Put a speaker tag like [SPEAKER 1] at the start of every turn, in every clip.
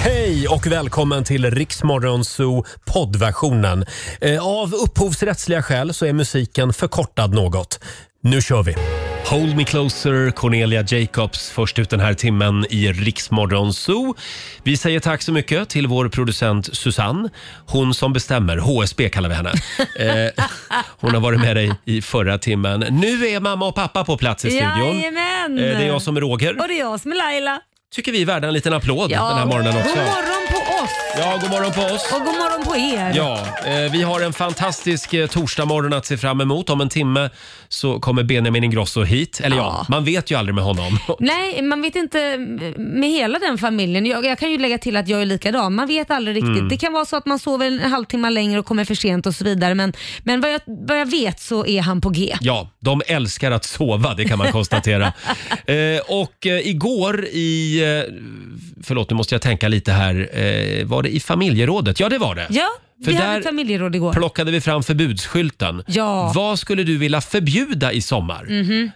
[SPEAKER 1] Hej och välkommen till Riksmorgonzoo poddversionen. Eh, Av upphovsrättsliga skäl så är musiken förkortad något. Nu kör vi! Hold Me Closer, Cornelia Jacobs först ut den här timmen i Riksmorgonzoo. Vi säger tack så mycket till vår producent Susanne. Hon som bestämmer, HSB kallar vi henne. Eh, hon har varit med dig i förra timmen. Nu är mamma och pappa på plats i studion.
[SPEAKER 2] Jajamän.
[SPEAKER 1] Eh, Det är jag som är Roger.
[SPEAKER 2] Och det är jag som är Laila.
[SPEAKER 1] Tycker vi är värda en liten applåd den här morgonen också.
[SPEAKER 2] God morgon på oss
[SPEAKER 1] Ja, god morgon på oss.
[SPEAKER 2] och god morgon på er.
[SPEAKER 1] Ja, eh, vi har en fantastisk eh, torsdagmorgon att se fram emot. Om en timme så kommer Benjamin Ingrosso hit. Eller ja,
[SPEAKER 2] Ja.
[SPEAKER 1] man vet ju aldrig med honom.
[SPEAKER 2] Nej, man vet inte med hela den familjen. Jag, jag kan ju lägga till att jag är likadan. Man vet aldrig riktigt.
[SPEAKER 1] Mm.
[SPEAKER 2] Det kan vara så att man sover en halvtimme längre och kommer för sent och så vidare. Men, men vad, jag, vad jag vet så är han på G.
[SPEAKER 1] Ja, de älskar att sova, det kan man konstatera. eh, och eh, igår i... Eh, förlåt, nu måste jag tänka lite här. Eh, var det i familjerådet? Ja, det var det.
[SPEAKER 2] Ja,
[SPEAKER 1] För
[SPEAKER 2] vi hade
[SPEAKER 1] där-
[SPEAKER 2] ett familjeråd igår.
[SPEAKER 1] plockade vi fram förbudsskylten.
[SPEAKER 2] Ja. Mhm.
[SPEAKER 1] Vad skulle du vilja förbjuda i sommar?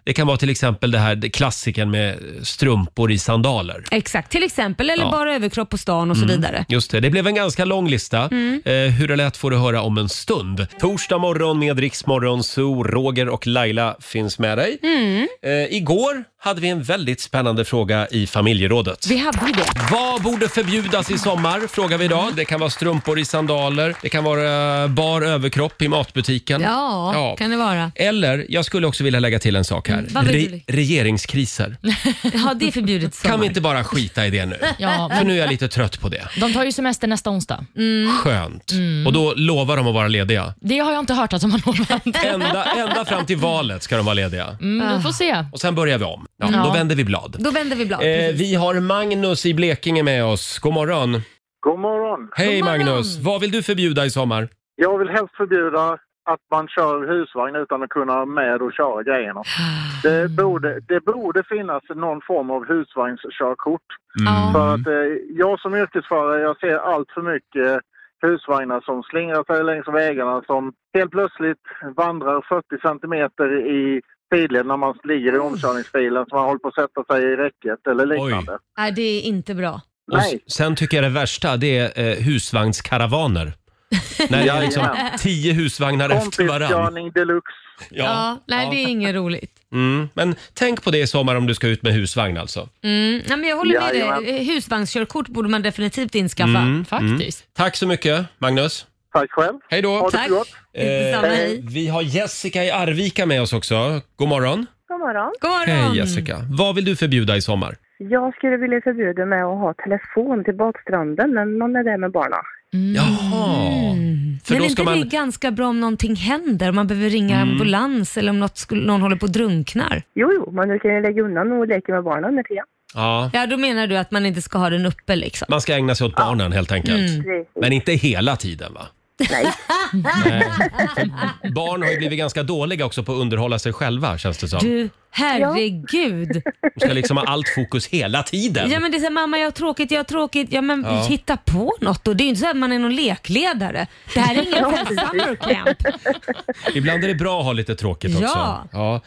[SPEAKER 1] Det kan vara till exempel det här det klassiken med strumpor i sandaler.
[SPEAKER 2] Exakt, till exempel. Eller
[SPEAKER 1] Ja. Mm.
[SPEAKER 2] bara överkropp på stan och så vidare.
[SPEAKER 1] Just det, det blev en ganska lång lista.
[SPEAKER 2] Mm.
[SPEAKER 1] Eh, hur det lät får du höra om en stund. Torsdag morgon med Riksmorgon Zoo, Roger och Laila finns med dig.
[SPEAKER 2] Mm.
[SPEAKER 1] Eh, igår hade vi en väldigt spännande fråga i familjerådet.
[SPEAKER 2] Vi hade ju det.
[SPEAKER 1] Vad borde förbjudas i sommar? Frågar vi idag. Det kan vara strumpor i sandaler, det kan vara eh, bar överkropp i matbutiken.
[SPEAKER 2] Ja, kan det vara. Mm,
[SPEAKER 1] Eller, jag skulle också vilja lägga till en sak här.
[SPEAKER 2] vad vill du?
[SPEAKER 1] regeringskriser.
[SPEAKER 2] Ja, det är förbjudet i sommar.
[SPEAKER 1] Kan vi inte bara skita i det nu?
[SPEAKER 3] Ja,
[SPEAKER 1] För
[SPEAKER 3] men
[SPEAKER 1] nu är jag lite trött på det.
[SPEAKER 3] de tar ju semester nästa onsdag.
[SPEAKER 2] Mm.
[SPEAKER 1] Skönt. Och då lovar de att vara lediga.
[SPEAKER 3] Det har jag inte hört att de har lovat.
[SPEAKER 1] Ända, ända fram till valet ska de vara lediga.
[SPEAKER 3] Mm, vi får se.
[SPEAKER 1] Och sen börjar vi om. Ja,
[SPEAKER 3] Ja.
[SPEAKER 1] Då vänder vi blad.
[SPEAKER 2] Då vänder vi blad.
[SPEAKER 1] Eh, vi har Magnus i Blekinge med oss. God morgon.
[SPEAKER 4] God morgon.
[SPEAKER 1] Hej
[SPEAKER 2] God morgon.
[SPEAKER 1] Magnus. Vad vill du förbjuda i sommar?
[SPEAKER 4] Jag vill helst förbjuda att man kör husvagn utan att kunna med och köra grejerna. Det borde, det borde finnas någon form av husvagnskörkort. För att eh, jag som yrkesförare, jag ser allt för mycket husvagnar som slingrar sig längs vägarna som helt plötsligt vandrar 40 centimeter i sidled när man ligger i omkörningsfilen så man håller på att sätta sig i räcket eller liknande.
[SPEAKER 2] Nej, det är inte bra.
[SPEAKER 1] Och s-
[SPEAKER 4] Nej.
[SPEAKER 1] sen tycker jag det värsta, det är eh, husvagnskaravaner. När det är liksom
[SPEAKER 4] Jajamän.
[SPEAKER 1] tio husvagnar efter varann.
[SPEAKER 4] Kompiskörning deluxe.
[SPEAKER 2] Ja,
[SPEAKER 1] Ja.
[SPEAKER 2] nej, det är inget roligt.
[SPEAKER 1] Mm. Men tänk på det i sommar om du ska ut med husvagn alltså.
[SPEAKER 2] Mm, nej, men jag håller med dig.
[SPEAKER 4] Jajamän.
[SPEAKER 2] Husvagnskörkort borde man definitivt inskaffa.
[SPEAKER 3] Mm. Faktiskt.
[SPEAKER 1] Tack så mycket Magnus.
[SPEAKER 4] Tack själv.
[SPEAKER 1] Hej då.
[SPEAKER 4] Ha det
[SPEAKER 2] Tack.
[SPEAKER 4] så gott.
[SPEAKER 2] Detsamma, hej.
[SPEAKER 1] Eh, vi har Jessica i Arvika med oss också. God morgon.
[SPEAKER 5] God morgon.
[SPEAKER 2] God morgon. Mm.
[SPEAKER 1] Hej Jessica. Vad vill du förbjuda i sommar?
[SPEAKER 5] Jag skulle vilja förbjuda mig att ha telefon till badstranden när man är där med barnen.
[SPEAKER 1] Jaha. För
[SPEAKER 2] men
[SPEAKER 1] då ska
[SPEAKER 2] är inte det
[SPEAKER 1] man... Mm.
[SPEAKER 2] ganska bra om någonting händer? Om man behöver ringa ambulans eller om något skulle, någon håller på och drunknar?
[SPEAKER 5] Jo, jo, men du kan ju lägga undan och leka med barnen under tiden.
[SPEAKER 1] Ja,
[SPEAKER 2] Ja, då menar du att man inte ska ha den uppe liksom?
[SPEAKER 1] man ska ägna sig åt barnen helt enkelt.
[SPEAKER 2] Mm.
[SPEAKER 5] Precis.
[SPEAKER 1] Men inte hela tiden va?
[SPEAKER 5] Nej.
[SPEAKER 1] Nej. För Barn har ju blivit ganska dåliga också på att underhålla sig själva känns det som.
[SPEAKER 2] Du, herregud.
[SPEAKER 1] De ska liksom ha allt fokus hela
[SPEAKER 2] Ja,
[SPEAKER 1] tiden.
[SPEAKER 2] men det är så här, mamma jag har tråkigt, jag har tråkigt. Ja men
[SPEAKER 1] Ja.
[SPEAKER 2] hitta på något då. Det är ju inte så att man är någon lekledare. Det här är ingen summer camp.
[SPEAKER 1] Ibland är det bra att ha lite tråkigt också.
[SPEAKER 2] Ja.
[SPEAKER 1] Ja.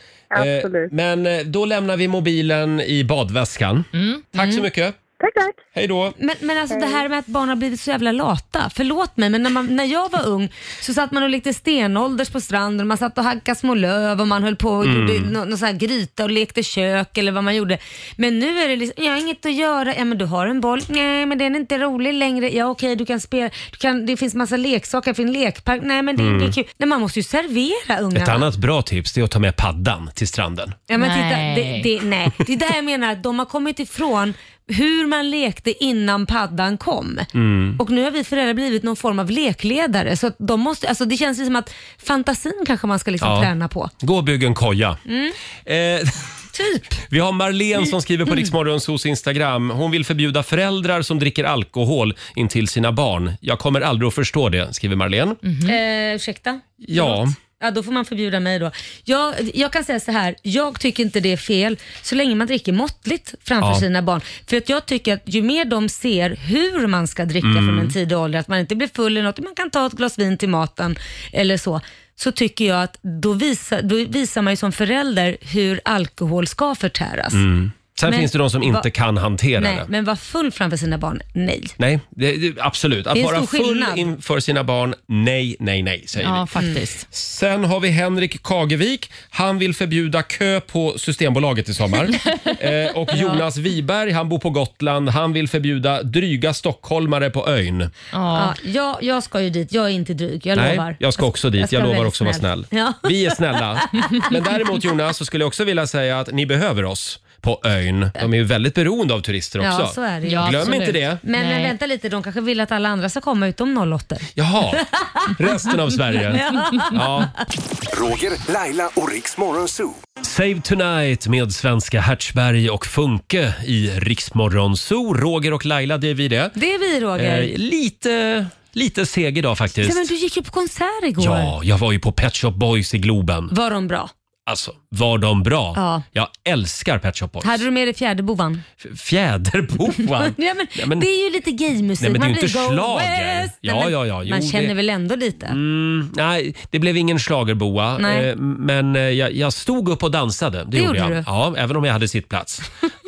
[SPEAKER 1] Eh,
[SPEAKER 5] Absolut.
[SPEAKER 1] Men eh, då lämnar vi mobilen i badväskan.
[SPEAKER 2] Mm.
[SPEAKER 1] Tack så mycket.
[SPEAKER 5] Tack, tack.
[SPEAKER 1] Hej då.
[SPEAKER 2] Men, men alltså det här med att barn har blivit så jävla lata. Förlåt mig, men när, man, när jag var ung så satt man och lekte stenålders på stranden. Man satt och hackade små löv och man höll på och
[SPEAKER 1] Mm.
[SPEAKER 2] gjorde nå- någon sån här gryta och lekte kök eller vad man gjorde. Men nu är det liksom, jag har inget att göra. Ja men du har en boll. Nej men den är inte rolig längre. Ja okej du kan spela, du kan, det finns massa leksaker för en lekpark. Nej men det, det är kul. Nej man måste ju servera ungarna.
[SPEAKER 1] Mm. Ett annat bra tips det är att ta med paddan till stranden.
[SPEAKER 2] Ja, men
[SPEAKER 3] Nej.
[SPEAKER 2] Titta, det, det, nej. det är där jag menar, att de har kommit ifrån hur man lekte innan paddan kom. Och nu har vi föräldrar blivit någon form av lekledare. Så att de måste, alltså det känns ju som att fantasin kanske man ska liksom
[SPEAKER 1] Ja.
[SPEAKER 2] träna på.
[SPEAKER 1] Gå och bygg en koja.
[SPEAKER 2] Mm.
[SPEAKER 1] Eh,
[SPEAKER 2] Typ.
[SPEAKER 1] vi har Marlene som skriver på Riksmorgonsos Instagram. Hon vill förbjuda föräldrar som dricker alkohol in till sina barn. Jag kommer aldrig att förstå det, skriver Marlene.
[SPEAKER 2] Eh, ursäkta?
[SPEAKER 1] Ja.
[SPEAKER 2] Förlåt. Ja, då får man förbjuda mig då. Jag, jag kan säga så här, jag tycker inte det är fel så länge man dricker måttligt framför
[SPEAKER 1] Ja.
[SPEAKER 2] sina barn. För att jag tycker att ju mer de ser hur man ska dricka
[SPEAKER 1] Mm.
[SPEAKER 2] från en tidig ålder, att man inte blir full eller något, man kan ta ett glas vin till maten eller så, så tycker jag att då visar, då visar man ju som förälder hur alkohol ska förtäras.
[SPEAKER 1] Sen
[SPEAKER 2] Men
[SPEAKER 1] finns det de som
[SPEAKER 2] va-
[SPEAKER 1] inte kan hantera
[SPEAKER 2] Nej,
[SPEAKER 1] det.
[SPEAKER 2] men var full framför sina barn? Nej.
[SPEAKER 1] Nej, det, det, absolut. Att
[SPEAKER 2] Det är en
[SPEAKER 1] vara
[SPEAKER 2] stor
[SPEAKER 1] full
[SPEAKER 2] skillnad.
[SPEAKER 1] inför sina barn, nej, nej, nej, säger vi.
[SPEAKER 3] Ja, faktiskt.
[SPEAKER 1] Sen har vi Henrik Kagevik. Han vill förbjuda kö på Systembolaget i sommar. eh, och Jonas Wiberg, han bor på Gotland. Han vill förbjuda dryga stockholmare på ön.
[SPEAKER 3] Ja.
[SPEAKER 2] Mm. Ja, jag, jag ska ju dit, jag är inte dryg, jag
[SPEAKER 1] Nej,
[SPEAKER 2] lovar.
[SPEAKER 1] jag ska också dit.
[SPEAKER 2] ska
[SPEAKER 1] Jag, lovar
[SPEAKER 2] väldigt
[SPEAKER 1] också att vara snäll.
[SPEAKER 2] Ja.
[SPEAKER 1] Vi är snälla. Men däremot Jonas, så skulle jag också vilja säga att ni behöver oss på ön. De är ju väldigt beroende av turister också.
[SPEAKER 2] Ja, så är det ju.
[SPEAKER 3] Ja,
[SPEAKER 1] Glöm
[SPEAKER 3] absolut.
[SPEAKER 1] inte det.
[SPEAKER 2] Men, men
[SPEAKER 3] Nej.
[SPEAKER 2] vänta lite, de kanske vill att alla andra ska komma utom 08.
[SPEAKER 1] Jaha, resten av Sverige. Ja.
[SPEAKER 6] Roger, Laila och Riks Morgonzoo.
[SPEAKER 1] Save Tonight med svenska Hertzberg och Funke i Riksmorgon Zoo. Roger och Laila, det är vi det.
[SPEAKER 2] Det är vi Roger.
[SPEAKER 1] Eh, lite, lite seg idag
[SPEAKER 2] Nej, men
[SPEAKER 1] faktiskt.
[SPEAKER 2] du gick ju på konsert igår.
[SPEAKER 1] Ja, jag var ju på Pet Shop Boys i Globen.
[SPEAKER 2] Var de bra?
[SPEAKER 1] Alltså, var de bra?
[SPEAKER 2] Ja.
[SPEAKER 1] Jag älskar Pet Shop Boys.
[SPEAKER 2] Hade du med dig fjäderbovan?
[SPEAKER 1] F- Fjäderboan.
[SPEAKER 2] Ja, men,
[SPEAKER 1] Ja, men-
[SPEAKER 2] det är ju lite gaymusik.
[SPEAKER 1] Nej, men det är
[SPEAKER 2] Man
[SPEAKER 1] ju inte
[SPEAKER 2] blir Go
[SPEAKER 1] schlager.
[SPEAKER 2] West.
[SPEAKER 1] Ja,
[SPEAKER 2] Nej, men
[SPEAKER 1] ja, ja, jo,
[SPEAKER 2] man känner
[SPEAKER 1] det-
[SPEAKER 2] väl ändå lite?
[SPEAKER 1] Mm, nej, det blev ingen schlagerboa.
[SPEAKER 2] Nej.
[SPEAKER 1] eh, Men eh, jag, jag stod upp och dansade. Det,
[SPEAKER 2] gjorde
[SPEAKER 1] jag.
[SPEAKER 2] du.
[SPEAKER 1] Ja, även om jag hade sittplats.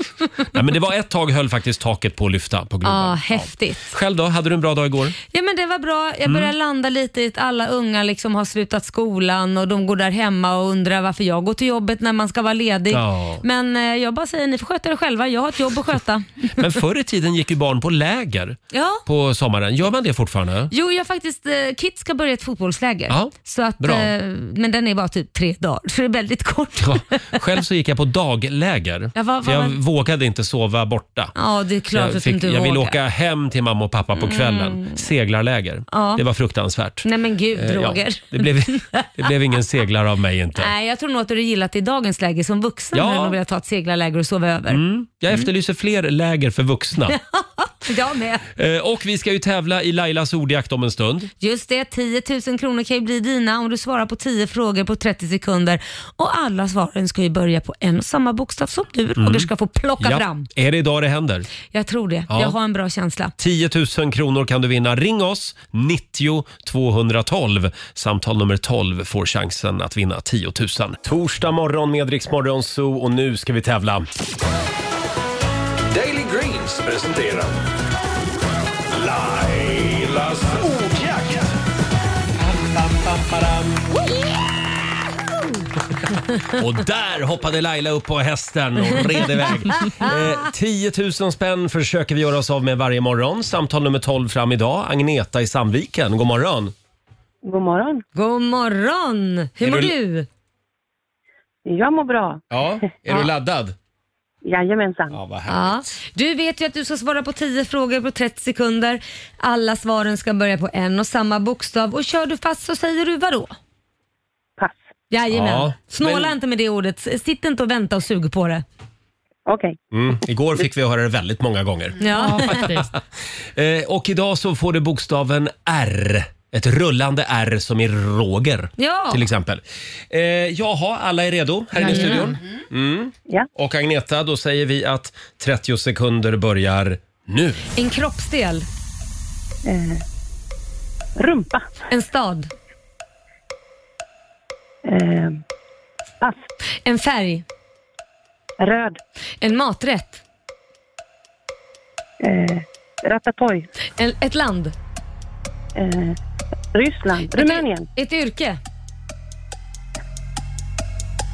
[SPEAKER 1] nej, men det var ett tag höll faktiskt taket på att lyfta på Globen.
[SPEAKER 2] Ja,
[SPEAKER 1] Ja.
[SPEAKER 2] häftigt.
[SPEAKER 1] Själv då? Hade du en bra dag igår?
[SPEAKER 2] Ja men det var bra.
[SPEAKER 1] Mm.
[SPEAKER 2] Jag börjar landa lite i att alla unga liksom har slutat skolan och de går där hemma och undrar varför jag går till jobbet när man ska vara ledig.
[SPEAKER 1] Ja.
[SPEAKER 2] Men eh, jag bara säger, ni får sköta er själva. Jag har ett jobb att sköta.
[SPEAKER 1] Men förr i tiden gick ju barn på läger
[SPEAKER 2] ja.
[SPEAKER 1] på sommaren. Gör man det fortfarande?
[SPEAKER 2] Jo, jag har faktiskt, eh, Kit ska börja ett fotbollsläger.
[SPEAKER 1] Ja,
[SPEAKER 2] så att,
[SPEAKER 1] bra.
[SPEAKER 2] eh, men den är bara typ tre dagar, så det är väldigt kort.
[SPEAKER 1] Ja. Själv så gick jag på dagläger.
[SPEAKER 2] Ja, vad-
[SPEAKER 1] för jag
[SPEAKER 2] vad-
[SPEAKER 1] vågade inte sova borta.
[SPEAKER 2] Ja, det är klart
[SPEAKER 1] jag fick,
[SPEAKER 2] att du
[SPEAKER 1] jag
[SPEAKER 2] inte
[SPEAKER 1] ville
[SPEAKER 2] vågar. Mm.
[SPEAKER 1] åka hem till mamma och pappa på kvällen. Seglarläger.
[SPEAKER 2] Ja.
[SPEAKER 1] Det var fruktansvärt.
[SPEAKER 2] Nej men gud
[SPEAKER 1] Eh, ja,
[SPEAKER 2] Roger.
[SPEAKER 1] det, blev, det blev ingen seglare av mig inte.
[SPEAKER 2] Nej, jag tror nog att du hade gillat det i dagens läge som vuxen.
[SPEAKER 1] Ja. Mm.
[SPEAKER 2] Ja. När du vill ta ett seglarläger och sova över.
[SPEAKER 1] Jag efterlyser fler läger för vuxna.
[SPEAKER 2] Jag med.
[SPEAKER 1] Eh, och vi ska ju tävla i Lailas ordjakt om en stund.
[SPEAKER 2] Just det, 10 000 kronor kan ju bli dina om du svarar på 10 frågor på 30 sekunder. Och alla svaren ska ju börja på en och samma bokstav som du Roger ska få plocka
[SPEAKER 1] Mm. Ja.
[SPEAKER 2] fram.
[SPEAKER 1] Är det idag det händer?
[SPEAKER 2] Jag tror det.
[SPEAKER 1] Ja.
[SPEAKER 2] Jag har en bra känsla.
[SPEAKER 1] 10 000 kronor kan du vinna. Ring oss, 90 212. Samtal nummer 12 får chansen att vinna 10 000. Torsdag morgon med Rix Morgon Zoo och nu ska vi tävla.
[SPEAKER 7] Daily Greens presenterar Lailas ordjakt.
[SPEAKER 1] Och där hoppade Laila upp på hästen och red iväg. Eh, 10 000 spänn försöker vi göra oss av med varje morgon. Samtal nummer 12 fram idag. Agneta i Sandviken, god morgon.
[SPEAKER 5] God morgon.
[SPEAKER 2] God morgon! Hur
[SPEAKER 1] Är
[SPEAKER 2] mår
[SPEAKER 1] du-
[SPEAKER 2] du?
[SPEAKER 5] Jag mår bra.
[SPEAKER 1] Ja, är du laddad?
[SPEAKER 5] Jajamensan.
[SPEAKER 1] Ja, vad härligt.
[SPEAKER 2] Ja. Du vet ju att du ska svara på 10 frågor på 30 sekunder. Alla svaren ska börja på en och samma bokstav. Och kör du fast så säger du vadå?
[SPEAKER 5] Pass.
[SPEAKER 2] Jajamän.
[SPEAKER 1] Ja,
[SPEAKER 2] Snåla
[SPEAKER 1] men-
[SPEAKER 2] inte med det ordet. Sitt inte och vänta och sug på det.
[SPEAKER 5] Okej.
[SPEAKER 1] Mm, igår fick vi höra det väldigt många gånger.
[SPEAKER 2] Ja.
[SPEAKER 3] Ja, faktiskt.
[SPEAKER 1] Eh, och idag så får du bokstaven R. Ett rullande R som i Roger,
[SPEAKER 2] Ja.
[SPEAKER 1] till exempel. Eh, jaha, alla är redo här inne i studion.
[SPEAKER 5] Ja.
[SPEAKER 1] Och Agneta, då säger vi att 30 sekunder börjar nu.
[SPEAKER 2] En kroppsdel.
[SPEAKER 5] Eh, rumpa.
[SPEAKER 2] En stad.
[SPEAKER 5] Eh, pass.
[SPEAKER 2] En färg.
[SPEAKER 5] Röd.
[SPEAKER 2] En maträtt.
[SPEAKER 5] Eh, ratatouille.
[SPEAKER 2] En, ett land.
[SPEAKER 5] Eh, Ryssland. Rumänien.
[SPEAKER 2] Ett yrke.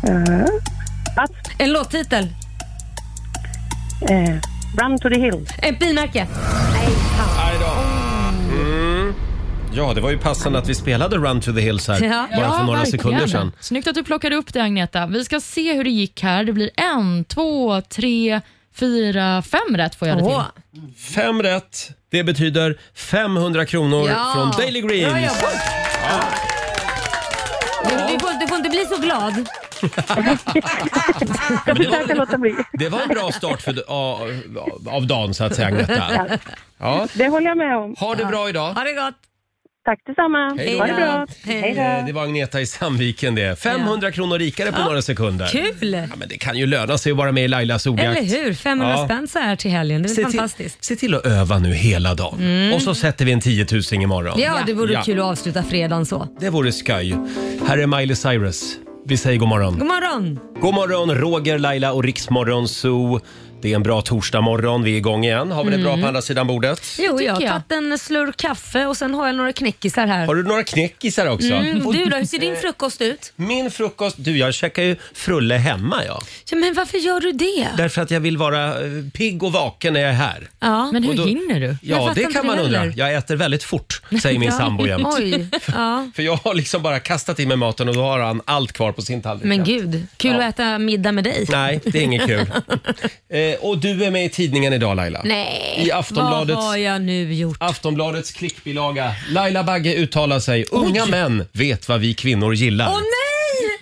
[SPEAKER 5] Eh, pass.
[SPEAKER 2] En låttitel.
[SPEAKER 5] Eh, run to the hill.
[SPEAKER 2] Ett bilmärke.
[SPEAKER 1] Ja, det var ju passande att vi spelade Run to the Hills här
[SPEAKER 2] Ja.
[SPEAKER 1] bara för några sekunder sedan.
[SPEAKER 3] Snyggt att du plockade upp det Agneta. Vi ska se hur det gick här. Det blir en, två, tre, fyra, fem rätt får jag det till.
[SPEAKER 2] Åh.
[SPEAKER 1] Fem rätt. Det betyder 500 kronor
[SPEAKER 2] Ja.
[SPEAKER 1] från Daily Greens.
[SPEAKER 2] Bra jobbat. Du, du, får, du får inte bli så glad.
[SPEAKER 5] Ska försöka låta bli.
[SPEAKER 1] Det var en bra start för, av, av dagen så att säga, Agneta. Ja.
[SPEAKER 5] Det håller jag med om.
[SPEAKER 1] Ha det bra idag.
[SPEAKER 2] Ha det gott.
[SPEAKER 5] Tack detsamma.
[SPEAKER 1] Hej
[SPEAKER 5] Ha
[SPEAKER 1] då.
[SPEAKER 5] det bra.
[SPEAKER 2] Hej.
[SPEAKER 5] Hej
[SPEAKER 1] Eh,
[SPEAKER 5] då.
[SPEAKER 1] Det var Agneta i Sandviken det. 500 kronor rikare på några sekunder.
[SPEAKER 2] Kul!
[SPEAKER 1] Ja, men det kan ju löna sig att vara med i Lailas ordjakt.
[SPEAKER 2] Eller hur? 500
[SPEAKER 1] Ja.
[SPEAKER 2] spänn så här till helgen. Det är
[SPEAKER 1] Se till,
[SPEAKER 2] fantastiskt.
[SPEAKER 1] se
[SPEAKER 2] Mm.
[SPEAKER 1] till att öva nu hela dagen. Och så sätter vi en 10 000 imorgon.
[SPEAKER 2] Ja, det vore
[SPEAKER 1] Ja.
[SPEAKER 2] kul att avsluta fredagen så.
[SPEAKER 1] Det vore skoj. Här är Miley Cyrus. Vi säger god morgon.
[SPEAKER 2] God morgon!
[SPEAKER 1] God morgon, Roger, Laila och Riksmorgon Zoo. Det är en bra torsdagmorgon. Vi är igång igen. Har vi det bra
[SPEAKER 2] Mm.
[SPEAKER 1] på andra sidan bordet?
[SPEAKER 2] Jo, jag har
[SPEAKER 3] jag.
[SPEAKER 2] tagit en slurk kaffe och sen har jag några knäckisar här.
[SPEAKER 1] Har du några knäckisar också?
[SPEAKER 2] Mm,
[SPEAKER 1] Och
[SPEAKER 2] du då, hur ser din frukost ut?
[SPEAKER 1] Min frukost... Du, jag käkar ju frulle hemma, ja.
[SPEAKER 2] Ja, men varför gör du det?
[SPEAKER 1] Därför att jag vill vara eh, pigg och vaken när jag är här.
[SPEAKER 2] Ja.
[SPEAKER 3] Men
[SPEAKER 1] Och
[SPEAKER 3] hur
[SPEAKER 1] då-
[SPEAKER 3] hinner du?
[SPEAKER 2] Jag
[SPEAKER 1] Ja,
[SPEAKER 2] fattar
[SPEAKER 1] det
[SPEAKER 2] inte
[SPEAKER 1] kan man
[SPEAKER 2] det
[SPEAKER 1] undra.
[SPEAKER 2] heller.
[SPEAKER 1] Jag äter väldigt fort, säger min sambo jämt.
[SPEAKER 2] Oj, ja.
[SPEAKER 1] För jag har liksom bara kastat i mig maten och då har han allt kvar på sin tallrik.
[SPEAKER 2] Men gud, kul
[SPEAKER 1] Ja.
[SPEAKER 2] att äta middag med dig.
[SPEAKER 1] Nej, det är inget kul. eh, och du är med i tidningen idag Laila.
[SPEAKER 2] Nej,
[SPEAKER 1] I Aftonbladets-
[SPEAKER 2] vad har jag nu gjort?
[SPEAKER 1] Aftonbladets klickbilaga. Laila Bagge uttalar sig. Unga män vet vad vi kvinnor gillar.
[SPEAKER 2] Åh nej!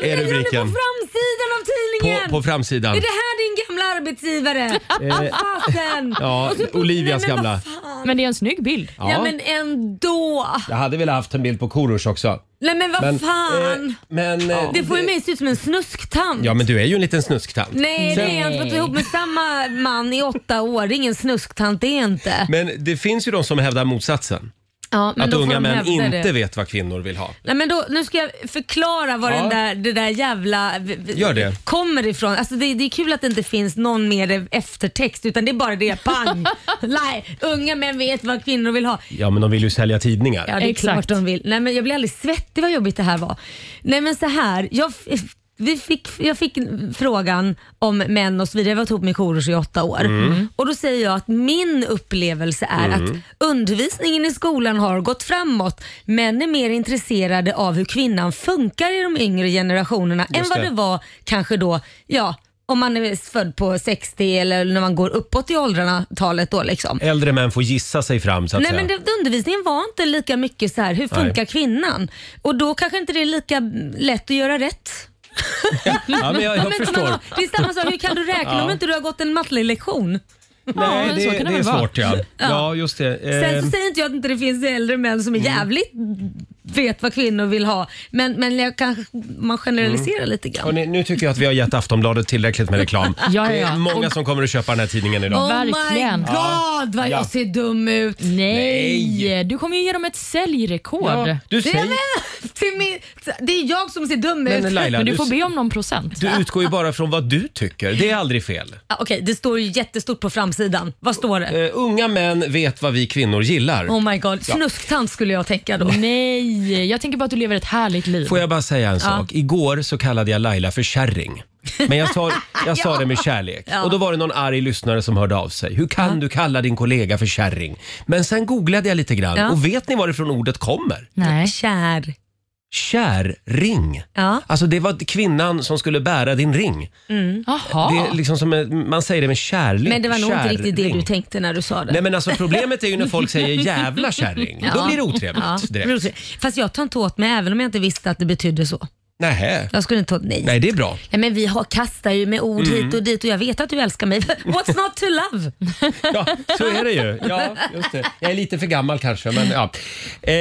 [SPEAKER 2] Nej,
[SPEAKER 1] Är
[SPEAKER 2] varför lägger du det på
[SPEAKER 1] rubriken.
[SPEAKER 2] framsidan av tidningen?
[SPEAKER 1] på, på framsidan.
[SPEAKER 2] Är det här din gamla arbetsgivare? Fasen!
[SPEAKER 1] Ja,
[SPEAKER 2] Och så på-
[SPEAKER 1] Olivias
[SPEAKER 2] Nej, men
[SPEAKER 1] gamla.
[SPEAKER 2] vad fan.
[SPEAKER 3] Men det är en snygg bild.
[SPEAKER 1] Ja.
[SPEAKER 2] Ja men ändå!
[SPEAKER 1] Jag hade velat haft en bild på Korosh också.
[SPEAKER 2] Nej men vad
[SPEAKER 1] Men,
[SPEAKER 2] fan!
[SPEAKER 1] eh, men, eh,
[SPEAKER 2] det får ju mig se ut som en snusktant.
[SPEAKER 1] Ja, men du är ju en liten snusktant.
[SPEAKER 2] Nej det är jag inte. Fått ihop med samma man i åtta år. Ingen snusktant det är jag inte.
[SPEAKER 1] Men det finns ju de som hävdar motsatsen.
[SPEAKER 2] Ja, men
[SPEAKER 1] att
[SPEAKER 2] då får
[SPEAKER 1] unga
[SPEAKER 2] de
[SPEAKER 1] män
[SPEAKER 2] hävda
[SPEAKER 1] inte
[SPEAKER 2] det.
[SPEAKER 1] vet vad kvinnor vill ha.
[SPEAKER 2] Nej, men då, nu ska jag förklara var
[SPEAKER 1] Ja.
[SPEAKER 2] den där, det där jävla v- v-
[SPEAKER 1] Gör det.
[SPEAKER 2] kommer ifrån. Alltså det, det är kul att det inte finns någon mer eftertext utan det är bara det pang. Nej, unga män vet vad kvinnor vill ha.
[SPEAKER 1] Ja, men de vill ju sälja tidningar.
[SPEAKER 2] Ja, det är
[SPEAKER 3] Exakt.
[SPEAKER 2] klart de vill. Nej, men jag blir alldeles svettig vad jobbigt det här var. Nej, men så här. Jag, f- vi fick, jag fick frågan om män och så vidare. Jag var ihop med Korosh i åtta år.
[SPEAKER 1] Mm.
[SPEAKER 2] Och Då säger jag att min upplevelse är att undervisningen i skolan har gått framåt. Män är mer intresserade av hur kvinnan funkar i de yngre generationerna än
[SPEAKER 1] Just
[SPEAKER 2] vad
[SPEAKER 1] det.
[SPEAKER 2] det var kanske då, ja, om man är född på 60 eller när man går uppåt i åldrarna, talet då liksom.
[SPEAKER 1] Äldre män får gissa sig fram så att
[SPEAKER 2] Nej
[SPEAKER 1] säga.
[SPEAKER 2] men det, undervisningen var inte lika mycket så här, hur funkar
[SPEAKER 1] Nej.
[SPEAKER 2] kvinnan? Och då kanske inte det är lika lätt att göra rätt.
[SPEAKER 1] Ja, men jag, jag
[SPEAKER 2] Ja, men man
[SPEAKER 1] förstår.
[SPEAKER 2] har- det är samma sak, hur kan du räkna
[SPEAKER 1] Ja.
[SPEAKER 2] om inte du har gått en mattelektion?
[SPEAKER 1] Nej,
[SPEAKER 3] men
[SPEAKER 1] det,
[SPEAKER 3] så
[SPEAKER 1] det,
[SPEAKER 3] kan det väl
[SPEAKER 1] är
[SPEAKER 3] vara.
[SPEAKER 1] svårt ja. ja. just det.
[SPEAKER 2] Sen
[SPEAKER 1] Eh, Mm.
[SPEAKER 2] så säger inte jag att inte det finns äldre män som är jävligt vet vad kvinnor vill ha. Men, men jag kanske, man generaliserar
[SPEAKER 1] Mm.
[SPEAKER 2] lite grann.
[SPEAKER 1] hörni, nu tycker jag att vi har gett Aftonbladet tillräckligt med reklam.
[SPEAKER 2] Ah.
[SPEAKER 3] Ja, ja,
[SPEAKER 1] Det är
[SPEAKER 3] ja.
[SPEAKER 1] många som kommer att köpa den här tidningen idag.
[SPEAKER 2] Oh
[SPEAKER 3] verkligen.
[SPEAKER 2] my god vad
[SPEAKER 1] Ja.
[SPEAKER 2] jag ser dum ut.
[SPEAKER 3] Nej,
[SPEAKER 1] Nej.
[SPEAKER 3] du kommer ju ge dem ett säljrekord.
[SPEAKER 1] Ja, du, säger,
[SPEAKER 2] Till min, det är jag som ser dum ut.
[SPEAKER 1] men Laila,
[SPEAKER 3] Men du
[SPEAKER 1] du,
[SPEAKER 3] får be om någon procent.
[SPEAKER 1] du utgår ju bara från vad du tycker. Det är aldrig fel.
[SPEAKER 2] Ja, Okej, det står ju jättestort på framsidan. Vad står det?
[SPEAKER 1] Eh, unga män vet vad vi kvinnor gillar.
[SPEAKER 2] Oh my god, snusktant skulle jag tänka då.
[SPEAKER 3] Nej, jag tänker bara att du lever ett härligt liv.
[SPEAKER 1] Får jag bara säga en sak? Igår så kallade jag Laila för kärring. Men jag sa, jag sa det med kärlek. Och då var det någon arg lyssnare som hörde av sig. Hur kan du kalla din kollega för kärring? Men sen googlade jag lite grann
[SPEAKER 2] Ja.
[SPEAKER 1] och vet ni varifrån ordet kommer?
[SPEAKER 3] Nej.
[SPEAKER 2] Kär.
[SPEAKER 1] Kärring.
[SPEAKER 2] Ja.
[SPEAKER 1] Alltså det var kvinnan som skulle bära din ring.
[SPEAKER 3] Jaha.
[SPEAKER 1] Det är liksom som en, man säger det med kärlek.
[SPEAKER 2] Men det var nog inte
[SPEAKER 1] Kärring.
[SPEAKER 2] riktigt det du tänkte när du sa det.
[SPEAKER 1] Nej men alltså problemet är ju när folk säger jävla kärring. Då
[SPEAKER 2] Ja.
[SPEAKER 1] blir det otrevligt
[SPEAKER 2] Ja.
[SPEAKER 1] direkt.
[SPEAKER 2] Fast jag tar inte åt mig även om jag inte visste att det betydde så.
[SPEAKER 1] Nähä.
[SPEAKER 2] Jag skulle inte ta åt nej.
[SPEAKER 1] Nej Mm. det är bra.
[SPEAKER 2] Nej, men vi har, kastar ju med ord hit och dit och jag vet att du älskar mig. What's not to love?
[SPEAKER 1] Ja, så är det ju. Ja, just det. Jag är lite för gammal kanske, men ja. Eh,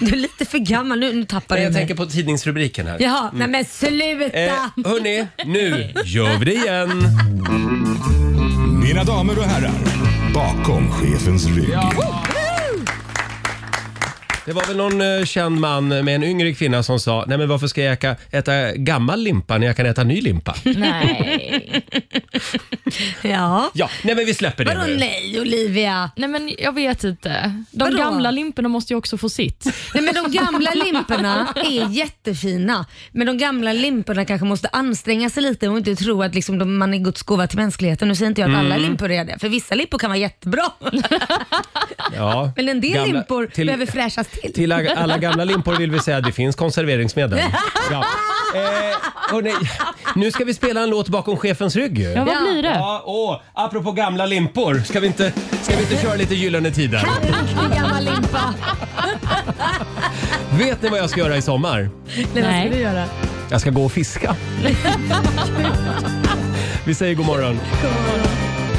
[SPEAKER 2] Du är lite för gammal nu. Nu tappar du
[SPEAKER 1] jag
[SPEAKER 2] mig.
[SPEAKER 1] tänker på tidningsrubriken här.
[SPEAKER 2] Jaha, nej men sluta!
[SPEAKER 1] Eh, hörni, nu gör vi det igen.
[SPEAKER 7] Mina damer och herrar, bakom chefens rygg.
[SPEAKER 1] Det var väl någon eh, känd man med en yngre kvinna som sa, nej men varför ska jag äka, äta gammal limpa när jag kan äta ny limpa?
[SPEAKER 3] Nej.
[SPEAKER 2] Ja.
[SPEAKER 1] Ja, nej men vi släpper det
[SPEAKER 2] Vadå
[SPEAKER 1] nu.
[SPEAKER 2] nej Olivia?
[SPEAKER 3] Nej men jag vet inte. De
[SPEAKER 2] Vadå?
[SPEAKER 3] gamla limporna måste ju också få sitt.
[SPEAKER 2] Nej, men de gamla limporna är jättefina, men de gamla limporna kanske måste anstränga sig lite och inte tro att liksom de, man är Guds gåva till mänskligheten. Nu säger inte jag att
[SPEAKER 1] Mm.
[SPEAKER 2] alla limpor är det, för vissa limpor kan vara jättebra.
[SPEAKER 1] Ja,
[SPEAKER 2] Men en del
[SPEAKER 1] gamla-
[SPEAKER 2] limpor
[SPEAKER 1] till-
[SPEAKER 2] behöver fräschas till.
[SPEAKER 1] Till ag- alla gamla limpor vill vi säga att det finns konserveringsmedel. Ja. Eh, hörni, nu ska vi spela en låt bakom chefens rygg ju.
[SPEAKER 3] Ja, vad
[SPEAKER 2] Ja.
[SPEAKER 3] blir det?
[SPEAKER 1] Ja, åh, apropå gamla limpor, ska vi inte, ska vi inte köra lite Gyllene Tider?
[SPEAKER 2] Riktig gammal limpa.
[SPEAKER 1] Vet ni vad jag ska göra i sommar?
[SPEAKER 2] Nej.
[SPEAKER 3] Nej.
[SPEAKER 1] Jag ska gå och fiska. vi säger god morgon.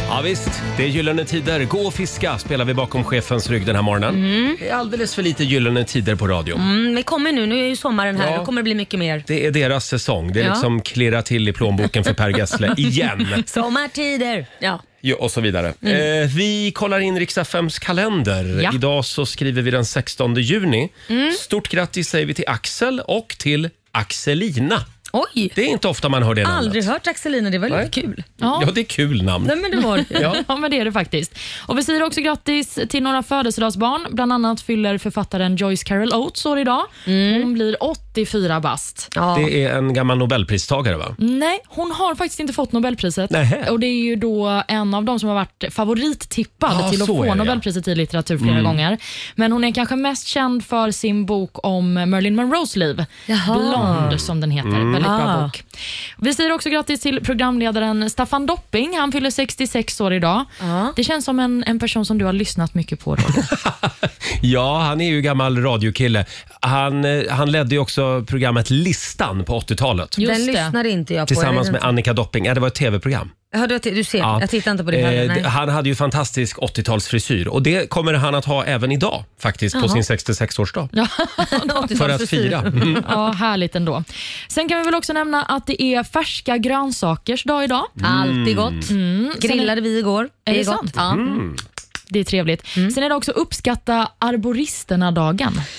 [SPEAKER 1] Ja, visst, det är Gyllene Tider. Gå och fiska spelar vi bakom chefens rygg den här morgonen.
[SPEAKER 3] Mm.
[SPEAKER 1] Det är alldeles för lite Gyllene Tider på radion.
[SPEAKER 2] Mm, men kommer nu, nu är ju sommaren här,
[SPEAKER 1] Ja.
[SPEAKER 2] då kommer det bli mycket mer.
[SPEAKER 1] Det är deras säsong. Det är
[SPEAKER 2] Ja.
[SPEAKER 1] liksom klirra till i plånboken för Per Gessle igen.
[SPEAKER 2] Sommartider! Ja.
[SPEAKER 1] Ja, och så vidare.
[SPEAKER 2] Mm.
[SPEAKER 1] Eh, vi kollar in Riks-FMs kalender.
[SPEAKER 3] Ja.
[SPEAKER 2] Mm.
[SPEAKER 1] Idag så skriver vi den 16 juni. Stort grattis säger vi till Axel och till Axelina.
[SPEAKER 2] Oj!
[SPEAKER 1] Det är inte ofta man hör det namnet.
[SPEAKER 2] Aldrig hört Axelina, det var
[SPEAKER 1] Nej.
[SPEAKER 2] lite kul.
[SPEAKER 3] Ja.
[SPEAKER 1] Ja, det är kul namn.
[SPEAKER 2] Nej men det var det.
[SPEAKER 1] Ja.
[SPEAKER 3] Ja. men det är det faktiskt. Och Vi säger också grattis till några födelsedagsbarn. Bland annat fyller författaren Joyce Carol Oates år idag. Hon blir 84 bast.
[SPEAKER 2] Ja. Mm.
[SPEAKER 1] Det är en gammal nobelpristagare va?
[SPEAKER 3] Nej, hon har faktiskt inte fått Nobelpriset.
[SPEAKER 1] Nähä.
[SPEAKER 3] Och Det är ju då en av dem som har varit favorittippad
[SPEAKER 1] Ja,
[SPEAKER 3] till att
[SPEAKER 1] så
[SPEAKER 3] få
[SPEAKER 1] är det, ja. Mm.
[SPEAKER 3] Nobelpriset i litteratur flera gånger. Men hon är kanske mest känd för sin bok om Marilyn Monroes liv.
[SPEAKER 2] Jaha.
[SPEAKER 3] Blond som den heter.
[SPEAKER 1] Mm.
[SPEAKER 3] Väldigt
[SPEAKER 2] Ah.
[SPEAKER 3] bra bok. Vi säger också grattis till programledaren Staffan Dopping. Han fyller 66 år idag.
[SPEAKER 2] Ja.
[SPEAKER 3] Det känns som en, en person som du har lyssnat mycket på, Roger.
[SPEAKER 1] Ja, han är ju gammal radiokille. Han, eh, han ledde ju också programmet Listan på 80-talet.
[SPEAKER 3] Just
[SPEAKER 2] Den
[SPEAKER 3] det.
[SPEAKER 2] lyssnade inte jag på.
[SPEAKER 1] Tillsammans
[SPEAKER 2] Jag vet
[SPEAKER 1] med Annika Dopping. Ja, det var ett tv-program.
[SPEAKER 2] inte. Hörde jag till- Du ser,
[SPEAKER 1] Ja.
[SPEAKER 2] jag tittar inte på det
[SPEAKER 1] Eh,
[SPEAKER 2] heller.
[SPEAKER 1] d-
[SPEAKER 2] nej.
[SPEAKER 1] han hade ju fantastisk 80-talsfrisyr och det kommer han att ha även idag faktiskt på sin 66-årsdag. För att fira. Mm.
[SPEAKER 3] Ja, härligt ändå. Sen kan vi väl också nämna att det är färska grönsakers dag idag.
[SPEAKER 1] Mm.
[SPEAKER 2] Alltid gott. Grillade vi igår.
[SPEAKER 3] Mm. Är det
[SPEAKER 2] gott. Mm.
[SPEAKER 3] sant?
[SPEAKER 2] Ja.
[SPEAKER 3] Det är trevligt. Sen är det också uppskatta arboristerna-dagen.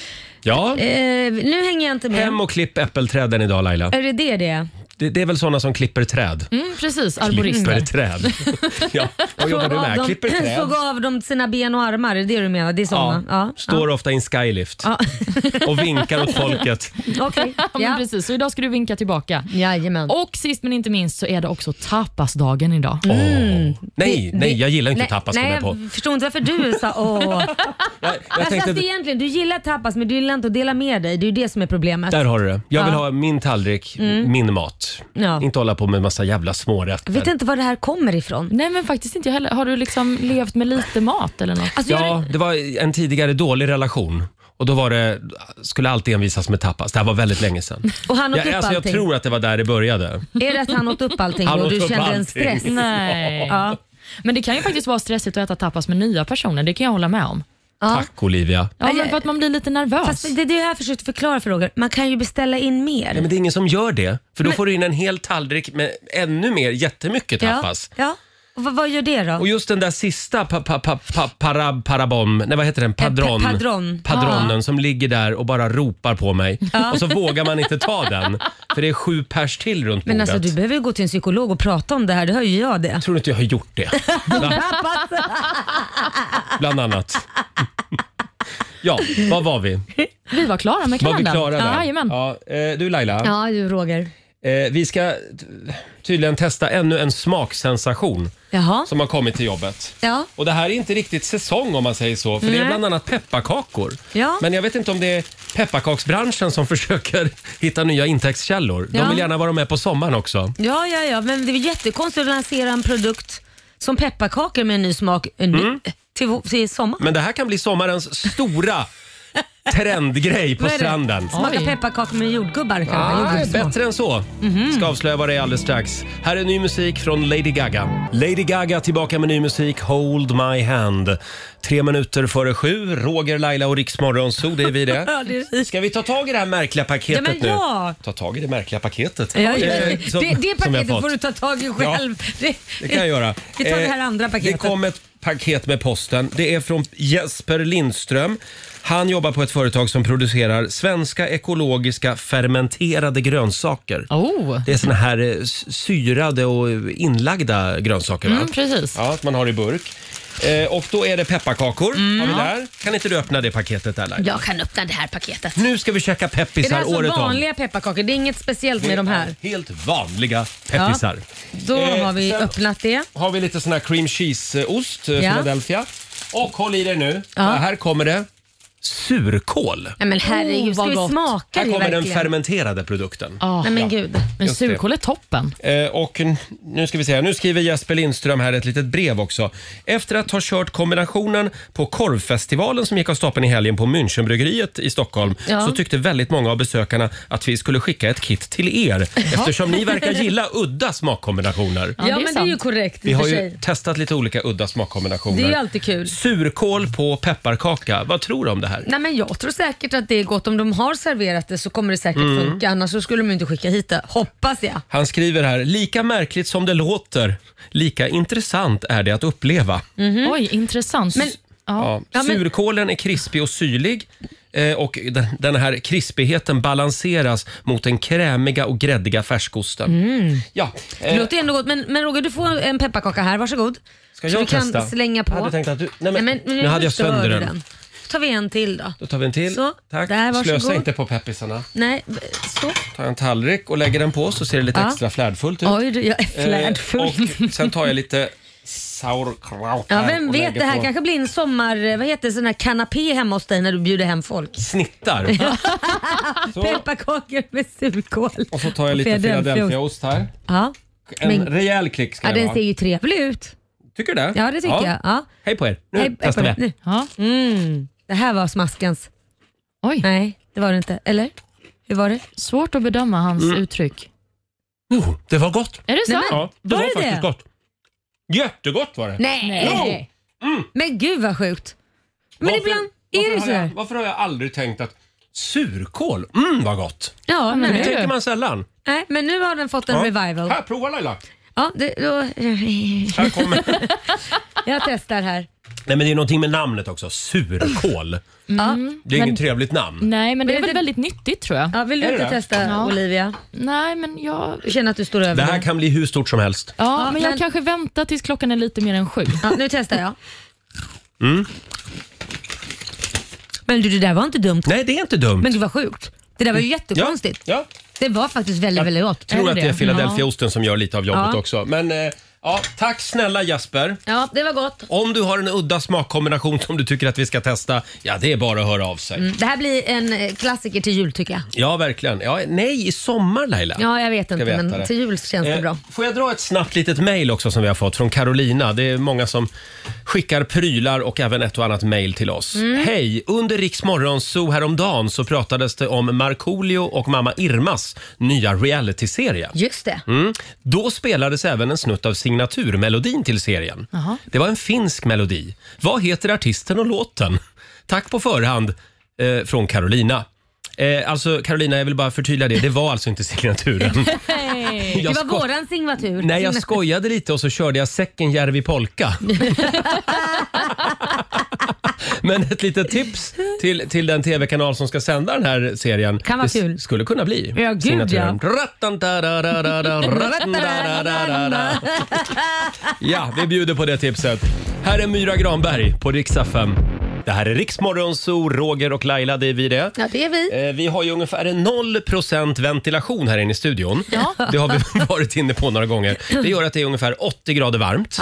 [SPEAKER 1] Ja,
[SPEAKER 2] Eh, nu hänger jag inte med.
[SPEAKER 1] hem och klipp äppelträden idag Laila.
[SPEAKER 2] Är det det det är?
[SPEAKER 1] Det, det är väl sådana som klipper träd?
[SPEAKER 3] Mm, precis,
[SPEAKER 1] Klipper
[SPEAKER 3] arborister.
[SPEAKER 1] träd. ja. Vad jobbar du med? Klipper träd.
[SPEAKER 2] Såg av dem sina ben och armar, är det det du menar? Det är
[SPEAKER 1] Ja,
[SPEAKER 2] såna? Ja.
[SPEAKER 1] står ofta i en skylift
[SPEAKER 2] Ja. Mm.
[SPEAKER 1] och vinkar åt folket.
[SPEAKER 2] ja. Okej.
[SPEAKER 3] Ja, men
[SPEAKER 2] Ja.
[SPEAKER 3] precis. Så idag ska du vinka tillbaka.
[SPEAKER 2] Jajamän.
[SPEAKER 3] Och sist men inte minst så är det också tapasdagen idag.
[SPEAKER 1] Åh. Nej,
[SPEAKER 2] Det-
[SPEAKER 1] nej, jag gillar inte
[SPEAKER 2] nej,
[SPEAKER 1] tapas kom
[SPEAKER 2] Nej,
[SPEAKER 1] jag på.
[SPEAKER 2] jag förstår inte varför du sa åh.
[SPEAKER 1] Jag, jag
[SPEAKER 2] alltså,
[SPEAKER 1] tänkte,
[SPEAKER 2] alltså, egentligen, du gillar tapas men du gillar inte att dela med dig. Det är ju det som är problemet.
[SPEAKER 1] där har du det. Jag vill
[SPEAKER 2] Ja. Mm.
[SPEAKER 1] ha min tallrik, min mat.
[SPEAKER 2] Ja.
[SPEAKER 1] Inte hålla på med massa jävla
[SPEAKER 2] Jag
[SPEAKER 1] smårätter.
[SPEAKER 2] vet inte var det här kommer ifrån.
[SPEAKER 3] Nej men faktiskt inte jag heller. Har du liksom levt med lite mat eller något?
[SPEAKER 2] Alltså, jag,
[SPEAKER 1] Ja, det var en tidigare dålig relation. Och då var det, skulle alltid envisas med tapas. Det här var väldigt länge sedan.
[SPEAKER 2] och han åt
[SPEAKER 1] Jag,
[SPEAKER 2] upp
[SPEAKER 1] alltså, jag
[SPEAKER 2] allting.
[SPEAKER 1] tror att det var där det började.
[SPEAKER 2] Är det att han åt upp allting
[SPEAKER 1] Han
[SPEAKER 2] och
[SPEAKER 1] åt
[SPEAKER 2] du
[SPEAKER 1] upp
[SPEAKER 2] kände en
[SPEAKER 1] allting.
[SPEAKER 2] stress?
[SPEAKER 3] Nej.
[SPEAKER 2] Ja.
[SPEAKER 3] Men det kan ju faktiskt vara stressigt att äta tapas med nya personer. Det kan jag hålla med om.
[SPEAKER 2] Ja.
[SPEAKER 1] Tack Olivia.
[SPEAKER 3] Ja, men för att man blir lite nervös.
[SPEAKER 2] Fast det är det jag försökte förklara för Roger. Man kan ju beställa in mer.
[SPEAKER 1] Nej, men det är ingen som gör det. För då får du in en hel tallrik med ännu mer, jättemycket tapas.
[SPEAKER 2] Ja. ja. Och vad, vad gör det då?
[SPEAKER 1] Och just den där sista pa, pa, pa, pa, para, parabom, nej vad heter den? Padron.
[SPEAKER 2] pa- Eh, padron.
[SPEAKER 1] Padronen som ligger där och bara ropar på mig. Och så vågar man inte ta den. För det är sju pers till runt bordet.
[SPEAKER 2] Men alltså du behöver ju gå till en psykolog och prata om det här, det hör ju jag det.
[SPEAKER 1] Tror du inte jag har gjort det? Bland, bland annat. Ja, vad var vi?
[SPEAKER 3] Vi var klara med
[SPEAKER 1] Var vi
[SPEAKER 3] kalendern.
[SPEAKER 1] klara
[SPEAKER 3] ja,
[SPEAKER 1] där?
[SPEAKER 3] jajamän.
[SPEAKER 1] Ja, eh, du Laila,
[SPEAKER 2] Ja, du Roger.
[SPEAKER 1] eh, vi ska t- tydligen testa ännu en smaksensation
[SPEAKER 2] Jaha.
[SPEAKER 1] som har kommit till jobbet.
[SPEAKER 2] Ja.
[SPEAKER 1] Och det här är inte riktigt säsong om man säger så, för det är
[SPEAKER 2] Nej.
[SPEAKER 1] bland annat pepparkakor.
[SPEAKER 2] Ja.
[SPEAKER 1] Men jag vet inte om det är pepparkaksbranschen som försöker hitta nya intäktskällor. De
[SPEAKER 2] Ja.
[SPEAKER 1] vill gärna vara med på sommaren också.
[SPEAKER 2] ja, ja, ja, men det är väl jättekonstigt att lansera en produkt som pepparkakor med en ny smak en ny,
[SPEAKER 1] Mm.
[SPEAKER 2] till, till sommar.
[SPEAKER 1] Men det här kan bli sommarens stora trendgrej på
[SPEAKER 2] Vad är det?
[SPEAKER 1] stranden.
[SPEAKER 2] Smaka
[SPEAKER 3] Oj.
[SPEAKER 2] pepparkakor med jordgubbar kanske.
[SPEAKER 1] Ah,
[SPEAKER 2] Jordgubbssmak. Mhm.
[SPEAKER 1] bättre än så. Ska avslöja vad det är alldeles strax. Här är ny musik från Lady Gaga. Lady Gaga tillbaka med ny musik, Hold My Hand. Tre minuter före sju, Roger, Laila och Riksmorgon så det är vi det.
[SPEAKER 2] Ja, det är-
[SPEAKER 1] Ska vi ta tag i det här märkliga paketet
[SPEAKER 2] Ja, men ja.
[SPEAKER 1] nu? Ta tag i det märkliga paketet.
[SPEAKER 2] Ja, ja.
[SPEAKER 1] Eh, som-
[SPEAKER 2] det, det
[SPEAKER 1] som vi har
[SPEAKER 2] paketet
[SPEAKER 1] fått.
[SPEAKER 2] får du ta tag i själv. det,
[SPEAKER 1] Det kan jag göra.
[SPEAKER 2] Vi tar det här
[SPEAKER 1] Eh,
[SPEAKER 2] andra paketet.
[SPEAKER 1] Det kom ett paket med posten. Det är från Jesper Lindström. Han jobbar på ett företag som producerar svenska ekologiska fermenterade grönsaker.
[SPEAKER 3] Oh.
[SPEAKER 1] Det är såna här eh, s- syrade och inlagda grönsaker, va?
[SPEAKER 3] Mm, precis.
[SPEAKER 1] Ja, att man har i burk. Eh, och då är det pepparkakor. Har vi där. Kan inte du öppna det paketet där, Laila?
[SPEAKER 2] Mm. Jag kan öppna det här paketet.
[SPEAKER 1] Nu ska vi käka
[SPEAKER 2] Är det
[SPEAKER 1] peppisar
[SPEAKER 2] alltså
[SPEAKER 1] året
[SPEAKER 2] vanliga pepparkakor? Det är inget speciellt
[SPEAKER 1] om.
[SPEAKER 2] med de här?
[SPEAKER 1] Helt vanliga peppisar.
[SPEAKER 2] Då
[SPEAKER 1] Eh,
[SPEAKER 2] har vi
[SPEAKER 1] sen-
[SPEAKER 2] öppnat det.
[SPEAKER 1] har vi lite sån här cream cheese-ost, eh,
[SPEAKER 2] Ja.
[SPEAKER 1] Philadelphia. Och håll i dig nu. Ja, här kommer det. Surkål.
[SPEAKER 2] Nej men herregud,
[SPEAKER 3] Oh,
[SPEAKER 2] ska
[SPEAKER 3] vad
[SPEAKER 2] vi
[SPEAKER 3] gott.
[SPEAKER 2] smaka
[SPEAKER 1] Här
[SPEAKER 2] det
[SPEAKER 1] kommer den
[SPEAKER 2] verkligen?
[SPEAKER 1] fermenterade produkten.
[SPEAKER 3] Ah,
[SPEAKER 2] Nej men gud.
[SPEAKER 3] men
[SPEAKER 1] just det.
[SPEAKER 3] surkål är toppen.
[SPEAKER 1] Eh, och n- nu ska vi se, nu skriver Jesper Lindström här ett litet brev också. Efter att ha kört kombinationen på korvfestivalen som gick av stapeln i helgen på Münchenbryggeriet i Stockholm
[SPEAKER 2] Ja.
[SPEAKER 1] så tyckte väldigt många av besökarna att vi skulle skicka ett kit till er eftersom ni verkar gilla udda smakkombinationer.
[SPEAKER 2] Ja,
[SPEAKER 3] det är
[SPEAKER 2] men det är
[SPEAKER 3] sant.
[SPEAKER 2] ju korrekt
[SPEAKER 1] Vi
[SPEAKER 2] i och
[SPEAKER 1] har
[SPEAKER 2] för
[SPEAKER 1] ju
[SPEAKER 2] sig.
[SPEAKER 1] testat lite olika udda smakkombinationer.
[SPEAKER 2] Det är ju alltid kul.
[SPEAKER 1] Surkål på pepparkaka. Vad tror du om det här?
[SPEAKER 2] Nej men jag tror säkert att det är gott. Om de har serverat det så kommer det säkert
[SPEAKER 1] Mm.
[SPEAKER 2] funka. Annars så skulle de ju inte skicka hit det. Hoppas jag.
[SPEAKER 1] Han skriver här, lika märkligt som det låter, lika intressant är det att uppleva.
[SPEAKER 3] Oj, intressant.
[SPEAKER 2] Men-
[SPEAKER 3] ja.
[SPEAKER 1] Ja.
[SPEAKER 2] Ja, men-
[SPEAKER 1] Surkålen är krispig och syrlig. eh, och den- den här krispigheten balanseras mot den krämiga och gräddiga färskosten.
[SPEAKER 2] Mm.
[SPEAKER 1] Ja,
[SPEAKER 2] Det
[SPEAKER 1] eh,
[SPEAKER 2] låter ju ändå gott. Men, men Roger, du får en pepparkaka här. Varsågod.
[SPEAKER 1] ska
[SPEAKER 2] Så
[SPEAKER 1] jag
[SPEAKER 2] du kan
[SPEAKER 1] testa?
[SPEAKER 2] slänga på.
[SPEAKER 1] Jag hade tänkt att du, nej, men,
[SPEAKER 2] Nej, men
[SPEAKER 1] nu hade jag
[SPEAKER 2] förstör
[SPEAKER 1] sönder
[SPEAKER 2] du
[SPEAKER 1] den.
[SPEAKER 2] tar vi en till då.
[SPEAKER 1] Då tar vi en till.
[SPEAKER 2] Så,
[SPEAKER 1] Tack.
[SPEAKER 2] där, varsågod.
[SPEAKER 1] Slösa inte på peppisarna.
[SPEAKER 2] Nej, så.
[SPEAKER 1] Tar jag en tallrik och lägger den på så ser det lite
[SPEAKER 2] Ja.
[SPEAKER 1] extra flärdfullt ut.
[SPEAKER 2] Oj, du, jag är
[SPEAKER 1] Eh,
[SPEAKER 2] flärdfull.
[SPEAKER 1] och sen tar jag lite sauerkraut
[SPEAKER 2] Ja,
[SPEAKER 1] här
[SPEAKER 2] vem
[SPEAKER 1] och
[SPEAKER 2] vet,
[SPEAKER 1] lägger
[SPEAKER 2] det här
[SPEAKER 1] på
[SPEAKER 2] kanske blir en sommar... eh, Vad heter det, sån här kanapé hemma hos dig när du bjuder hem folk?
[SPEAKER 1] Snittar. så,
[SPEAKER 2] Pepparkakor med surkål.
[SPEAKER 1] och så tar jag lite Philadelphiaost här.
[SPEAKER 2] Ja.
[SPEAKER 1] En
[SPEAKER 2] Men-
[SPEAKER 1] rejäl klick ska
[SPEAKER 2] ja,
[SPEAKER 1] det
[SPEAKER 2] den ser
[SPEAKER 1] vara.
[SPEAKER 2] ju trevlig ut.
[SPEAKER 1] Tycker du det?
[SPEAKER 2] Ja, det tycker jag. Ja.
[SPEAKER 1] Hej på er. Nu
[SPEAKER 2] Hej, hej
[SPEAKER 1] testar
[SPEAKER 2] på
[SPEAKER 1] vi.
[SPEAKER 2] dig. Nu.
[SPEAKER 3] Ja.
[SPEAKER 2] Mm. Det här var smaskens.
[SPEAKER 3] Oj,
[SPEAKER 2] Nej, det var det inte. Eller? Hur var det?
[SPEAKER 3] svårt att bedöma hans uttryck.
[SPEAKER 1] Jo, det var gott.
[SPEAKER 3] Är det
[SPEAKER 2] Nej,
[SPEAKER 3] sant?
[SPEAKER 2] men-
[SPEAKER 1] Ja, det
[SPEAKER 2] Var
[SPEAKER 1] var,
[SPEAKER 2] det
[SPEAKER 1] faktiskt
[SPEAKER 2] det?
[SPEAKER 1] gott. Jättegott var det.
[SPEAKER 2] Nej! Men gud vad sjukt. Men
[SPEAKER 1] Mm. Varför-
[SPEAKER 2] ibland
[SPEAKER 1] varför
[SPEAKER 2] är det
[SPEAKER 1] har
[SPEAKER 2] så
[SPEAKER 1] jag-
[SPEAKER 2] här.
[SPEAKER 1] Varför har jag aldrig tänkt att surkål, mm vad gott.
[SPEAKER 2] Ja,
[SPEAKER 3] men
[SPEAKER 1] Det
[SPEAKER 3] Är
[SPEAKER 2] nej.
[SPEAKER 1] tänker
[SPEAKER 3] det?
[SPEAKER 1] man sällan.
[SPEAKER 2] nej, men nu har den fått en
[SPEAKER 1] Ja.
[SPEAKER 2] revival.
[SPEAKER 1] Här, prova Laila.
[SPEAKER 2] Ja, det, då,
[SPEAKER 1] Här kommer.
[SPEAKER 2] jag testar här.
[SPEAKER 1] Nej men det är någonting med namnet också.
[SPEAKER 2] Mm.
[SPEAKER 1] Surkål.
[SPEAKER 2] Ja.
[SPEAKER 1] Det är
[SPEAKER 3] Men-
[SPEAKER 1] inget trevligt namn.
[SPEAKER 3] Nej, men det är
[SPEAKER 2] Men det-
[SPEAKER 3] väl väldigt nyttigt tror jag.
[SPEAKER 2] Ja, vill du
[SPEAKER 1] Är det
[SPEAKER 2] inte
[SPEAKER 1] det?
[SPEAKER 2] testa
[SPEAKER 3] Ja.
[SPEAKER 2] Olivia?
[SPEAKER 3] Nej, men jag...
[SPEAKER 2] Du känner att du står över
[SPEAKER 1] Det här
[SPEAKER 2] den.
[SPEAKER 1] kan bli hur stort som helst.
[SPEAKER 3] Ja,
[SPEAKER 2] Ja,
[SPEAKER 3] men jag
[SPEAKER 2] men-
[SPEAKER 3] kanske väntar tills klockan är lite mer än sju.
[SPEAKER 2] Ja, nu testar jag.
[SPEAKER 1] Mm.
[SPEAKER 2] Men du, det där var inte dumt.
[SPEAKER 1] Nej, det är inte dumt.
[SPEAKER 2] Men det var sjukt. Det där var ju jättekonstigt.
[SPEAKER 1] Ja, ja.
[SPEAKER 2] Det var faktiskt väldigt, väldigt gott.
[SPEAKER 1] tror
[SPEAKER 3] det
[SPEAKER 1] att det är
[SPEAKER 3] det?
[SPEAKER 1] Philadelphiaosten som gör lite av jobbet
[SPEAKER 2] Ja.
[SPEAKER 1] också. Men eh, ja, tack snälla Jasper.
[SPEAKER 2] Ja, det var gott.
[SPEAKER 1] Om du har en udda smakkombination som du tycker att vi ska testa, ja det är bara att höra av sig.
[SPEAKER 2] Det här blir en eh, klassiker till jul tycker jag.
[SPEAKER 1] Ja, verkligen. Ja, nej, i sommar Laila.
[SPEAKER 2] Ja, jag vet inte,
[SPEAKER 1] veta
[SPEAKER 2] men
[SPEAKER 1] det.
[SPEAKER 2] till jul känns det
[SPEAKER 1] Eh,
[SPEAKER 2] bra.
[SPEAKER 1] Får jag dra ett snabbt litet mejl också som vi har fått från Carolina. Det är många som skickar prylar och även ett och annat mejl till oss.
[SPEAKER 2] Mm.
[SPEAKER 1] Hej! Under Riks Morgonzoo häromdagen så pratades det om Markoolio och mamma Irmas nya realityserie.
[SPEAKER 2] Just det.
[SPEAKER 1] Mm. Då spelades även en snutt av signaturmelodin till serien. Det var en finsk melodi. Vad heter artisten och låten? Tack på förhand eh, från Carolina. Eh, alltså Carolina, jag vill bara förtydliga det. Det var alltså inte signaturen.
[SPEAKER 3] Nej.
[SPEAKER 1] Jag
[SPEAKER 2] det
[SPEAKER 1] sko-
[SPEAKER 2] var våran signatur.
[SPEAKER 1] Nej, jag skojade lite och så körde jag Säckenjärvi polka. Men ett litet tips till, till den tv-kanal som ska sända den här serien.
[SPEAKER 2] Kan vara
[SPEAKER 1] det s-
[SPEAKER 2] kul.
[SPEAKER 1] skulle kunna bli
[SPEAKER 2] Ja, gud,
[SPEAKER 1] signaturen. Rattantarararara, rattantarararara. Ja, vi bjuder på det tipset. Här är Myra Granberg på riksdag 5. Det här är Riksmorgonzoo, Roger och Laila, det är vi det.
[SPEAKER 2] Ja, det är vi.
[SPEAKER 1] Eh, Vi har ju ungefär 0% ventilation här inne i studion. Det har vi varit inne på några gånger. Det gör att det är ungefär 80 grader varmt.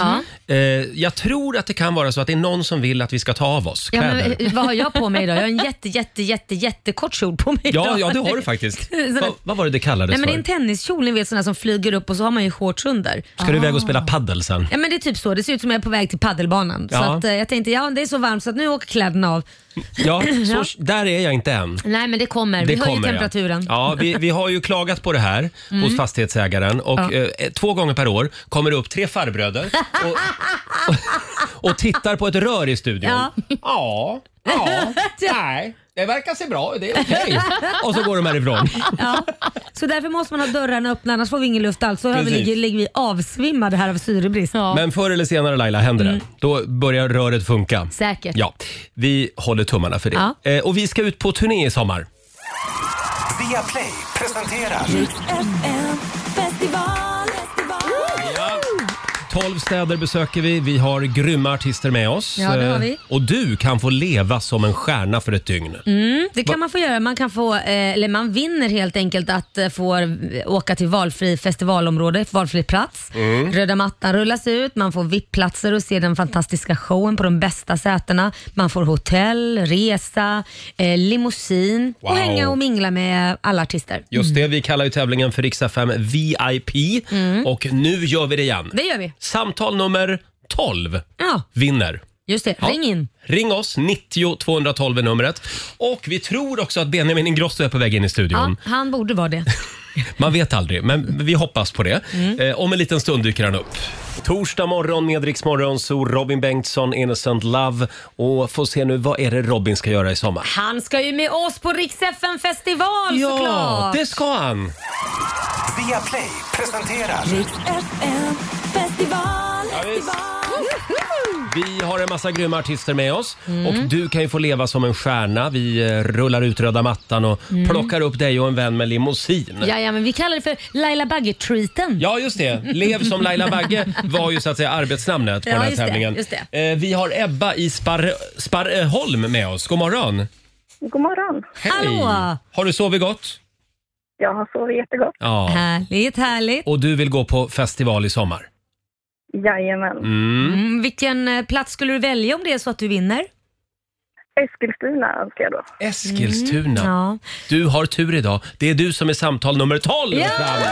[SPEAKER 1] Eh, Jag tror att det kan vara så att det är någon som vill att vi ska ta av oss
[SPEAKER 2] Ja,
[SPEAKER 1] kläder.
[SPEAKER 2] men, eh, vad har jag på mig idag? Jag har en jätte, jätte, jätte, jättekort kjol på mig
[SPEAKER 1] Ja,
[SPEAKER 2] idag.
[SPEAKER 1] ja, det har du faktiskt.
[SPEAKER 2] Sådär.
[SPEAKER 1] Va, vad var det det kallades
[SPEAKER 2] Nej, men det är
[SPEAKER 1] för?
[SPEAKER 2] en tenniskjol, ni vet sådana som flyger upp och så har man ju shorts under.
[SPEAKER 1] Ska du iväg
[SPEAKER 2] Ah.
[SPEAKER 1] och spela paddel sen?
[SPEAKER 2] Ja men det är typ så, det ser ut som jag är på väg till paddelbanan. Så
[SPEAKER 1] Ja.
[SPEAKER 2] att, eh, jag tänkte, ja det är så varmt så att nu åker kläderna av.
[SPEAKER 1] Ja, så, där är jag inte än.
[SPEAKER 2] Nej men det kommer, vi
[SPEAKER 1] Det
[SPEAKER 2] höjer
[SPEAKER 1] kommer, ja.
[SPEAKER 2] temperaturen. Mm.
[SPEAKER 1] Ja, vi, vi har ju klagat på det här hos fastighetsägaren och eh, två gånger per år kommer det upp tre farbröder och, och, och tittar på ett rör i studion. Ja, ja, nej. Det verkar se bra ut, det är okej. Och så går de härifrån.
[SPEAKER 2] Så därför måste man ha dörrarna öppna annars får vi ingen luft alls. Så har vi,
[SPEAKER 1] Precis.
[SPEAKER 2] ligger, ligger vi avsvimmade här av syrebrist.
[SPEAKER 3] Ja.
[SPEAKER 1] Men förr eller senare Laila händer det. Då börjar röret funka.
[SPEAKER 2] Mm. Säkert.
[SPEAKER 1] Ja, vi håller tummarna för det.
[SPEAKER 2] Ja.
[SPEAKER 1] Eh, och vi ska ut på turné i sommar.
[SPEAKER 6] Via Play presenterar
[SPEAKER 1] Ja. 12 städer besöker vi. Vi har grymma artister med oss.
[SPEAKER 2] Ja, det har vi.
[SPEAKER 1] Eh, Och du kan få leva som en stjärna för ett dygn.
[SPEAKER 2] Mm, Det kan man få göra. Man, kan få, eh, eller man vinner helt enkelt att eh, få eh, åka till valfri festivalområde, valfri plats.
[SPEAKER 1] Mm.
[SPEAKER 2] Röda mattan rullas ut, man får VIP-platser och ser den fantastiska showen på de bästa sätena. Man får hotell, resa, eh, limousin
[SPEAKER 1] Wow.
[SPEAKER 2] och hänga och mingla med alla artister.
[SPEAKER 1] Just det, vi kallar ju tävlingen för Riksa 5 VIP och nu gör vi det igen.
[SPEAKER 2] Det gör Mm. vi.
[SPEAKER 1] Samtal nummer 12
[SPEAKER 2] Ja,
[SPEAKER 1] vinner.
[SPEAKER 2] just det.
[SPEAKER 1] Ja.
[SPEAKER 2] Ring in.
[SPEAKER 1] Ring oss, 90 212 är numret. Och vi tror också att Benjamin Ingrosso är på väg in i
[SPEAKER 2] Ja,
[SPEAKER 1] studion.
[SPEAKER 2] han borde vara det.
[SPEAKER 1] Man vet aldrig, men vi hoppas på det.
[SPEAKER 2] Mm.
[SPEAKER 1] Eh, om en liten stund dyker han upp. Torsdag morgon med Rix Morgon, så Robin Bengtsson, Innocent Love. Och få se nu, vad är det Robin ska göra i sommar?
[SPEAKER 2] Han ska ju med oss på Rix FM festival såklart.
[SPEAKER 1] det ska han!
[SPEAKER 6] Via Play presenterar
[SPEAKER 1] Ja, visst. Vi har en massa grymma artister med oss
[SPEAKER 2] Mm.
[SPEAKER 1] och du kan ju få leva som en stjärna. Vi eh, rullar ut röda mattan och
[SPEAKER 2] Mm.
[SPEAKER 1] plockar upp dig och en vän med limousin.
[SPEAKER 2] Ja, ja, men vi kallar det för Laila Bagge-treaten.
[SPEAKER 1] Ja, just det. Lev som Laila Bagge var ju så att säga arbetsnamnet på
[SPEAKER 2] Ja,
[SPEAKER 1] den här
[SPEAKER 2] just det,
[SPEAKER 1] tävlingen.
[SPEAKER 2] just
[SPEAKER 1] Eh, Vi har Ebba i Sparre- Sparreholm med oss. God morgon.
[SPEAKER 5] God morgon.
[SPEAKER 1] Hej!
[SPEAKER 2] Hallå.
[SPEAKER 1] Har du sovit gott?
[SPEAKER 5] Jag har sovit jättegott.
[SPEAKER 1] Ja.
[SPEAKER 2] Härligt, härligt.
[SPEAKER 1] Och du vill gå på festival i sommar?
[SPEAKER 5] Jajamän.
[SPEAKER 2] Mm, vilken eh, plats skulle du välja om det är så att du vinner?
[SPEAKER 5] Eskilstuna önskar jag då.
[SPEAKER 1] Eskilstuna.
[SPEAKER 2] Mm, Ja.
[SPEAKER 1] Du har tur idag. Det är du som är samtal nummer 12
[SPEAKER 2] Ja!
[SPEAKER 1] fram.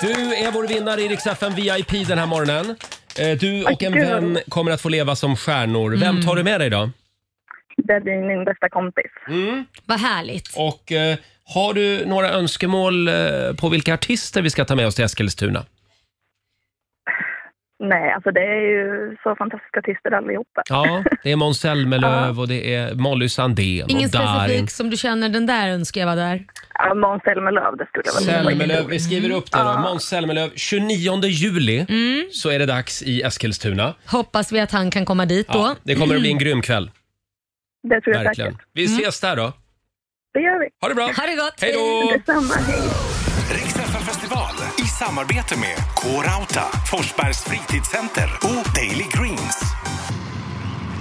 [SPEAKER 1] Du är vår vinnare i Rix FM VIP den här morgonen. Eh, Du och en
[SPEAKER 5] Tack, gud.
[SPEAKER 1] vän kommer att få leva som stjärnor. Vem
[SPEAKER 2] Mm.
[SPEAKER 1] tar du med dig då?
[SPEAKER 5] Det blir min bästa kompis.
[SPEAKER 1] Mm.
[SPEAKER 2] Vad härligt.
[SPEAKER 1] Och eh, har du några önskemål eh, på vilka artister vi ska ta med oss till Eskilstuna?
[SPEAKER 5] Nej, alltså det är ju så fantastiska artister allihopa.
[SPEAKER 1] Ja, det är Måns Zelmerlöw och det är Molly Sandén
[SPEAKER 2] Ingen
[SPEAKER 1] och Darin.
[SPEAKER 2] specifik som du känner, den där önskar jag var där.
[SPEAKER 5] Ja, Måns Zelmerlöw, det skulle jag väl
[SPEAKER 1] Zelmerlöw, vi skriver upp det då. Måns Zelmerlöw, 29 juli
[SPEAKER 2] Mm.
[SPEAKER 1] så är det dags i Eskilstuna.
[SPEAKER 2] Hoppas vi att han kan komma dit
[SPEAKER 1] Ja,
[SPEAKER 2] då.
[SPEAKER 1] det kommer att bli en grym kväll.
[SPEAKER 5] Det tror jag
[SPEAKER 1] Verkligen.
[SPEAKER 5] säkert.
[SPEAKER 1] Vi ses där då.
[SPEAKER 5] Det gör vi.
[SPEAKER 1] Ha det bra!
[SPEAKER 2] Mm. Ha det gott.
[SPEAKER 1] Hej då!
[SPEAKER 5] Detsamma, hej.
[SPEAKER 6] Riksfn festival i samarbete med K-Rauta, Forsbergs fritidscenter och Daily Greens.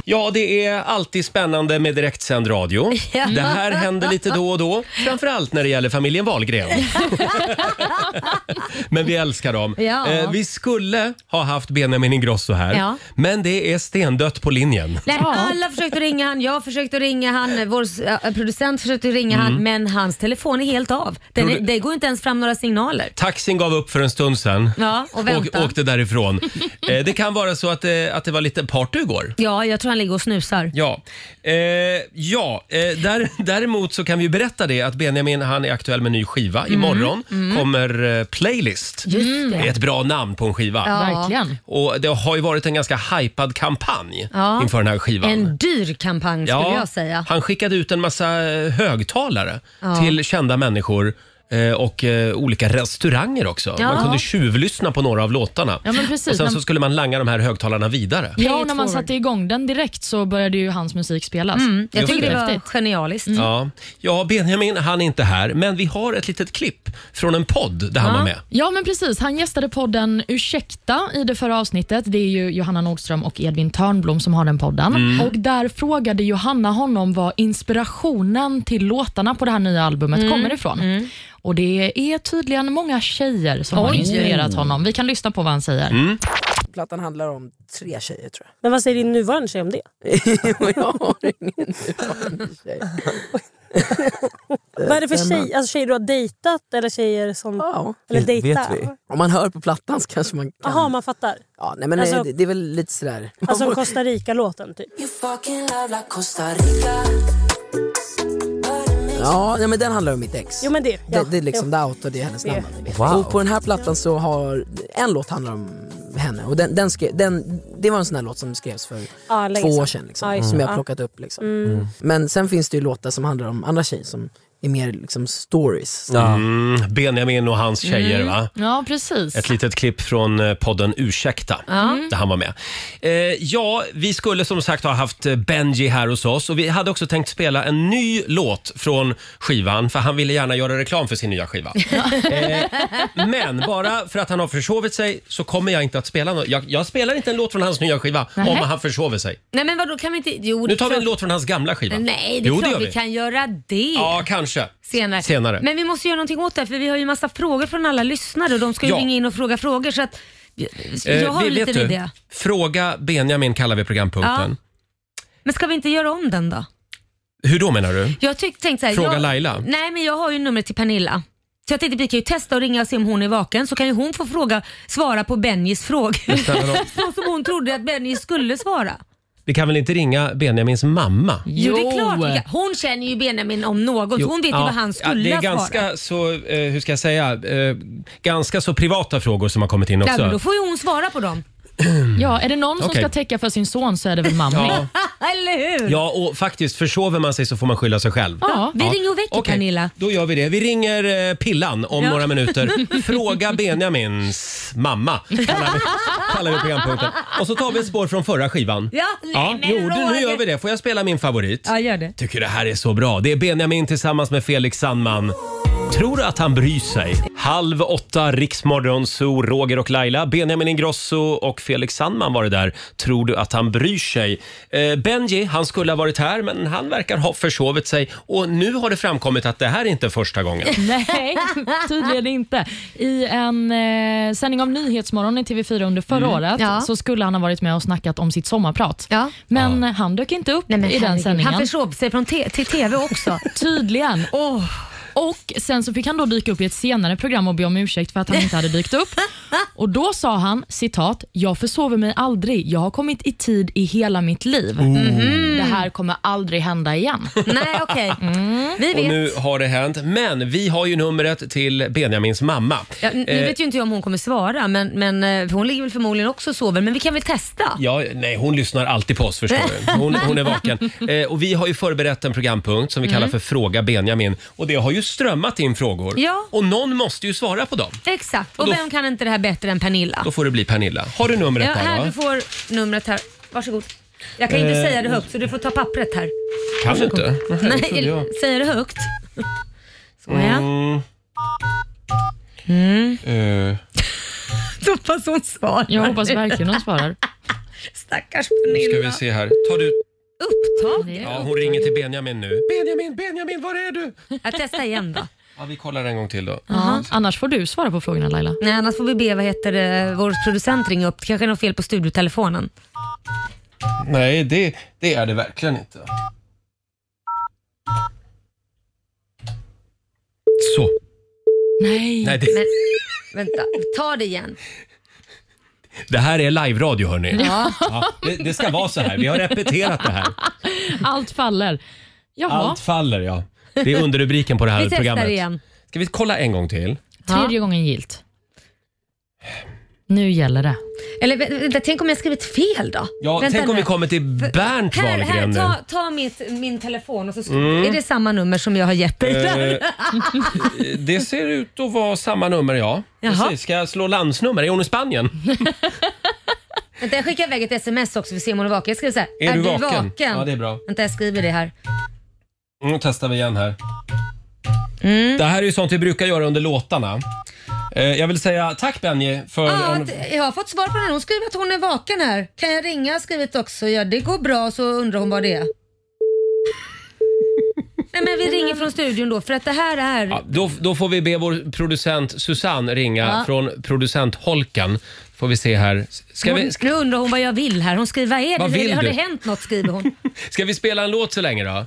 [SPEAKER 1] Ja, det är alltid spännande med direktsänd radio.
[SPEAKER 2] Ja.
[SPEAKER 1] Det här händer lite då och då. Framförallt när det gäller familjen Wahlgren. men vi älskar dem.
[SPEAKER 2] Ja.
[SPEAKER 1] Eh, vi skulle ha haft Benjamin Ingrosso här,
[SPEAKER 2] Ja.
[SPEAKER 1] men det är stendött på linjen.
[SPEAKER 2] Nej, alla försökte ringa han, jag försökte ringa han, vår eh, producent försökte ringa han, men hans telefon är helt av. Den är,
[SPEAKER 1] Mm. Produ-
[SPEAKER 2] det går inte ens fram några signaler.
[SPEAKER 1] Taxin gav upp för en stund sedan
[SPEAKER 2] Ja, och
[SPEAKER 1] och
[SPEAKER 2] vänta.
[SPEAKER 1] åkte därifrån. Eh, det kan vara så att, eh, att det var lite party igår.
[SPEAKER 2] Ja, jag tror han ligger och snusar.
[SPEAKER 1] Ja, eh, ja. Eh, där, däremot så kan vi ju berätta det att Benjamin han är aktuell med en ny skiva. Imorgon kommer eh, Playlist.
[SPEAKER 2] Mm. Just
[SPEAKER 1] Det är ett bra namn på en skiva.
[SPEAKER 2] Ja.
[SPEAKER 3] Verkligen.
[SPEAKER 1] Och det har ju varit en ganska hypad kampanj
[SPEAKER 2] Ja.
[SPEAKER 1] inför den här skivan.
[SPEAKER 2] En dyr kampanj skulle jag säga.
[SPEAKER 1] Han skickade ut en massa eh, högtalare till kända människor eh, och eh, olika restauranger också.
[SPEAKER 2] Ja.
[SPEAKER 1] Man kunde tjuvlyssna på några av låtarna.
[SPEAKER 3] Ja, men precis.
[SPEAKER 1] Och sen
[SPEAKER 3] När-
[SPEAKER 1] så skulle man langa de här högtalarna vidare.
[SPEAKER 3] Ja, och
[SPEAKER 2] it
[SPEAKER 3] när man
[SPEAKER 2] forward. Mm.
[SPEAKER 3] satte igång den direkt så började ju hans musik spelas.
[SPEAKER 2] Jag
[SPEAKER 1] Just
[SPEAKER 2] tycker det
[SPEAKER 1] det.
[SPEAKER 2] var
[SPEAKER 3] Häftigt.
[SPEAKER 2] genialiskt.
[SPEAKER 1] Ja. ja, Benjamin han är inte här, men vi har ett litet klipp från en podd där han var med.
[SPEAKER 3] Ja, men precis. Han gästade podden Ursäkta i det förra avsnittet. Det är ju Johanna Nordström och Edvin Törnblom som har den podden.
[SPEAKER 1] Mm.
[SPEAKER 3] Och Där frågade Johanna honom var inspirationen till låtarna på det här nya albumet
[SPEAKER 2] Mm.
[SPEAKER 3] kommer ifrån. Och Det är tydligen många tjejer som har inspirerat honom. Vi kan lyssna på vad han säger.
[SPEAKER 1] Mm.
[SPEAKER 8] Plattan handlar om tre tjejer tror jag.
[SPEAKER 9] Men vad säger din nuvarande tjej om det?
[SPEAKER 8] jag har ingen nuvarande tjej.
[SPEAKER 9] vad är det för tjej, alltså tjejer du har dejtat eller tjejer som...
[SPEAKER 8] Ja.
[SPEAKER 9] Eller dejta?
[SPEAKER 8] Om man hör på plattan så kanske man kan...
[SPEAKER 9] Jaha, man fattar.
[SPEAKER 8] Ja, nej, men
[SPEAKER 9] Alltså-
[SPEAKER 8] eh, det, det är väl lite sådär... Man
[SPEAKER 9] Alltså
[SPEAKER 8] får-
[SPEAKER 9] Costa Rica-låten typ.
[SPEAKER 8] ja, nej, men den handlar om mitt ex.
[SPEAKER 9] Jo men det. Ja.
[SPEAKER 8] det, det är liksom det out och det är hennes namn.
[SPEAKER 1] Wow.
[SPEAKER 8] Och på den här plattan så har en låt handlar om henne och den, den skrev, den, det var en sån här låt som skrevs för
[SPEAKER 9] Ja, länge
[SPEAKER 8] två år
[SPEAKER 9] sedan.
[SPEAKER 8] sedan liksom,
[SPEAKER 9] Ja, just
[SPEAKER 8] som
[SPEAKER 9] det.
[SPEAKER 8] jag
[SPEAKER 9] Ja.
[SPEAKER 8] har
[SPEAKER 9] Mm.
[SPEAKER 8] plockat upp. Liksom. Men sen finns det ju låtar som handlar om andra tjejer som är mer liksom stories.
[SPEAKER 1] Mm, Benjamin och hans tjejer va?
[SPEAKER 3] Ja, precis.
[SPEAKER 1] Ett litet klipp från eh, podden Ursäkta, där han var med. Eh, ja, vi skulle som sagt ha haft eh, Benji här hos oss och vi hade också tänkt spela en ny låt från skivan för han ville gärna göra reklam för sin nya skiva. eh, men bara för att han har försovit sig så kommer jag inte att spela något. Jag, jag spelar inte en låt från hans nya skiva om han försover sig.
[SPEAKER 2] Nej men vadå kan vi inte... Jo, det
[SPEAKER 1] Nu
[SPEAKER 2] är
[SPEAKER 1] tar vi en
[SPEAKER 2] klart-
[SPEAKER 1] låt från hans gamla skiva.
[SPEAKER 2] Nej, det är
[SPEAKER 1] jo,
[SPEAKER 2] klart
[SPEAKER 1] det gör
[SPEAKER 2] vi.
[SPEAKER 1] vi.
[SPEAKER 2] kan göra det.
[SPEAKER 1] Ja, kanske.
[SPEAKER 2] Senare.
[SPEAKER 1] Senare.
[SPEAKER 2] Men vi måste göra någonting åt det för vi har ju massa frågor från alla lyssnare och de ska ju
[SPEAKER 1] Ja.
[SPEAKER 2] ringa in och fråga frågor så att
[SPEAKER 1] Eh,
[SPEAKER 2] jag har
[SPEAKER 1] vi-
[SPEAKER 2] en liten
[SPEAKER 1] vet du,
[SPEAKER 2] idé.
[SPEAKER 1] Fråga Benjamin kallar vi programpunkten.
[SPEAKER 2] Men ska vi inte göra om den då?
[SPEAKER 1] Hur då menar du?
[SPEAKER 2] Jag tyck, tänkte så här,
[SPEAKER 1] Fråga
[SPEAKER 2] jag,
[SPEAKER 1] Laila.
[SPEAKER 2] Nej men jag har ju numret till Pernilla. Så jag tänkte vi kan ju testa och ringa och se om hon är vaken så kan ju hon få fråga, svara på Benjis frågor.
[SPEAKER 1] Ställa någon-
[SPEAKER 2] så som hon trodde att Benji skulle svara.
[SPEAKER 1] Vi kan väl inte ringa Benjamins mamma?
[SPEAKER 2] Jo, det är klart. vi kan. Hon känner ju Benjamin om något. Hon vet ju
[SPEAKER 1] Ja,
[SPEAKER 2] vad han
[SPEAKER 1] ja,
[SPEAKER 2] skulle
[SPEAKER 1] Det är
[SPEAKER 2] ha svarat.
[SPEAKER 1] ganska så, eh, hur ska jag säga, eh, ganska så privata frågor som har kommit in
[SPEAKER 2] Ja, men
[SPEAKER 1] också.
[SPEAKER 2] då får ju hon svara på dem.
[SPEAKER 3] Ja, är det någon som
[SPEAKER 1] Okej.
[SPEAKER 3] ska täcka för sin son så är det väl mamma.
[SPEAKER 1] Ja.
[SPEAKER 2] Eller hur?
[SPEAKER 1] ja, och faktiskt försover man sig så får man skylla sig själv.
[SPEAKER 3] Ja.
[SPEAKER 2] Vi ringer och väcker
[SPEAKER 1] Okej,
[SPEAKER 2] Pernilla.
[SPEAKER 1] Då gör vi det. Vi ringer eh, Pillan om
[SPEAKER 2] Ja.
[SPEAKER 1] några minuter. Fråga Benjamins mamma, kallar vi, kallar vi programpunkten. Och så tar vi ett spår från förra skivan.
[SPEAKER 2] Ja, nej, men
[SPEAKER 1] jo, du, nu
[SPEAKER 2] Roger.
[SPEAKER 1] gör vi det. Får jag spela min favorit?
[SPEAKER 2] Ja, gör det.
[SPEAKER 1] Tycker det här är så bra. Det är Benjamin tillsammans med Felix Sandman. Tror att han bryr sig. Halv åtta, Riksmorgon, Zoo, Roger och Laila. Benjamin Ingrosso och Felix Sandman var det där. Tror du att han bryr sig? Eh, Benji, han skulle ha varit här, men han verkar ha försovit sig. Och nu har det framkommit att det här är inte första gången.
[SPEAKER 3] Nej, tydligen inte. I en eh, sändning av Nyhetsmorgon i TV4 under förra året
[SPEAKER 2] Mm. Ja.
[SPEAKER 3] så skulle han ha varit med och snackat om sitt sommarprat.
[SPEAKER 2] Ja.
[SPEAKER 3] Men han dök inte upp
[SPEAKER 2] Nej, men
[SPEAKER 3] i den
[SPEAKER 2] herregud.
[SPEAKER 3] sändningen.
[SPEAKER 2] Han försov sig från te- till TV också.
[SPEAKER 3] Tydligen.
[SPEAKER 2] Åh,
[SPEAKER 3] Och Sen så fick han då dyka upp i ett senare program och be om ursäkt för att han inte hade dykt upp. Och Då sa han citat, “Jag försover mig aldrig. Jag har kommit i tid i hela mitt liv.
[SPEAKER 2] Mhm.
[SPEAKER 3] Det här kommer aldrig hända igen.”
[SPEAKER 2] Nej, okej. Vi
[SPEAKER 1] Och
[SPEAKER 2] vet.
[SPEAKER 1] nu har det hänt. Men vi har ju numret till Benjamins mamma.
[SPEAKER 2] Ja, nu
[SPEAKER 1] Eh,
[SPEAKER 2] vet ju inte jag om hon kommer svara, men, men eh, för hon ligger väl förmodligen också och sover. Men vi kan väl testa?
[SPEAKER 1] Ja, nej, hon lyssnar alltid på oss förstår du. Hon, hon är vaken. Eh, och vi har ju förberett en programpunkt som vi
[SPEAKER 2] Mm.
[SPEAKER 1] kallar för Fråga Benjamin. Och det har ju strömmat in frågor.
[SPEAKER 2] Ja.
[SPEAKER 1] Och någon måste ju svara på dem.
[SPEAKER 2] Exakt. Och
[SPEAKER 1] då-
[SPEAKER 2] vem kan inte det här bättre än Pernilla?
[SPEAKER 1] Då får det bli Pernilla. Har du numret
[SPEAKER 2] Ja,
[SPEAKER 1] där?
[SPEAKER 2] här,
[SPEAKER 1] va? Eh,
[SPEAKER 2] du får numret här. Varsågod. Jag kan inte säga det högt, så du får ta pappret här.
[SPEAKER 1] Kan du inte? Nähä, det trodde
[SPEAKER 2] Nej,
[SPEAKER 1] jag.
[SPEAKER 2] säger det högt. Skoja.
[SPEAKER 1] Mm. Eh,
[SPEAKER 2] Hoppas hon svarar.
[SPEAKER 3] Jag hoppas verkligen hon svarar.
[SPEAKER 2] Stackars
[SPEAKER 1] ska
[SPEAKER 2] Pernilla.
[SPEAKER 1] vi se här. Tar du...
[SPEAKER 2] Upptagen.
[SPEAKER 1] Ja, hon ringer till Benjamin nu. Benjamin, Benjamin, var är du?
[SPEAKER 2] Jag testar igen då.
[SPEAKER 1] Ja, vi kollar en gång till då.
[SPEAKER 3] Ja, annars får du svara på frågorna Laila.
[SPEAKER 2] Nej, annars får vi be vad heter, det, vår producent ringa upp. Det kanske är något fel på studiotelefonen.
[SPEAKER 1] Nej, det, det är det verkligen inte. Så.
[SPEAKER 3] Nej.
[SPEAKER 1] Nej, det,
[SPEAKER 2] Men vänta, ta det igen.
[SPEAKER 1] Det här är live-radio hörni. Ja. det, det ska vara så här. Vi har repeterat det här.
[SPEAKER 3] Allt faller. Jaha,
[SPEAKER 1] Allt faller ja. Det är underrubriken på det här
[SPEAKER 2] Vi testar
[SPEAKER 1] programmet.
[SPEAKER 2] igen.
[SPEAKER 1] Ska vi kolla en gång till?
[SPEAKER 3] tredje gången gilt. Nu gäller det.
[SPEAKER 2] Eller vä- vänta, tänk om jag skrivit fel då?
[SPEAKER 1] Ja,
[SPEAKER 2] vänta
[SPEAKER 1] tänk om
[SPEAKER 2] nu.
[SPEAKER 1] vi kommer till Bernt
[SPEAKER 2] Här,
[SPEAKER 1] Wahlgren
[SPEAKER 2] här
[SPEAKER 1] nu. Mm.
[SPEAKER 2] ta, ta mitt, min telefon och så sk- är det samma nummer som jag har gett dig. där?
[SPEAKER 1] Eh, Det ser ut att vara samma nummer ja.
[SPEAKER 2] Jaha.
[SPEAKER 1] Precis. Ska jag slå landsnummer? Är hon i Spanien?
[SPEAKER 2] Vänta, jag skickar iväg ett sms också för att se om hon är vaken. Jag skriver så här.
[SPEAKER 1] Är, du, vaken?
[SPEAKER 2] vaken?
[SPEAKER 1] Ja, det är bra.
[SPEAKER 2] Vänta, jag skriver det här.
[SPEAKER 1] Nu testar vi igen här.
[SPEAKER 2] Mm.
[SPEAKER 1] Det här är ju sånt vi brukar göra under låtarna. Eh, Jag vill säga tack Benji för...
[SPEAKER 2] Ja,
[SPEAKER 1] om-
[SPEAKER 2] att- jag har fått svar på den. Hon skriver att hon är vaken här. Kan jag ringa? har skrivit också. Ja, det går bra. Så undrar hon vad det är. Nej, men vi ringer från studion då för att det här är...
[SPEAKER 1] Ja, då, då får vi be vår producent Susanne ringa från producentholken. Får vi se här. Ska vi,
[SPEAKER 2] Hon, nu undrar hon vad jag vill här. Hon skriver, vad är det?
[SPEAKER 1] Vad vill
[SPEAKER 2] har
[SPEAKER 1] du?
[SPEAKER 2] det hänt något? skriver hon.
[SPEAKER 1] ska vi spela en låt så länge då?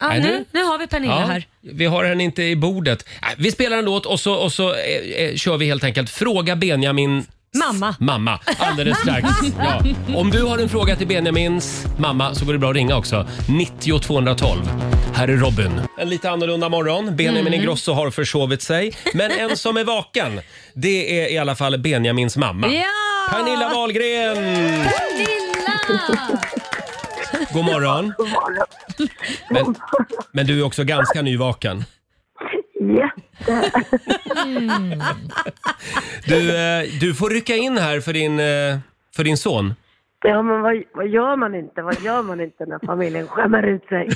[SPEAKER 2] Ja,
[SPEAKER 1] Nej, nu-
[SPEAKER 2] nu, nu har vi Pernilla här.
[SPEAKER 1] vi har henne inte i bordet. Nej, Vi spelar en låt och så, och så eh, eh, kör vi helt enkelt Fråga Benjamin
[SPEAKER 2] Mamma.
[SPEAKER 1] Mamma, alldeles strax. Ja. Om du har en fråga till Benjamins mamma så går det bra att ringa också. 90 212. Här är Robin. En lite annorlunda morgon. Benjamin
[SPEAKER 2] Mm.
[SPEAKER 1] Ingrosso har försovit sig. Men en som är vaken, det är i alla fall Benjamins mamma.
[SPEAKER 2] Ja!
[SPEAKER 1] Pernilla Wahlgren!
[SPEAKER 2] Pernilla!
[SPEAKER 1] God morgon. Men, men du är också ganska nyvaken. Du, eh, du får rycka in här för din, eh, för din son.
[SPEAKER 5] Ja, men vad, vad gör man inte? Vad gör man inte när familjen skämmer ut sig?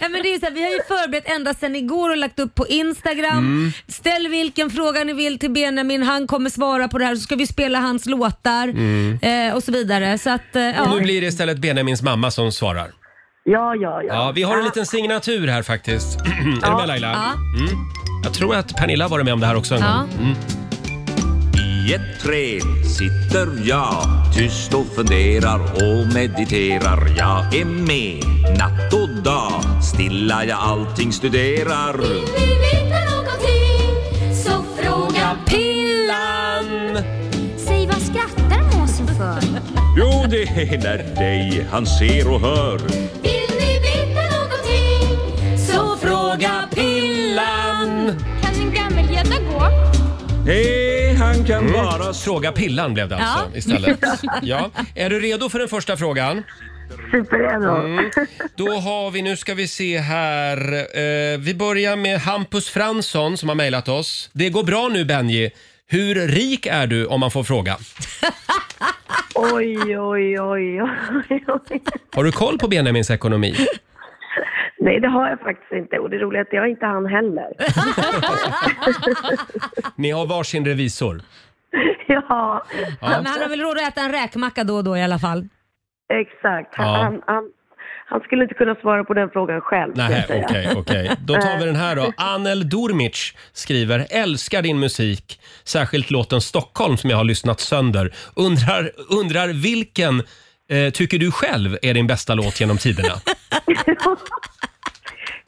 [SPEAKER 2] Nej, men det är så här, vi har ju förberett ända sedan igår och lagt upp på Instagram.
[SPEAKER 1] Mm.
[SPEAKER 2] Ställ vilken fråga ni vill till Benjamin, han kommer svara på det här så ska vi spela hans låtar eh, och så vidare. Så att, eh, ja.
[SPEAKER 1] Mm. Nu blir det istället Benjamins mamma som svarar.
[SPEAKER 5] Ja, ja, ja.
[SPEAKER 1] Ja, vi har en liten signatur här faktiskt. Är du med Laila?
[SPEAKER 2] Ja.
[SPEAKER 1] Mm. Jag tror att Pernilla var med om det här också en
[SPEAKER 2] Ja.
[SPEAKER 1] gång. Mm.
[SPEAKER 10] I ett träd sitter jag tyst och funderar och mediterar. Jag är med natt och dag, stilla jag allting studerar.
[SPEAKER 11] Vill ni veta någonting så fråga
[SPEAKER 1] Pillan!
[SPEAKER 11] Säg vad skrattar måsen för?
[SPEAKER 10] Jo, det är när dig han ser och hör.
[SPEAKER 11] Vill ni veta någonting så fråga
[SPEAKER 1] Pillan!
[SPEAKER 11] Kan en gammelgädda gå?
[SPEAKER 10] Nej, han kan vara...
[SPEAKER 1] Mm. Fråga pillan blev det alltså
[SPEAKER 10] Ja.
[SPEAKER 1] istället. Ja. Är du redo för den första frågan?
[SPEAKER 5] Superredo.
[SPEAKER 1] Mm. Då har vi, nu ska vi se här. Eh, vi börjar med Hampus Fransson som har mejlat oss. Det går bra nu Benji. Hur rik är du om man får fråga?
[SPEAKER 5] Oj, oj, oj, oj, oj.
[SPEAKER 1] Har du koll på Benjamins ekonomi?
[SPEAKER 5] Nej, det har jag faktiskt inte. Och det roliga är att jag är inte han heller.
[SPEAKER 1] Ni har varsin revisor.
[SPEAKER 5] ja.
[SPEAKER 1] Ja.
[SPEAKER 2] Men han har väl råd att äta en räkmacka då och då i alla fall?
[SPEAKER 5] Exakt.
[SPEAKER 1] Ja.
[SPEAKER 5] Han, han, han skulle inte kunna svara på den frågan själv. ska
[SPEAKER 1] Nej,
[SPEAKER 5] jag
[SPEAKER 1] okej,
[SPEAKER 5] säga.
[SPEAKER 1] okej. Då tar vi den här då. Anel Dormic skriver, älskar din musik, särskilt låten Stockholm som jag har lyssnat sönder. Undrar, undrar vilken eh, tycker du själv är din bästa låt genom tiderna?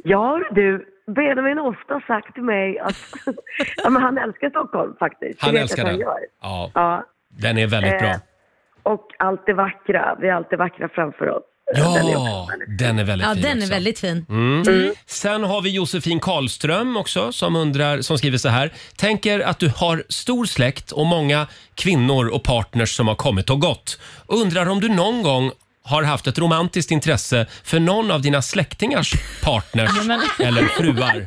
[SPEAKER 5] Ja, du. Benjamin har ofta sagt till mig att ja, men han älskar Stockholm faktiskt. Det
[SPEAKER 1] Han
[SPEAKER 5] vet jag
[SPEAKER 1] älskar
[SPEAKER 5] att
[SPEAKER 1] den.
[SPEAKER 5] gör.
[SPEAKER 1] Ja,
[SPEAKER 5] Ja.
[SPEAKER 1] den är väldigt bra.
[SPEAKER 5] Eh, Och allt det vackra. Vi har allt det vackra framför oss.
[SPEAKER 1] Ja, den är väldigt
[SPEAKER 2] Ja,
[SPEAKER 1] fin
[SPEAKER 2] den är
[SPEAKER 1] också.
[SPEAKER 2] väldigt fin.
[SPEAKER 1] Mm.
[SPEAKER 2] Mm.
[SPEAKER 1] Sen har vi Josefin Karlström också som, undrar, som skriver så här. Tänker att du har stor släkt och många kvinnor och partners som har kommit och gått. Undrar om du någon gång har haft ett romantiskt intresse för någon av dina släktingars partners
[SPEAKER 3] Ja, men-
[SPEAKER 1] eller fruar?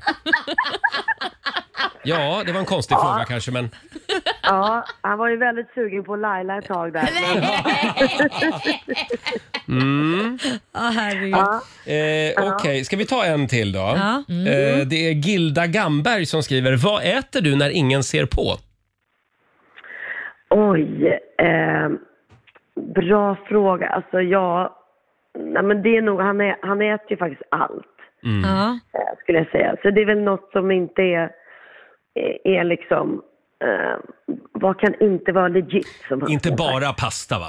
[SPEAKER 1] Ja, det var en konstig
[SPEAKER 5] Ja.
[SPEAKER 1] fråga kanske men...
[SPEAKER 5] Ja, han var ju väldigt sugen på Laila ett tag där.
[SPEAKER 1] Mm.
[SPEAKER 2] Ja, herregud.
[SPEAKER 5] Ja.
[SPEAKER 1] Eh, Okej, ska vi ta en till då?
[SPEAKER 2] Ja. Mm.
[SPEAKER 1] Eh, det är Gilda Gamberg som skriver. Vad äter du när ingen ser på?
[SPEAKER 5] Oj, eh, bra fråga. Alltså jag, nej men det är nog, han, är, han äter ju faktiskt allt
[SPEAKER 2] Mm.
[SPEAKER 5] eh, skulle jag säga. Så det är väl något som inte är, är, är liksom, eh, vad kan inte vara legit? Som han
[SPEAKER 1] Inte
[SPEAKER 5] säger.
[SPEAKER 1] bara pasta va?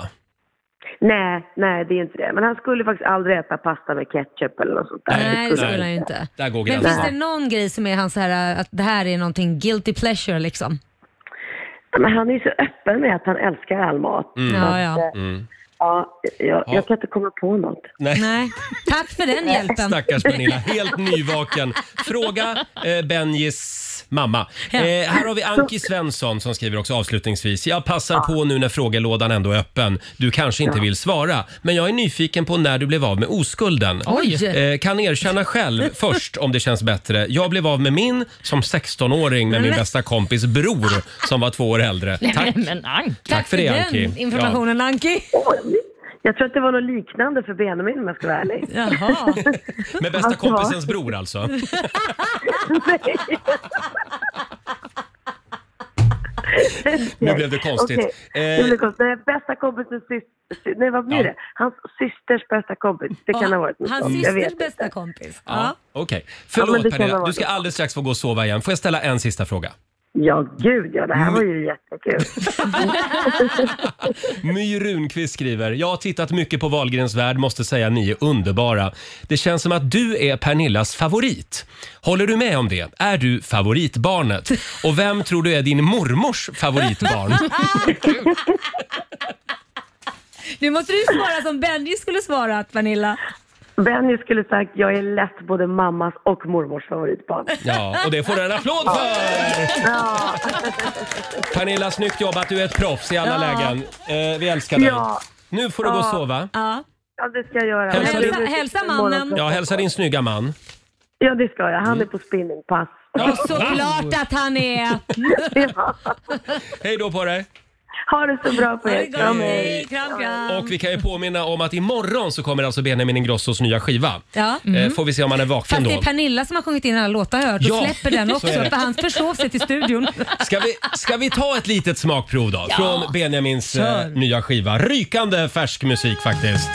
[SPEAKER 5] Nej, nej det är inte det. Men han skulle faktiskt aldrig äta pasta med ketchup eller något sånt där.
[SPEAKER 2] Nej, det skulle han ju inte.
[SPEAKER 1] Där går
[SPEAKER 2] Men
[SPEAKER 1] gränsen.
[SPEAKER 2] finns det någon grej som är hans så här, att det här är någonting guilty pleasure liksom?
[SPEAKER 5] Men han är ju så öppen med att han älskar all mat.
[SPEAKER 1] Mm.
[SPEAKER 2] Ja, ja.
[SPEAKER 1] Mm.
[SPEAKER 5] Ja, jag,
[SPEAKER 1] Ja.
[SPEAKER 5] jag kan inte komma på något.
[SPEAKER 1] Nej.
[SPEAKER 2] Tack för den hjälpen.
[SPEAKER 1] Stackars Pernilla, helt nyvaken. Fråga eh, Benjis mamma.
[SPEAKER 2] Ja.
[SPEAKER 1] Eh, här har vi Anki Svensson som skriver också avslutningsvis. Jag passar på nu när frågelådan ändå är öppen. Du kanske inte vill svara, men jag är nyfiken på när du blev av med oskulden.
[SPEAKER 3] Oj.
[SPEAKER 1] Eh, kan erkänna själv först om det känns bättre. Jag blev av med min som 16-åring med min
[SPEAKER 2] Men-
[SPEAKER 1] bästa kompis bror som var två år äldre. Tack.
[SPEAKER 3] Men, Anki.
[SPEAKER 1] Tack för det,
[SPEAKER 2] den
[SPEAKER 1] Anki.
[SPEAKER 2] informationen Anki.
[SPEAKER 5] Jag tror att det var något liknande för Benjamin om jag ska vara ärlig.
[SPEAKER 2] Jaha.
[SPEAKER 1] Med bästa
[SPEAKER 5] Alltså.
[SPEAKER 1] kompisens bror alltså. Nu blev det konstigt.
[SPEAKER 5] Okej,
[SPEAKER 1] Eh,
[SPEAKER 5] nu blev det konstigt. Nej, bästa kompisens syster, nej vad blir
[SPEAKER 1] Ja.
[SPEAKER 5] det? Hans systers bästa kompis. Det kan ha varit något
[SPEAKER 2] Hans
[SPEAKER 5] sånt. Jag
[SPEAKER 2] systers
[SPEAKER 5] vet
[SPEAKER 2] bästa kompis.
[SPEAKER 1] Ja, Okej.
[SPEAKER 5] Ja, men
[SPEAKER 1] Förlåt
[SPEAKER 5] det kan
[SPEAKER 1] Pernilla,
[SPEAKER 5] vara
[SPEAKER 1] du ska
[SPEAKER 5] så.
[SPEAKER 1] alldeles strax få gå och sova igen. Får jag ställa en sista fråga?
[SPEAKER 5] Ja, gud ja, det här var ju jättekul.
[SPEAKER 1] My Runqvist skriver, jag har tittat mycket på Wahlgrens värld, måste säga ni är underbara. Det känns som att du är Pernillas favorit. Håller du med om det? Är du favoritbarnet? Och vem tror du är din mormors favoritbarn?
[SPEAKER 2] Nu måste du svara som Benji skulle svara att Pernilla.
[SPEAKER 5] Benny skulle sagt, jag är lätt både mammas och mormors favoritbarn.
[SPEAKER 1] Ja, och det får du en applåd för! Pernilla, snyggt jobbat. Du är ett proffs i alla
[SPEAKER 5] Ja.
[SPEAKER 1] lägen. Eh, vi älskar dig.
[SPEAKER 5] Ja.
[SPEAKER 1] Nu får du gå och
[SPEAKER 5] Ja.
[SPEAKER 1] sova.
[SPEAKER 2] Ja.
[SPEAKER 5] Ja, det ska jag göra.
[SPEAKER 1] Hälsa-
[SPEAKER 5] Jag blir-
[SPEAKER 2] hälsa mannen.
[SPEAKER 1] Ja, hälsa din snygga man.
[SPEAKER 5] Ja, det ska jag. Han är på spinningpass.
[SPEAKER 1] Ja,
[SPEAKER 2] Såklart att han är.
[SPEAKER 1] Hej då på dig!
[SPEAKER 5] Ha det så bra på
[SPEAKER 2] Ha det
[SPEAKER 5] er.
[SPEAKER 2] gott.
[SPEAKER 5] Kram, hej.
[SPEAKER 2] Hej, Kram, kram.
[SPEAKER 1] Och vi kan ju påminna om att imorgon så kommer alltså Benjamin Ingrossos nya skiva.
[SPEAKER 2] Ja. Mm.
[SPEAKER 1] Eh, Får vi se om han är vaken
[SPEAKER 2] Fast det är
[SPEAKER 1] då.
[SPEAKER 2] Pernilla som har sjungit in alla låtar jag har hört och
[SPEAKER 1] Ja,
[SPEAKER 2] släpper den
[SPEAKER 1] så
[SPEAKER 2] också
[SPEAKER 1] är det.
[SPEAKER 2] för han försov sig till studion. Alltså,
[SPEAKER 1] Ska vi, ska vi ta ett litet smakprov då?
[SPEAKER 2] Ja.
[SPEAKER 1] Från Benjamins eh,
[SPEAKER 2] Kör.
[SPEAKER 1] nya skiva. Rykande färsk musik faktiskt.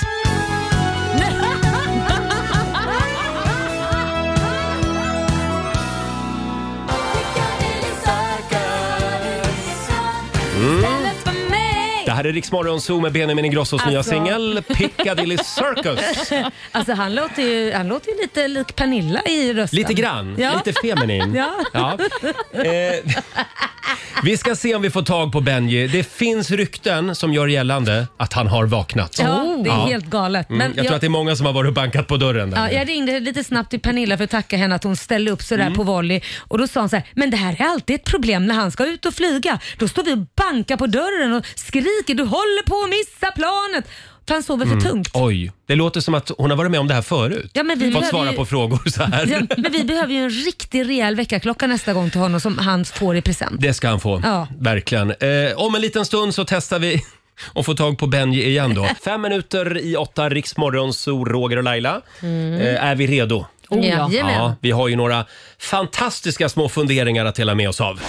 [SPEAKER 1] Mm. Det här är Riksmorgon Zoo med Benjamin Ingrossos nya
[SPEAKER 2] Alltså.
[SPEAKER 1] singel Piccadilly Circus.
[SPEAKER 2] Alltså han låter ju, han låter ju lite lik Pernilla i rösten.
[SPEAKER 1] Lite grann,
[SPEAKER 2] Ja.
[SPEAKER 1] lite feminin.
[SPEAKER 2] Ja.
[SPEAKER 1] Eh, Vi ska se om vi får tag på Benji. Det finns rykten som gör gällande att han har vaknat.
[SPEAKER 2] Ja, det är
[SPEAKER 1] Oh. Ja.
[SPEAKER 2] helt galet.
[SPEAKER 1] Mm,
[SPEAKER 2] Men
[SPEAKER 1] jag tror att det är många som har varit och bankat på dörren där.
[SPEAKER 2] Ja, jag ringde lite snabbt till Pernilla för att tacka henne att hon ställde upp sådär
[SPEAKER 1] Mm.
[SPEAKER 2] på volley och då sa hon så här, men det här är alltid ett problem när han ska ut och flyga. Då står vi och bankar på dörren och skriker, du håller på att missa planet. För han sover för
[SPEAKER 1] Mm.
[SPEAKER 2] tungt.
[SPEAKER 1] Oj, det låter som att hon har varit med om det här förut.
[SPEAKER 2] Ja, men vi
[SPEAKER 1] Fått
[SPEAKER 2] behöver
[SPEAKER 1] svara
[SPEAKER 2] ju-
[SPEAKER 1] på frågor så här.
[SPEAKER 2] Ja, men vi behöver ju en riktig rejäl väckarklocka nästa gång till honom som han får i present.
[SPEAKER 1] Det ska han få,
[SPEAKER 2] Ja.
[SPEAKER 1] verkligen. Eh, om en liten stund så testar vi och får tag på Benji igen då. Fem minuter i åtta, Riksmorgon, så Roger och Laila.
[SPEAKER 2] Mm.
[SPEAKER 1] Eh, är vi redo?
[SPEAKER 2] Oh, ja. Jajamän.
[SPEAKER 1] ja, Vi har ju några fantastiska små funderingar att dela med oss av.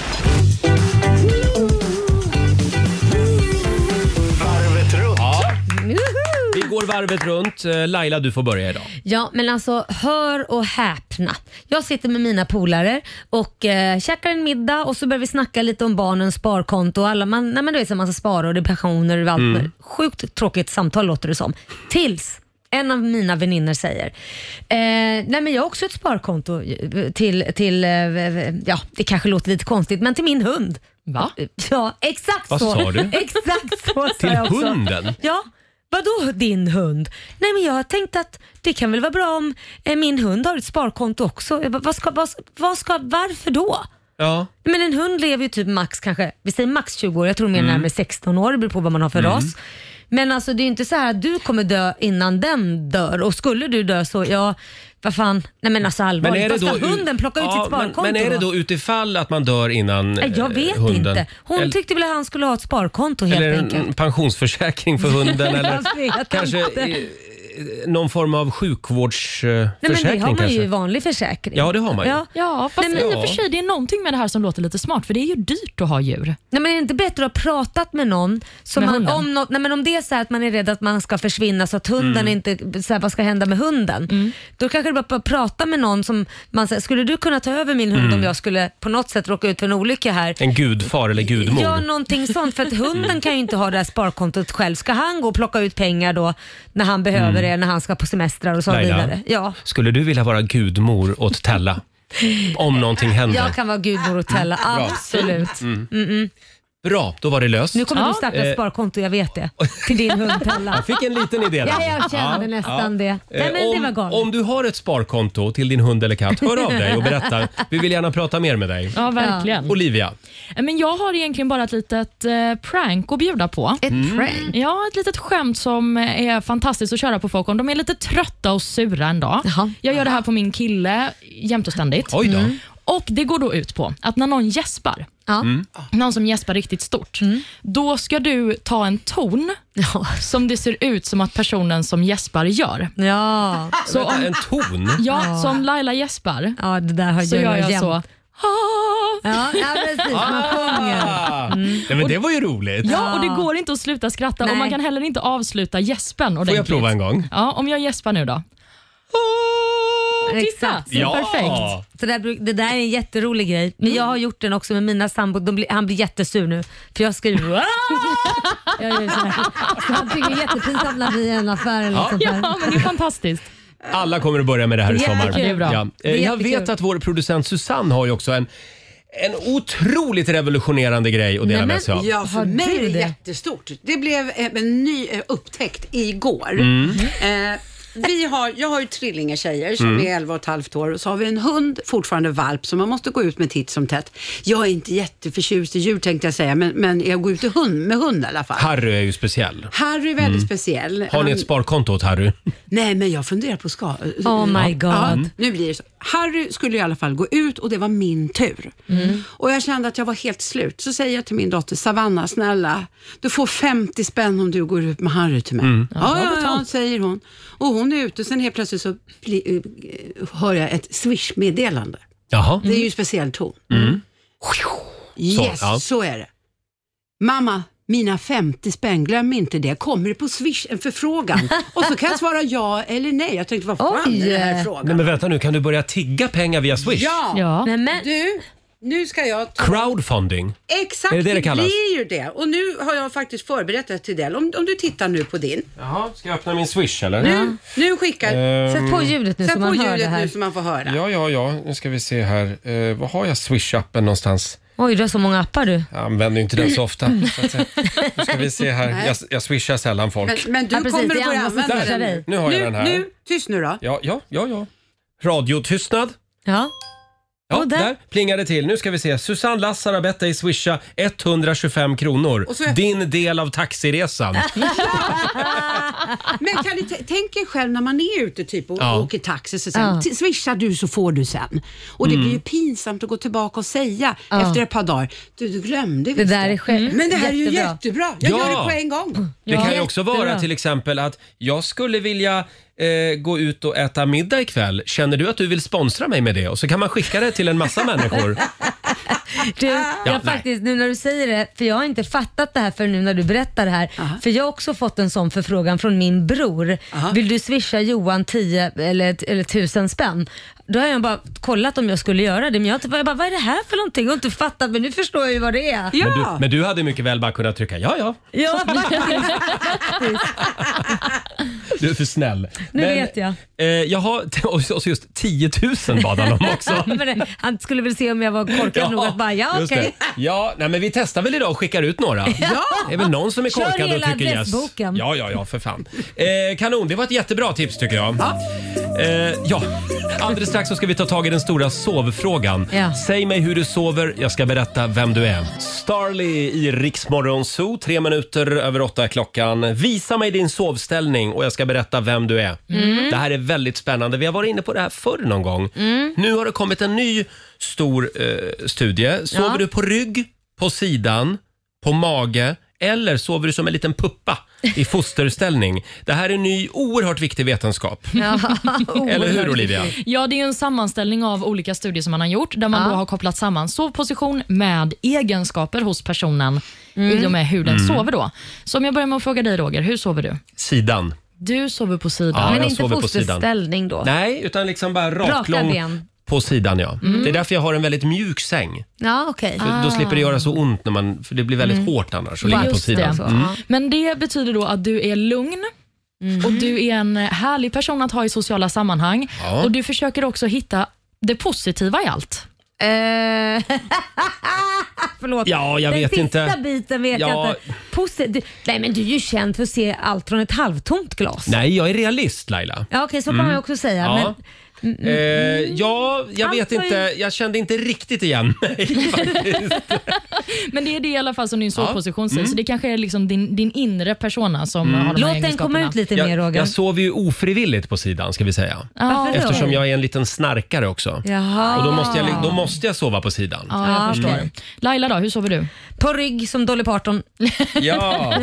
[SPEAKER 6] Varvet runt.
[SPEAKER 1] Ja,
[SPEAKER 2] Juhu!
[SPEAKER 1] vi går varvet runt. Eh, Laila, du får börja idag.
[SPEAKER 2] Ja, men alltså hör och häpna. Jag sitter med mina polare och eh, käkar en middag och så börjar vi snacka lite om barnens sparkonto. och Alla, man, nej, men du vet, så man ska spara och det är pensioner och allt.
[SPEAKER 11] Mm.
[SPEAKER 2] möjligt. Sjukt tråkigt samtal låter det som. Tills en av mina vänner säger, eh, nej men jag har också ett sparkonto eh, till, till eh, ja det kanske låter lite konstigt, men till min hund.
[SPEAKER 3] Va?
[SPEAKER 2] Ja, exakt
[SPEAKER 11] Vad
[SPEAKER 2] så.
[SPEAKER 11] sa du?
[SPEAKER 2] Exakt så sa
[SPEAKER 11] Till
[SPEAKER 2] jag också.
[SPEAKER 11] hunden?
[SPEAKER 2] Ja. Vadå din hund? Nej men jag har tänkt att det kan väl vara bra om eh, min hund har ett sparkonto också. Jag bara, vad ska, vad, vad ska, varför då?
[SPEAKER 1] Ja.
[SPEAKER 2] Men en hund lever ju typ max kanske, vi säger max 20 år, jag tror mer
[SPEAKER 11] Mm.
[SPEAKER 2] närmare 16 år, det beror på vad man har för
[SPEAKER 11] Mm.
[SPEAKER 2] ras. Men alltså det är ju inte så här att du kommer dö innan den dör och skulle du dö så, ja vad fan, nej men alltså
[SPEAKER 1] Men
[SPEAKER 2] allvarligt,
[SPEAKER 1] är det
[SPEAKER 2] vad ska
[SPEAKER 1] då ut-
[SPEAKER 2] hunden plocka ut
[SPEAKER 1] Ja,
[SPEAKER 2] sitt sparkonto
[SPEAKER 1] men, men är det då utifall att man dör innan eh,
[SPEAKER 2] Nej, Jag vet
[SPEAKER 1] hunden?
[SPEAKER 2] inte. Hon
[SPEAKER 1] Eller-
[SPEAKER 2] tyckte väl att han skulle ha ett sparkonto helt
[SPEAKER 1] Eller
[SPEAKER 2] enkelt. alltså,
[SPEAKER 1] en pensionsförsäkring för hunden eller
[SPEAKER 2] Jag vet
[SPEAKER 1] kanske
[SPEAKER 2] inte.
[SPEAKER 1] eh, någon form av sjukvårdsförsäkring
[SPEAKER 2] Nej, men det har man
[SPEAKER 1] kanske.
[SPEAKER 2] ju i vanlig försäkring.
[SPEAKER 1] Ja, det har man ju.
[SPEAKER 2] Ja,
[SPEAKER 3] ja fast
[SPEAKER 2] Nej,
[SPEAKER 3] i
[SPEAKER 2] men,
[SPEAKER 3] och för sig, det är någonting med det här som låter lite smart, för det är ju dyrt att ha djur.
[SPEAKER 2] Nej, men är det inte bättre att ha pratat med någon? Som
[SPEAKER 3] Med
[SPEAKER 2] man,
[SPEAKER 3] hunden?
[SPEAKER 2] om, något, nej, men om det är så här att man är rädd att man ska försvinna så att hunden
[SPEAKER 3] Mm.
[SPEAKER 2] inte, så här, vad ska hända med hunden?
[SPEAKER 1] Mm.
[SPEAKER 2] Då kanske det är bara att prata med någon som man säger, skulle du kunna ta över min hund
[SPEAKER 1] Mm.
[SPEAKER 2] om jag skulle på något sätt råka ut för en olycka här?
[SPEAKER 1] En gudfar eller gudmor.
[SPEAKER 2] Ja, någonting sånt. För att hunden kan ju inte ha det här sparkontot själv. Ska han gå och plocka ut pengar då när han behöver
[SPEAKER 1] Mm.
[SPEAKER 2] det, när han ska på semestrar och så
[SPEAKER 1] Laila. Mm.
[SPEAKER 2] vidare? Ja.
[SPEAKER 1] Skulle du vilja vara gudmor åt Tella? Om någonting händer.
[SPEAKER 2] Jag kan vara gudmor och tälla,
[SPEAKER 1] Bra.
[SPEAKER 2] absolut.
[SPEAKER 1] Mm.
[SPEAKER 2] Mm-mm.
[SPEAKER 1] Bra, då var det löst.
[SPEAKER 2] Nu kommer du starta
[SPEAKER 1] Eh,
[SPEAKER 2] ett sparkonto, jag vet det. Till din hund Tella.
[SPEAKER 1] Jag fick en liten idé där.
[SPEAKER 2] Ja, jag kände nästan det. Nej, men
[SPEAKER 1] Eh, om,
[SPEAKER 2] det var galet.
[SPEAKER 1] om du har ett sparkonto till din hund eller katt, hör av dig och berätta. Vi vill gärna prata mer med dig.
[SPEAKER 3] Ja, verkligen.
[SPEAKER 1] Olivia,
[SPEAKER 3] Men jag har egentligen bara ett litet eh, prank att bjuda på.
[SPEAKER 2] Ett
[SPEAKER 1] Mm. prank?
[SPEAKER 3] Ja, ett litet skämt som är fantastiskt att köra på folk om de är lite trötta och sura en dag. Jag gör det här på min kille jämt och ständigt.
[SPEAKER 11] Oj då. Mm.
[SPEAKER 3] Och Det går då ut på att när någon gäspar,
[SPEAKER 11] Mm.
[SPEAKER 3] någon som gäspar riktigt stort,
[SPEAKER 2] Mm.
[SPEAKER 3] då ska du ta en ton som det ser ut som att personen som gäspar gör.
[SPEAKER 2] Ja.
[SPEAKER 1] Vänta, en ton?
[SPEAKER 3] Ja,
[SPEAKER 2] Ja.
[SPEAKER 3] som Laila gäspar.
[SPEAKER 2] Ja, det där har
[SPEAKER 3] så
[SPEAKER 2] jag
[SPEAKER 3] gör jag
[SPEAKER 2] jämt.
[SPEAKER 3] så.
[SPEAKER 2] Ja, ja, Mm. precis. Man sjunger.
[SPEAKER 1] Ah, nej, men det var ju roligt.
[SPEAKER 3] Ja, och det går inte att sluta skratta och man kan heller inte avsluta gäspen
[SPEAKER 1] Får jag
[SPEAKER 3] ordentligt.
[SPEAKER 1] prova en gång?
[SPEAKER 3] Ja, om jag gäspar nu då.
[SPEAKER 2] Exakt,
[SPEAKER 1] Ja.
[SPEAKER 2] perfekt. Så där, bruk- det där är en jätterolig grej. Men jag har gjort den också med mina sambo. De blir, han blir jättesur nu för jag skriver "Aah!" Jag gör så här. Så han tycker det är jättepinsamt när vi är i en affär eller något sånt där.
[SPEAKER 3] Ja, men det är fantastiskt.
[SPEAKER 1] Alla kommer att börja med det här i
[SPEAKER 2] Jättekul.
[SPEAKER 1] sommar.
[SPEAKER 2] Ja, det är bra.
[SPEAKER 1] Eh,
[SPEAKER 2] Det är
[SPEAKER 1] Jag vet
[SPEAKER 2] jättekul.
[SPEAKER 1] att vår producent Susanne har ju också en, en otroligt revolutionerande grej att dela med sig av.
[SPEAKER 12] ja, för
[SPEAKER 2] Har
[SPEAKER 12] mig
[SPEAKER 2] du
[SPEAKER 12] är
[SPEAKER 2] det?
[SPEAKER 12] det jättestort. Det blev eh, en ny eh, upptäckt igår.
[SPEAKER 11] Mm.
[SPEAKER 12] Eh, vi har, jag har ju trillingetjejer som
[SPEAKER 11] Mm.
[SPEAKER 12] är 11 och ett halvt år och så har vi en hund, fortfarande valp, som man måste gå ut med titt som tätt. Jag är inte jätteförtjust i djur tänkte jag säga, men, men jag går ut i hund, med hund i alla fall.
[SPEAKER 1] Harry är ju speciell.
[SPEAKER 12] Harry är väldigt
[SPEAKER 1] Mm.
[SPEAKER 12] speciell.
[SPEAKER 1] Har ni
[SPEAKER 12] Han-
[SPEAKER 1] ett sparkonto åt Harry?
[SPEAKER 12] Nej, men jag funderar på ska... eh,
[SPEAKER 1] Oh my God.
[SPEAKER 12] nu blir det så. Harry skulle i alla fall gå ut och det var min tur.
[SPEAKER 1] Mm.
[SPEAKER 12] Och jag kände att jag var helt slut. Så säger jag till min dotter, Savanna, snälla, du får 50 spänn om du går ut med Harry till mig. Ja, ja, ja, säger hon. Och hon är ute, sen helt plötsligt så bli- eh, hör jag ett swish-meddelande.
[SPEAKER 1] Jaha.
[SPEAKER 12] Det är ju speciell ton.
[SPEAKER 1] Mm.
[SPEAKER 12] Yes,
[SPEAKER 1] ja.
[SPEAKER 12] så, är det. Mamma, mina 50 spänn, glöm inte det. Kommer det på Swish en förfrågan? Och så kan jag svara ja eller nej. Jag tänkte, vad fan är den här frågan?
[SPEAKER 1] Nej men vänta nu, kan du börja tigga pengar via Swish?
[SPEAKER 12] Ja! Du, nu ska jag ta...
[SPEAKER 1] Crowdfunding.
[SPEAKER 12] Exakt,
[SPEAKER 1] Ah, Är det det det kallas?
[SPEAKER 12] blir ju det. Och nu har jag faktiskt förberett det till dig. Om, om du tittar nu på din.
[SPEAKER 1] Jaha, ska jag öppna min Swish eller?
[SPEAKER 12] Nu, nu skickar...
[SPEAKER 1] Ah. Ehm. Sätt på ljudet nu
[SPEAKER 12] Sätt
[SPEAKER 1] så
[SPEAKER 12] på
[SPEAKER 1] man hör
[SPEAKER 12] ljudet
[SPEAKER 1] det här.
[SPEAKER 12] nu så man får höra.
[SPEAKER 1] Ja, ja, ja. Nu ska vi se här. Eh, var har jag Swish-appen någonstans?
[SPEAKER 2] Oj, du har så många appar du.
[SPEAKER 1] Jag använder ju inte den så ofta. Så att, eh, nu ska vi se här. Jag, jag swishar sällan
[SPEAKER 12] Men,
[SPEAKER 1] folk.
[SPEAKER 12] men du
[SPEAKER 2] Ja, precis,
[SPEAKER 12] kommer att
[SPEAKER 2] det är
[SPEAKER 12] börja
[SPEAKER 2] andra som
[SPEAKER 12] använda
[SPEAKER 2] swishar
[SPEAKER 12] den.
[SPEAKER 2] dig.
[SPEAKER 1] Nu har jag
[SPEAKER 12] nu,
[SPEAKER 1] den här.
[SPEAKER 12] Nu, tyst nu då.
[SPEAKER 1] Ja, ja, ja, ja. Radiotystnad.
[SPEAKER 2] Ja.
[SPEAKER 1] Ja,
[SPEAKER 2] Och
[SPEAKER 1] där.
[SPEAKER 2] där.
[SPEAKER 1] plingade det till. Nu ska vi se. Susanne Lassar har bett dig swisha 125 kronor.
[SPEAKER 12] Och så är-
[SPEAKER 1] Din del av taxiresan.
[SPEAKER 12] Men kan ni t- tänk er själv när man är ute typ och
[SPEAKER 1] Ja.
[SPEAKER 12] åker taxi, så sen,
[SPEAKER 2] Ja. Mm.
[SPEAKER 12] t- swishar du så får du sen. Och det blir ju pinsamt att gå tillbaka och säga
[SPEAKER 2] Ja.
[SPEAKER 12] efter ett par dagar, du, du glömde
[SPEAKER 2] Det
[SPEAKER 12] visst
[SPEAKER 2] där är själv-
[SPEAKER 12] Men det här är ju
[SPEAKER 2] jättebra.
[SPEAKER 12] jättebra, jag
[SPEAKER 1] Ja.
[SPEAKER 12] gör det på en gång.
[SPEAKER 1] Det kan ju
[SPEAKER 2] Ja,
[SPEAKER 1] också
[SPEAKER 2] jättebra.
[SPEAKER 1] vara till exempel att jag skulle vilja eh, gå ut och äta middag ikväll. Känner du att du vill sponsra mig med det? Och så kan man skicka det till en massa människor.
[SPEAKER 2] Du, jag har
[SPEAKER 1] Ah. nej.
[SPEAKER 2] faktiskt, nu när du säger det, för jag har inte fattat det här för nu när du berättar det här. För jag har också fått en sån förfrågan från min bror. Vill du swisha Johan 10 eller, eller 1000 spänn? Då har jag bara kollat om jag skulle göra det, men jag, har inte- jag bara, vad är det här för någonting? Jag har inte fattat, men nu förstår jag ju vad det är.
[SPEAKER 1] Men, du,
[SPEAKER 12] Ja.
[SPEAKER 1] men du hade mycket väl bara kunnat trycka ja, ja.
[SPEAKER 2] Ja, faktiskt.
[SPEAKER 1] Du är för snäll.
[SPEAKER 2] Nu
[SPEAKER 1] men,
[SPEAKER 2] vet jag.
[SPEAKER 1] Eh, jaha, och så och så just 10 000 bad han om också.
[SPEAKER 2] Men det- Han skulle väl se om jag var korkad nog att bara, ja
[SPEAKER 1] just
[SPEAKER 2] okej.
[SPEAKER 1] det. Ja, nej, men vi testar väl idag och skickar ut några.
[SPEAKER 12] Ja.
[SPEAKER 1] Det är väl någon som är
[SPEAKER 2] Kör
[SPEAKER 1] korkad och
[SPEAKER 2] hela
[SPEAKER 1] tycker yes.
[SPEAKER 2] adressboken.
[SPEAKER 1] Ja, ja, ja, för fan. Eh, kanon, det var ett jättebra tips tycker jag. Ja. Eh, ja. Alldeles strax så ska vi ta tag i den stora sovfrågan.
[SPEAKER 2] Ja.
[SPEAKER 1] Säg mig hur du sover, jag ska berätta vem du är. Starly i Riksmorgon Zoo, tre minuter över åtta är klockan. Visa mig din sovställning och jag ska berätta vem du är.
[SPEAKER 2] Mm.
[SPEAKER 1] Det här är väldigt spännande. Vi har varit inne på det här förr någon gång.
[SPEAKER 2] Mm.
[SPEAKER 1] Nu har det kommit en ny stor eh, studie. Sover
[SPEAKER 2] Ja.
[SPEAKER 1] du på rygg, på sidan, på mage eller sover du som en liten puppa i fosterställning? Det här är ny oerhört viktig vetenskap. Eller hur Olivia?
[SPEAKER 3] Ja, det är en sammanställning av olika studier som man har gjort där man
[SPEAKER 2] Ja.
[SPEAKER 3] då har kopplat samman sovposition med egenskaper hos personen i och med hur den sover. då. Så om jag börjar med att fråga dig Roger, hur sover du?
[SPEAKER 1] Sidan.
[SPEAKER 3] Du sover på
[SPEAKER 1] Ja,
[SPEAKER 3] sidan.
[SPEAKER 2] Men
[SPEAKER 1] jag
[SPEAKER 2] inte
[SPEAKER 1] sover på sidan.
[SPEAKER 2] fosterställning då?
[SPEAKER 1] Nej, utan liksom bara raklång
[SPEAKER 2] Alltså. ben. Mm.
[SPEAKER 1] på sidan ja. Det är därför jag har en väldigt mjuk säng.
[SPEAKER 2] Ja, okej.
[SPEAKER 1] För Då slipper det göra så ont, när man, för det blir väldigt hårt annars att ligga på
[SPEAKER 3] Just
[SPEAKER 1] sidan.
[SPEAKER 3] det.
[SPEAKER 2] Mm.
[SPEAKER 3] Men det betyder då att du är lugn och du är en härlig person att ha i sociala sammanhang.
[SPEAKER 1] Ja.
[SPEAKER 3] Och Du försöker också hitta det positiva i allt.
[SPEAKER 2] Eh, Förlåt.
[SPEAKER 1] Ja, jag
[SPEAKER 2] Den
[SPEAKER 1] vet
[SPEAKER 2] sista
[SPEAKER 1] inte.
[SPEAKER 2] biten vet
[SPEAKER 1] Ja.
[SPEAKER 2] jag inte. Posi- du, nej, men du är ju känd för att se allt från ett halvtomt glas.
[SPEAKER 1] Nej, jag är realist Laila.
[SPEAKER 2] Ja, okej, så kan man ju också säga.
[SPEAKER 1] Ja.
[SPEAKER 2] Men, Mm,
[SPEAKER 1] Eh, ja, jag vet
[SPEAKER 2] Alltså,
[SPEAKER 1] inte. Jag kände inte riktigt igen mig.
[SPEAKER 3] Men det är det i alla fall som din sovposition säger, så det kanske är liksom din, din inre persona som har de här
[SPEAKER 2] låt den komma
[SPEAKER 3] egenskaperna.
[SPEAKER 2] ut lite mer
[SPEAKER 1] jag,
[SPEAKER 2] Roger.
[SPEAKER 1] jag sover ju ofrivilligt på sidan ska vi säga.
[SPEAKER 3] Ja,
[SPEAKER 2] Varför då?
[SPEAKER 1] Eftersom jag är en liten snarkare också.
[SPEAKER 2] Jaha.
[SPEAKER 1] Och då måste, jag, li- då måste jag sova på sidan.
[SPEAKER 3] ja, jag
[SPEAKER 2] Ja,
[SPEAKER 3] förstår.
[SPEAKER 2] okej.
[SPEAKER 3] Laila då, hur sover du?
[SPEAKER 2] På rygg som Dolly Parton.
[SPEAKER 1] Ja,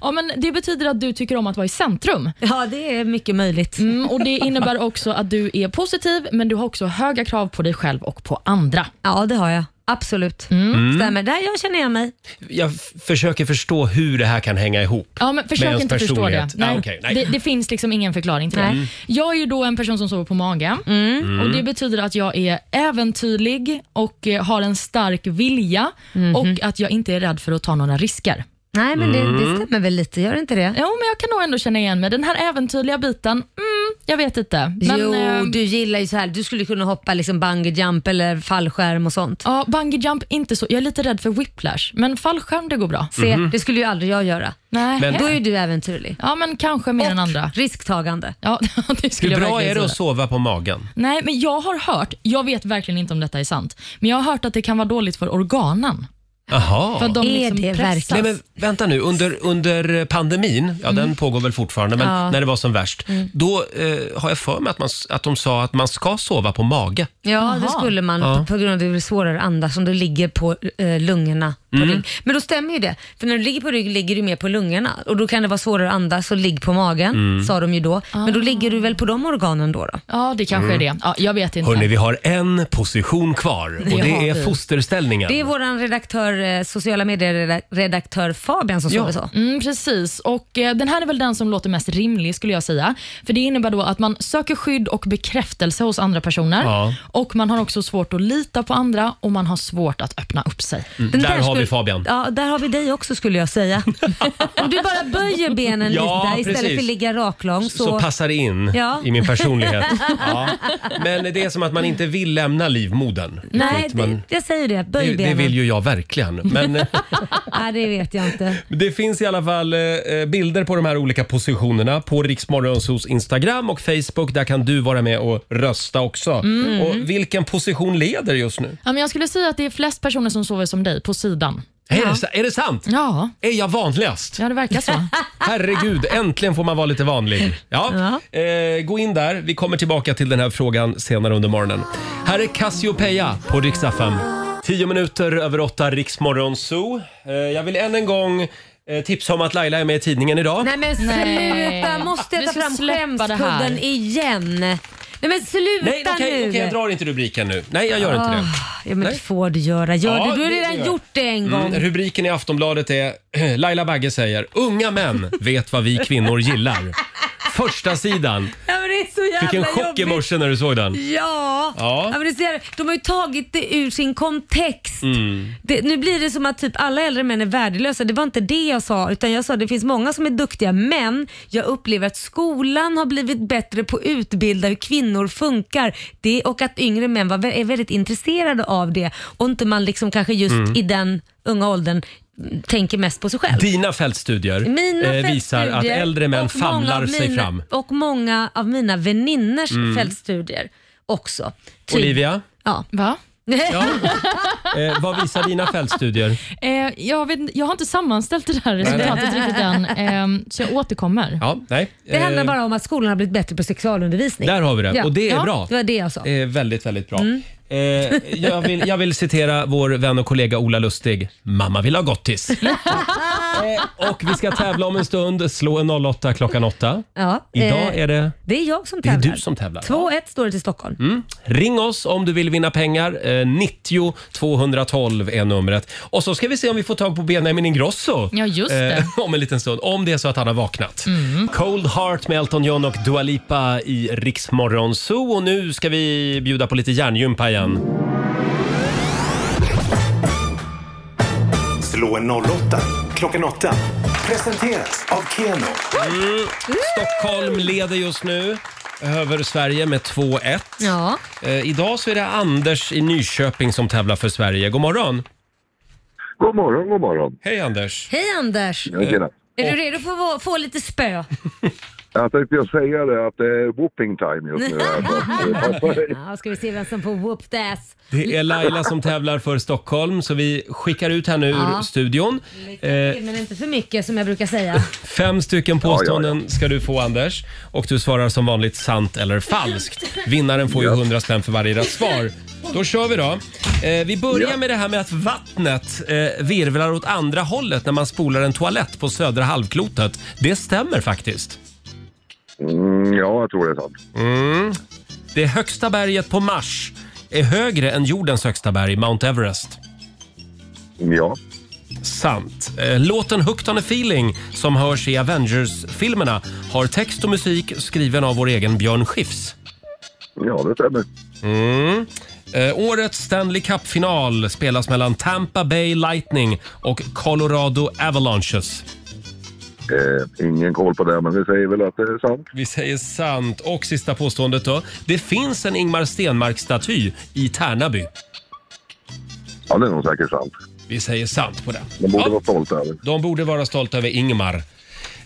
[SPEAKER 3] Ja, men det betyder att du tycker om att vara i centrum.
[SPEAKER 2] Ja, det är mycket möjligt.
[SPEAKER 3] Mm, och Det innebär också att du är positiv, men du har också höga krav på dig själv och på andra.
[SPEAKER 2] Ja, det har jag. Absolut.
[SPEAKER 1] Mm.
[SPEAKER 2] Stämmer. Där jag känner igen mig.
[SPEAKER 1] jag f- försöker förstå hur det här kan hänga ihop.
[SPEAKER 3] Ja, men
[SPEAKER 1] Med
[SPEAKER 3] försök
[SPEAKER 1] ens
[SPEAKER 3] inte förstå det.
[SPEAKER 1] personlighet. Ah, okej, nej.
[SPEAKER 3] det. Det finns liksom ingen förklaring till det.
[SPEAKER 2] Nej.
[SPEAKER 3] Jag är ju då en person som sover på mage.
[SPEAKER 1] Mm.
[SPEAKER 3] Och Det betyder att jag är äventyrlig och eh, har en stark vilja
[SPEAKER 2] Mhm.
[SPEAKER 3] och att jag inte är rädd för att ta några risker.
[SPEAKER 2] Nej, men det,
[SPEAKER 1] Mm.
[SPEAKER 2] det stämmer väl lite. Gör det inte det?
[SPEAKER 3] Jo, men jag kan nog ändå känna igen mig. Den här äventyrliga biten, mm, jag vet inte. Men,
[SPEAKER 2] jo,
[SPEAKER 3] eh,
[SPEAKER 2] du gillar ju så här. Du skulle kunna hoppa liksom bungee jump eller fallskärm och sånt.
[SPEAKER 3] Ja, bungee jump inte så. Jag är lite rädd för whiplash, men fallskärm det går bra.
[SPEAKER 2] Se,
[SPEAKER 1] Mm-hmm.
[SPEAKER 2] det skulle ju aldrig jag göra.
[SPEAKER 3] Nej.
[SPEAKER 1] Men-
[SPEAKER 2] Då är ju du äventyrlig.
[SPEAKER 3] Ja, men kanske mer än andra.
[SPEAKER 2] Risktagande.
[SPEAKER 3] Ja, det skulle
[SPEAKER 1] Hur
[SPEAKER 3] jag
[SPEAKER 1] bra
[SPEAKER 3] verkligen
[SPEAKER 1] är det
[SPEAKER 3] säga.
[SPEAKER 1] att sova på magen?
[SPEAKER 3] Nej, men jag har hört, jag vet verkligen inte om detta är sant, men jag har hört att det kan vara dåligt för organen.
[SPEAKER 1] Jaha.
[SPEAKER 3] För att de
[SPEAKER 2] Är
[SPEAKER 3] liksom
[SPEAKER 2] det
[SPEAKER 3] pressas.
[SPEAKER 1] Nej,
[SPEAKER 2] verkligen?
[SPEAKER 1] men vänta nu, under, under pandemin, ja den pågår väl fortfarande, men
[SPEAKER 2] Ja.
[SPEAKER 1] när det var som värst, då eh, har jag för mig att, man, s- att de sa att man ska sova på mage.
[SPEAKER 2] Ja, det skulle man
[SPEAKER 1] Ja.
[SPEAKER 2] på grund av att det blir svårare att andas om du ligger på eh, lungorna. På
[SPEAKER 1] Mm.
[SPEAKER 2] rygg. Men då stämmer ju det. För när du ligger på rygg ligger du mer på lungorna och då kan det vara svårare att andas så ligg på magen,
[SPEAKER 1] Mm.
[SPEAKER 2] sa de ju då. Men då ligger du väl på de organen då? då?
[SPEAKER 3] Ja, det kanske är det. Ja, jag vet inte.
[SPEAKER 1] Hörni, Mm. vi har en position kvar och
[SPEAKER 3] Det har
[SPEAKER 1] det är
[SPEAKER 3] vi.
[SPEAKER 1] fosterställningen.
[SPEAKER 2] Det är vår redaktör, eh, sociala medier-redaktör Fabian som
[SPEAKER 1] Ja.
[SPEAKER 2] sover så.
[SPEAKER 3] Mm, precis, och eh, den här är väl den som låter mest rimlig skulle jag säga. För det innebär då att man söker skydd och bekräftelse hos andra personer.
[SPEAKER 1] Ja.
[SPEAKER 3] Och man har också svårt att lita på andra och man har svårt att öppna upp sig.
[SPEAKER 2] Den
[SPEAKER 1] Mm. Där har vi vi Fabian.
[SPEAKER 2] Ja, där har vi dig också skulle jag säga. Om du bara böjer benen
[SPEAKER 1] Ja,
[SPEAKER 2] lite där istället
[SPEAKER 1] precis.
[SPEAKER 2] för att ligga raklång
[SPEAKER 1] Så,
[SPEAKER 2] så...
[SPEAKER 1] passar det in
[SPEAKER 2] Ja.
[SPEAKER 1] i min personlighet. Ja. Men det är som att man inte vill lämna livmodern.
[SPEAKER 2] Nej,
[SPEAKER 1] Att
[SPEAKER 2] det,
[SPEAKER 1] man,
[SPEAKER 2] jag säger det. Böj
[SPEAKER 1] det, det
[SPEAKER 2] benen.
[SPEAKER 1] vill ju jag verkligen. Men
[SPEAKER 2] Nej, det vet jag inte.
[SPEAKER 1] det finns i alla fall eh, bilder på de här olika positionerna på Riksmorgonsos Instagram och Facebook. Där kan du vara med och rösta också.
[SPEAKER 3] Mm.
[SPEAKER 1] Och vilken position leder just nu?
[SPEAKER 3] Ja, men jag skulle säga att det är flest personer som sover som dig, på sidan.
[SPEAKER 1] Är, det, sa- är det sant?
[SPEAKER 3] Ja.
[SPEAKER 1] Är jag vanligast?
[SPEAKER 3] Ja, det verkar så.
[SPEAKER 1] Herregud, äntligen får man vara lite vanlig. Ja. Eh, gå in där. Vi kommer tillbaka till den här frågan senare under morgonen. Här är Cassiopeia på Rix FM. Tio minuter över åtta, Riksmorgon Zoo. Eh, jag vill än en gång eh, tipsa om att Laila är med i tidningen idag.
[SPEAKER 2] Nej men sluta,
[SPEAKER 3] Nej.
[SPEAKER 2] måste jag
[SPEAKER 3] Vi
[SPEAKER 2] ta
[SPEAKER 3] ska
[SPEAKER 2] fram
[SPEAKER 3] släppa det här.
[SPEAKER 2] skämskudden igen? Nej men sluta
[SPEAKER 1] Nej, okej,
[SPEAKER 2] nu!
[SPEAKER 1] okej, jag drar inte rubriken nu. Nej, jag gör inte det.
[SPEAKER 2] Ah, Ja men det får du göra. Gör
[SPEAKER 1] Ja,
[SPEAKER 2] det. Du har
[SPEAKER 1] det
[SPEAKER 2] redan
[SPEAKER 1] gör jag.
[SPEAKER 2] gjort det en gång.
[SPEAKER 1] Mm, rubriken i Aftonbladet är Laila Bagge säger “Unga män vet vad vi kvinnor gillar”. Första sidan.
[SPEAKER 2] Ja men det är så jävla
[SPEAKER 1] Fick en chock
[SPEAKER 2] jobbigt.
[SPEAKER 1] i morse när du såg den.
[SPEAKER 2] Ja,
[SPEAKER 1] Ja.
[SPEAKER 2] ja. men det ser, de har ju tagit det ur sin kontext.
[SPEAKER 1] Mm.
[SPEAKER 2] Det, nu blir det som att typ alla äldre män är värdelösa. Det var inte det jag sa, utan jag sa att det finns många som är duktiga, men jag upplever att skolan har blivit bättre på att utbilda hur kvinnor funkar det, och att yngre män var, är väldigt intresserade av det och inte man liksom kanske just
[SPEAKER 1] Mm.
[SPEAKER 2] i den unga åldern mm, tänker mest på sig själv.
[SPEAKER 1] Dina fältstudier,
[SPEAKER 2] Mina
[SPEAKER 1] eh, visar att
[SPEAKER 2] fältstudier
[SPEAKER 1] äldre män
[SPEAKER 2] och många
[SPEAKER 1] famlar
[SPEAKER 2] av
[SPEAKER 1] sig
[SPEAKER 2] mina,
[SPEAKER 1] fram.
[SPEAKER 2] Och många av mina väninners
[SPEAKER 1] Mm.
[SPEAKER 2] fältstudier också. Typ-
[SPEAKER 1] Olivia,
[SPEAKER 2] Ja.
[SPEAKER 3] Va?
[SPEAKER 2] Ja.
[SPEAKER 1] eh, vad visar dina fältstudier?
[SPEAKER 3] Eh, jag, vet, jag har inte sammanställt det här resultatet riktigt än, eh, så jag återkommer.
[SPEAKER 1] Ja, nej.
[SPEAKER 2] Det handlar
[SPEAKER 1] Eh,
[SPEAKER 2] bara om att skolan har blivit bättre på sexualundervisning.
[SPEAKER 1] Där har vi det,
[SPEAKER 2] Ja.
[SPEAKER 1] och det är
[SPEAKER 2] ja.
[SPEAKER 1] bra.
[SPEAKER 2] Det var det jag sa.
[SPEAKER 1] Eh, väldigt, väldigt bra.
[SPEAKER 2] Mm.
[SPEAKER 1] Eh, jag, vill, jag vill citera vår vän och kollega Ola Lustig. Mamma vill ha gottis. Eh, och vi ska tävla om en stund. Slå en 08 klockan 8.
[SPEAKER 2] Ja,
[SPEAKER 1] Idag
[SPEAKER 2] eh,
[SPEAKER 1] är det...
[SPEAKER 2] Det är jag som
[SPEAKER 1] Det är
[SPEAKER 2] tävlar.
[SPEAKER 1] du som tävlar.
[SPEAKER 2] 2-1 står det till Stockholm.
[SPEAKER 1] Mm. Ring oss om du vill vinna pengar. Eh, 90 212 är numret. Och så ska vi se om vi får tag på Benjamin Ingrosso.
[SPEAKER 3] Ja, just det. Mm.
[SPEAKER 1] Eh, om en liten stund. Om det är så att han har vaknat. Cold Heart med Elton John och Dua Lipa i Rix Morgon Zoo. Och nu ska vi bjuda på lite hjärngympa igen.
[SPEAKER 6] Slå en 08 klockan 8. Presenteras av Keno.
[SPEAKER 1] Mm. Stockholm leder just nu över Sverige med 2-1.
[SPEAKER 2] Ja.
[SPEAKER 1] Eh, idag så är det Anders i Nyköping som tävlar för Sverige. God morgon!
[SPEAKER 13] God morgon, god morgon.
[SPEAKER 1] Hej Anders!
[SPEAKER 2] Hej Anders!
[SPEAKER 13] Ja, tjena.
[SPEAKER 2] Är du redo för att få- få lite spö?
[SPEAKER 13] Jag tänkte jag säga det att det är whooping time just nu. här, så att, eh, passa dig.
[SPEAKER 2] ja, ska vi se vem som får whooped ass.
[SPEAKER 1] Det är Laila som tävlar för Stockholm så vi skickar ut henne ur
[SPEAKER 2] Ja.
[SPEAKER 1] studion. Eh,
[SPEAKER 2] Men inte för mycket som jag brukar säga.
[SPEAKER 1] fem stycken påståenden ska du få Anders och du svarar som vanligt sant eller falskt. Vinnaren får ju 100 spänn för varje rätt svar. Då kör vi då. Eh, vi börjar med det här med att vattnet eh, virvlar åt andra hållet när man spolar en toalett på södra halvklotet. Det stämmer faktiskt.
[SPEAKER 13] Mm, ja, jag tror det är sant.
[SPEAKER 1] Mm. Det högsta berget på Mars är högre än jordens högsta berg, Mount Everest.
[SPEAKER 13] Mm, Ja.
[SPEAKER 1] Sant. Eh, Låten Hooked on a feeling som hörs i Avengers-filmerna har text och musik skriven av vår egen Björn Skifs.
[SPEAKER 13] Ja, det stämmer.
[SPEAKER 1] Mm. Eh, Årets Stanley Cup-final spelas mellan Tampa Bay Lightning och Colorado Avalanches.
[SPEAKER 13] Eh, ingen koll på det, men vi säger väl att det är sant.
[SPEAKER 1] Vi säger sant. Och sista påståendet då. Det finns en Ingmar Stenmark-staty i Tärnaby.
[SPEAKER 13] Ja, det är nog säkert sant.
[SPEAKER 1] Vi säger sant på det.
[SPEAKER 13] De borde
[SPEAKER 1] Ja.
[SPEAKER 13] vara stolta över.
[SPEAKER 1] De borde vara stolta över Ingmar.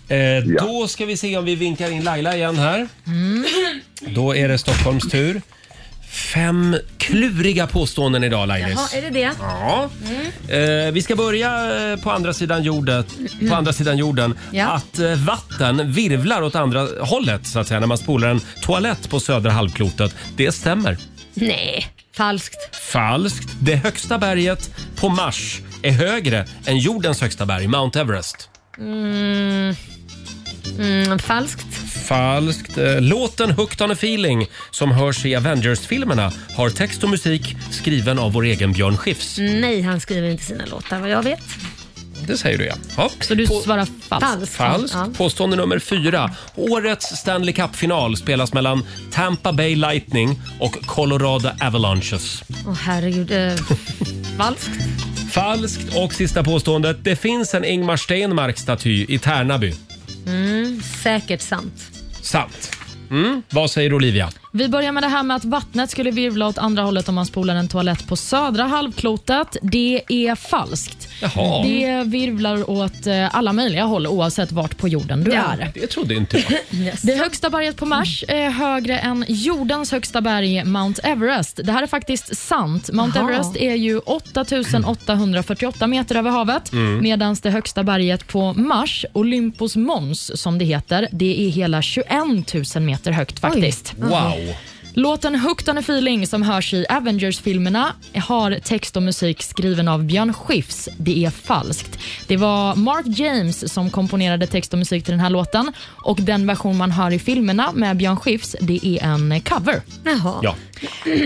[SPEAKER 1] Eh, Då ska vi se om vi vinkar in Laila igen här. Då är det Stockholms tur. Fem kluriga påståenden idag Lailis.
[SPEAKER 2] Jaha, är det det?
[SPEAKER 1] Ja.
[SPEAKER 2] Mm.
[SPEAKER 1] Eh, vi ska börja eh, på andra sidan jorden. På andra sidan jorden.
[SPEAKER 2] Ja.
[SPEAKER 1] Att eh, vatten virvlar åt andra hållet så att säga när man spolar en toalett på södra halvklotet. Det stämmer.
[SPEAKER 2] Nej, falskt.
[SPEAKER 1] Falskt. Det högsta berget på Mars är högre än jordens högsta berg, Mount Everest.
[SPEAKER 2] Mm. Mm, falskt.
[SPEAKER 1] Falskt. Eh, Låten Hooked on a feeling som hörs i Avengers-filmerna har text och musik skriven av vår egen Björn Skifs.
[SPEAKER 3] Mm.
[SPEAKER 2] Nej, han skriver inte sina låtar vad jag vet.
[SPEAKER 1] Det säger du ja. ja.
[SPEAKER 3] Så du svarar falskt?
[SPEAKER 1] Falskt. Påstående nummer fyra. Årets Stanley Cup-final spelas mellan Tampa Bay Lightning och Colorado Avalanches.
[SPEAKER 2] Åh herregud. Eh, falskt.
[SPEAKER 1] Falskt. Och sista påståendet. Det finns en Ingmar Stenmark-staty i Tärnaby.
[SPEAKER 2] Mm, säkert sant.
[SPEAKER 1] Sant. Mm. Vad säger Olivia?
[SPEAKER 3] Vi börjar med det här med att vattnet skulle virvla åt andra hållet om man spolar en toalett på södra halvklotet. Det är falskt.
[SPEAKER 1] Jaha.
[SPEAKER 3] Det virvlar åt eh, alla möjliga håll oavsett vart på jorden du är.
[SPEAKER 1] Det trodde inte jag.
[SPEAKER 3] Det högsta berget på Mars är högre än jordens högsta berg, Mount Everest. Det här är faktiskt sant. Mount
[SPEAKER 14] Jaha.
[SPEAKER 3] Everest är ju 8848 meter över havet,
[SPEAKER 14] Mm.
[SPEAKER 3] medan det högsta berget på Mars, Olympus Mons som det heter, det är hela 21 000 meter högt faktiskt.
[SPEAKER 1] Wow.
[SPEAKER 3] Låten Hooked on a feeling som hörs i Avengers-filmerna har text och musik skriven av Björn Skifs. Det är falskt. Det var Mark James som komponerade text och musik till den här låten och den version man hör i filmerna med Björn Skifs, det är en cover.
[SPEAKER 1] Ja.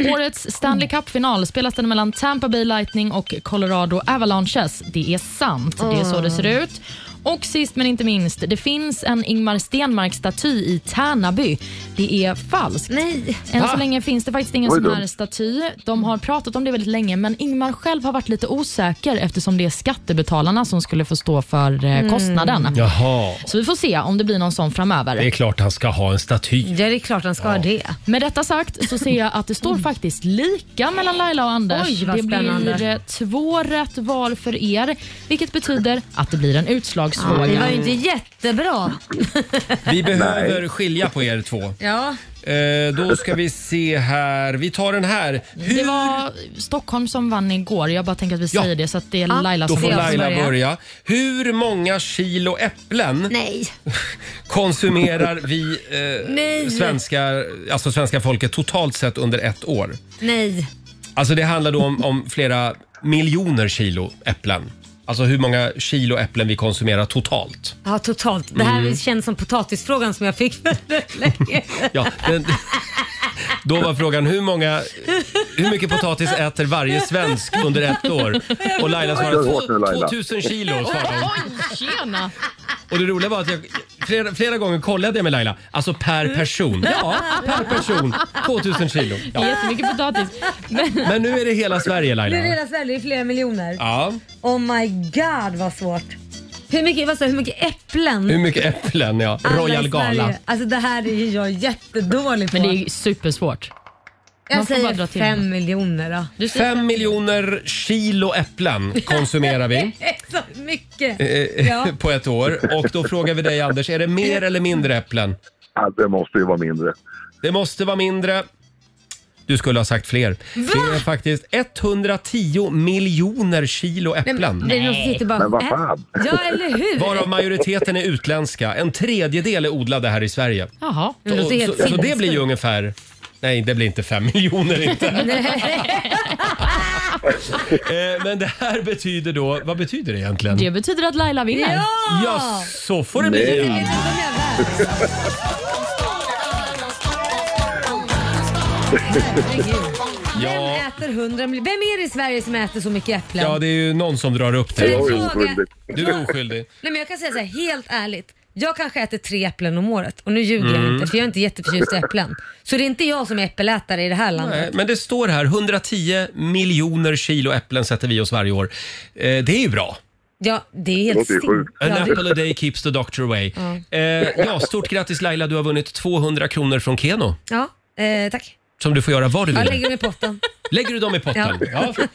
[SPEAKER 3] Årets Stanley Cup-final spelas den mellan Tampa Bay Lightning och Colorado Avalanches. Det är sant. Det är så det ser ut. Och sist men inte minst, det finns en Ingmar Stenmark-staty i Tärnaby. Det är falskt.
[SPEAKER 2] Nej.
[SPEAKER 3] Än
[SPEAKER 2] Va?
[SPEAKER 3] så länge finns det faktiskt ingen
[SPEAKER 2] Oj
[SPEAKER 3] sån
[SPEAKER 2] då.
[SPEAKER 3] här staty. De har pratat om det väldigt länge, men Ingmar själv har varit lite osäker eftersom det är skattebetalarna som skulle få stå för
[SPEAKER 2] Mm.
[SPEAKER 3] eh, kostnaden.
[SPEAKER 1] Jaha.
[SPEAKER 3] Så vi får se om det blir någon sån framöver.
[SPEAKER 1] Det är klart han ska ha en staty.
[SPEAKER 3] Ja, det är klart han ska ha det. Med detta sagt så ser jag att det
[SPEAKER 1] Mm.
[SPEAKER 3] står faktiskt lika mellan Laila och Anders.
[SPEAKER 2] Oj, vad
[SPEAKER 3] det
[SPEAKER 2] spännande.
[SPEAKER 3] blir eh, två rätt var för er, vilket betyder att det blir en utslagsfråga.
[SPEAKER 2] Ja, det var ju inte jättebra.
[SPEAKER 1] Vi behöver skilja på er två.
[SPEAKER 2] Ja.
[SPEAKER 1] Eh, då ska vi se här. Vi tar den här. Hur...
[SPEAKER 3] Det var Stockholm som vann igår. Jag bara tänker att vi
[SPEAKER 1] Ja.
[SPEAKER 3] säger det så att det är Laila
[SPEAKER 1] Då
[SPEAKER 3] som
[SPEAKER 1] får
[SPEAKER 3] börjar.
[SPEAKER 1] Laila börja. Hur många kilo äpplen konsumerar vi eh,
[SPEAKER 2] Nej.
[SPEAKER 1] svenskar, alltså svenska folket totalt sett under ett år?
[SPEAKER 2] Nej.
[SPEAKER 1] Alltså det handlar då om, om flera miljoner kilo äpplen. Alltså hur många kilo äpplen vi konsumerar totalt.
[SPEAKER 2] Ja, totalt. Det här
[SPEAKER 1] Mm.
[SPEAKER 2] känns som potatisfrågan som jag fick för länge.
[SPEAKER 1] Ja, den, då var frågan hur, många, hur mycket potatis äter varje svensk under ett år? Och Laila
[SPEAKER 13] Kör hårt nu,
[SPEAKER 1] svarade
[SPEAKER 13] Laila.
[SPEAKER 1] 2000 kilo. Svarade hon.
[SPEAKER 3] Oj, tjena!
[SPEAKER 1] Och det roliga var att jag flera, flera gånger kollade jag med Laila. Alltså per person. Ja, per person. 2000 kilo. Ja.
[SPEAKER 3] Jättemycket potatis. Men,
[SPEAKER 1] Men nu är det hela Sverige
[SPEAKER 2] Nu är det
[SPEAKER 1] Laila.
[SPEAKER 2] hela Sverige, det är flera miljoner.
[SPEAKER 1] Ja.
[SPEAKER 2] Oh my god vad svårt. Hur mycket, vad sa, du, hur mycket äpplen?
[SPEAKER 1] Hur mycket äpplen? Ja.
[SPEAKER 2] alla i
[SPEAKER 1] Royal Gala.
[SPEAKER 2] Sverige- Alltså det här är ju jag jättedålig på.
[SPEAKER 3] men det är supersvårt.
[SPEAKER 2] jag
[SPEAKER 3] man får bara
[SPEAKER 2] säger
[SPEAKER 3] dra till
[SPEAKER 2] fem
[SPEAKER 3] med.
[SPEAKER 2] miljoner då.
[SPEAKER 1] Fem miljoner kilo äpplen konsumerar vi.
[SPEAKER 2] Så mycket.
[SPEAKER 1] eh,
[SPEAKER 2] Ja.
[SPEAKER 1] på ett år. Och då frågar vi dig Anders, är det mer eller mindre äpplen?
[SPEAKER 13] Ja, det måste ju vara mindre.
[SPEAKER 1] Det måste vara mindre. Du skulle ha sagt fler. Det är faktiskt 110 miljoner kilo äpplen.
[SPEAKER 2] Nej, det är någon som sitter bara- Men vad fan? Ja, eller hur?
[SPEAKER 1] Varav majoriteten är utländska. En tredjedel är odlade här i Sverige.
[SPEAKER 3] Jaha.
[SPEAKER 1] Så, så, så det blir ju ungefär... Nej, det blir inte fem miljoner inte. Eh, Men det här betyder då... Vad betyder det egentligen?
[SPEAKER 3] Det betyder att Laila vinner.
[SPEAKER 1] Ja, så får det bli.
[SPEAKER 3] Nej.
[SPEAKER 2] Vem
[SPEAKER 1] Ja,
[SPEAKER 2] äter 100 miljoner? Vem är det i Sverige som äter så mycket äpplen?
[SPEAKER 1] ja, det är ju någon som drar upp
[SPEAKER 2] För
[SPEAKER 1] det.
[SPEAKER 2] en Jag är fråga. oskyldig.
[SPEAKER 1] Du är oskyldig.
[SPEAKER 2] Nej men jag kan säga så här, helt ärligt. Jag kanske äter tre äpplen om året och nu ljuger jag
[SPEAKER 1] Mm.
[SPEAKER 2] inte för jag är inte jätteförtjust i äpplen. Så det är inte jag som är äppelätare i det här landet.
[SPEAKER 1] Nej, Eh, Men det står här 110 miljoner kilo äpplen sätter vi oss varje år. Eh, det är ju bra.
[SPEAKER 2] Ja, det är helt stint.
[SPEAKER 1] An
[SPEAKER 2] Ja,
[SPEAKER 1] apple a
[SPEAKER 2] det-
[SPEAKER 1] day keeps the doctor away.
[SPEAKER 2] Ja.
[SPEAKER 1] Eh, ja, stort grattis Laila, du har vunnit 200 kronor från Keno.
[SPEAKER 2] Ja, eh, tack.
[SPEAKER 1] Som du får göra vad du
[SPEAKER 2] Jag
[SPEAKER 1] vill.
[SPEAKER 2] lägger dem i potten.
[SPEAKER 1] Lägger du dem i potten? Ja.
[SPEAKER 2] Ja.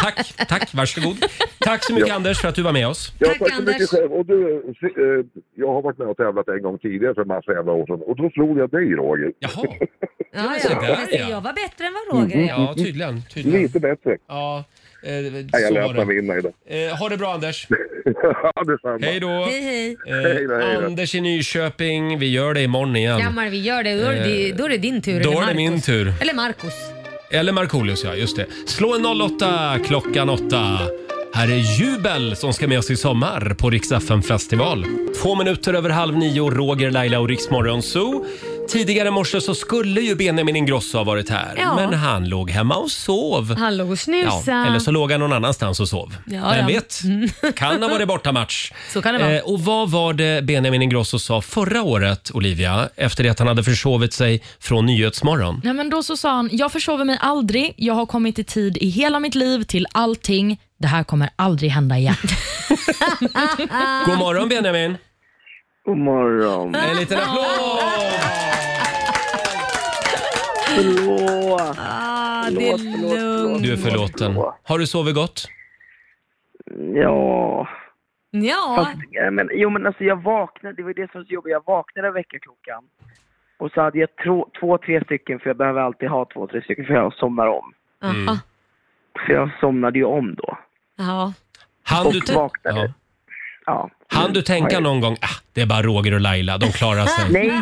[SPEAKER 1] Tack, tack, varsågod. Tack så mycket Anders för att du var med oss.
[SPEAKER 13] Ja, tack så mycket själv. Och du, eh, jag har varit med och tävlat en gång tidigare för en massa jävla år sedan och då slog jag dig Roger.
[SPEAKER 1] Jaha.
[SPEAKER 2] Ja,
[SPEAKER 1] så
[SPEAKER 2] ja.
[SPEAKER 1] där,
[SPEAKER 2] Men se,
[SPEAKER 1] ja. Mm-hmm.
[SPEAKER 2] jag var bättre än vad Roger är.
[SPEAKER 1] Ja, tydligen. tydligen.
[SPEAKER 13] Lite bättre.
[SPEAKER 1] Ja, eh,
[SPEAKER 13] Nej, jag
[SPEAKER 1] så
[SPEAKER 13] lät
[SPEAKER 1] var det.
[SPEAKER 13] mig vinna idag.
[SPEAKER 1] Eh, ha det bra Anders.
[SPEAKER 13] ja, detsamma.
[SPEAKER 1] Hej då.
[SPEAKER 2] Hej, hej.
[SPEAKER 13] Hej då, hej
[SPEAKER 1] Eh,
[SPEAKER 13] då.
[SPEAKER 1] Anders i Nyköping, vi gör det imorgon igen.
[SPEAKER 2] Gammal, vi gör det. Då är det,
[SPEAKER 1] Eh,
[SPEAKER 2] då är det din tur.
[SPEAKER 1] då
[SPEAKER 2] eller
[SPEAKER 1] är det
[SPEAKER 2] Marcos.
[SPEAKER 1] min tur.
[SPEAKER 2] Eller Marcos.
[SPEAKER 1] Eller Markoolios, ja. Just det. Slå en 08 klockan 8. Här är Jubel som ska med oss i sommar på Riksdagen festival. Två minuter över halv nio, Roger, Laila och Riksmorgon Zoo. Tidigare i morse så skulle ju Benjamin Ingrosso ha varit här,
[SPEAKER 2] Ja.
[SPEAKER 1] men han låg hemma och sov.
[SPEAKER 2] Han låg och
[SPEAKER 1] Ja,
[SPEAKER 2] snusade.
[SPEAKER 1] eller så låg han någon annanstans och sov.
[SPEAKER 2] Ja,
[SPEAKER 1] Vem
[SPEAKER 2] ja. Mm.
[SPEAKER 1] vet? Kan ha varit borta match.
[SPEAKER 2] Så kan det vara.
[SPEAKER 1] Eh, och vad var det Benjamin Ingrosso sa förra året, Olivia, efter det att han hade försovit sig från Nyhetsmorgon?
[SPEAKER 3] Nej, men då så sa han, jag försover mig aldrig, jag har kommit i tid i hela mitt liv till allting. det här kommer aldrig hända igen.
[SPEAKER 1] God morgon Benjamin!
[SPEAKER 14] God morgon.
[SPEAKER 1] En liten applåd!
[SPEAKER 14] Förlåt.
[SPEAKER 2] Ah, det är lugnt.
[SPEAKER 1] Du är förlåten. Har du sovit gott?
[SPEAKER 14] Ja.
[SPEAKER 2] Ja.
[SPEAKER 14] Fast, eh, men, jo men alltså jag vaknade, det var ju det som var så jobbigt. Jag vaknade av väckarklockan. Och så hade jag tro, två, tre stycken för jag behöver alltid ha två, tre stycken för jag somnar om.
[SPEAKER 2] Aha.
[SPEAKER 14] Så jag somnade ju om då.
[SPEAKER 2] Ja.
[SPEAKER 1] Han
[SPEAKER 14] och
[SPEAKER 1] du tän-
[SPEAKER 14] vaknade. Ja.
[SPEAKER 1] Han du tänka någon gång, ah, det är bara Roger och Laila, de klarar sig.
[SPEAKER 14] Nej,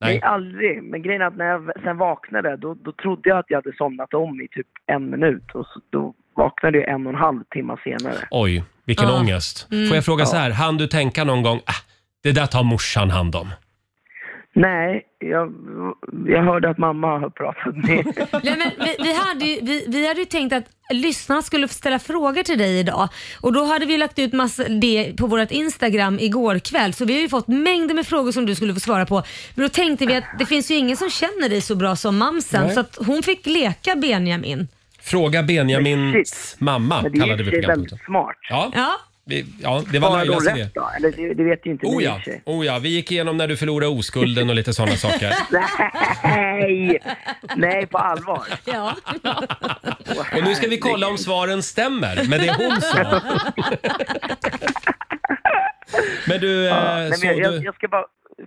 [SPEAKER 14] nej, aldrig. Men grejen är att när jag v- sen vaknade då, då trodde jag att jag hade somnat om i typ en minut. Och så, då vaknade jag en och en halv timme senare.
[SPEAKER 1] Oj, vilken
[SPEAKER 14] Ja.
[SPEAKER 1] ångest.
[SPEAKER 14] Mm.
[SPEAKER 1] Får jag fråga
[SPEAKER 14] Ja.
[SPEAKER 1] så här, han du tänka någon gång, ah, det där tar morsan hand om?
[SPEAKER 14] Nej, jag, jag hörde att mamma har pratat med
[SPEAKER 2] Nej, men vi, vi, hade ju, vi, vi hade ju tänkt att lyssnarna skulle få ställa frågor till dig idag och då hade vi lagt ut massa det på vårt Instagram igår kväll så vi har ju fått mängder med frågor som du skulle få svara på. Men då tänkte vi att det finns ju ingen som känner dig så bra som mamsen
[SPEAKER 1] Nej.
[SPEAKER 2] så att hon fick leka Benjamin.
[SPEAKER 1] Fråga Benjamins mamma,
[SPEAKER 14] Men det är
[SPEAKER 1] kallade
[SPEAKER 14] i och
[SPEAKER 1] vi
[SPEAKER 14] för sig
[SPEAKER 1] programpunkten.
[SPEAKER 14] smart.
[SPEAKER 1] Ja,
[SPEAKER 2] Ja.
[SPEAKER 1] vi, ja det var
[SPEAKER 14] Har jag då
[SPEAKER 1] Lailas idé.
[SPEAKER 14] rätt då? Eller det, det vet ju inte
[SPEAKER 1] Oh
[SPEAKER 14] ni i
[SPEAKER 1] ja.
[SPEAKER 14] och för sig.
[SPEAKER 1] oh ja, vi gick igenom när du förlorade oskulden och lite sådana saker.
[SPEAKER 14] Nej! Nej, på allvar.
[SPEAKER 2] Ja.
[SPEAKER 1] Och nu ska vi kolla om svaren stämmer med det hon sa. Men du, eh,
[SPEAKER 14] Ja, nej, men
[SPEAKER 1] så
[SPEAKER 14] jag, jag,
[SPEAKER 1] du...
[SPEAKER 14] jag ska bara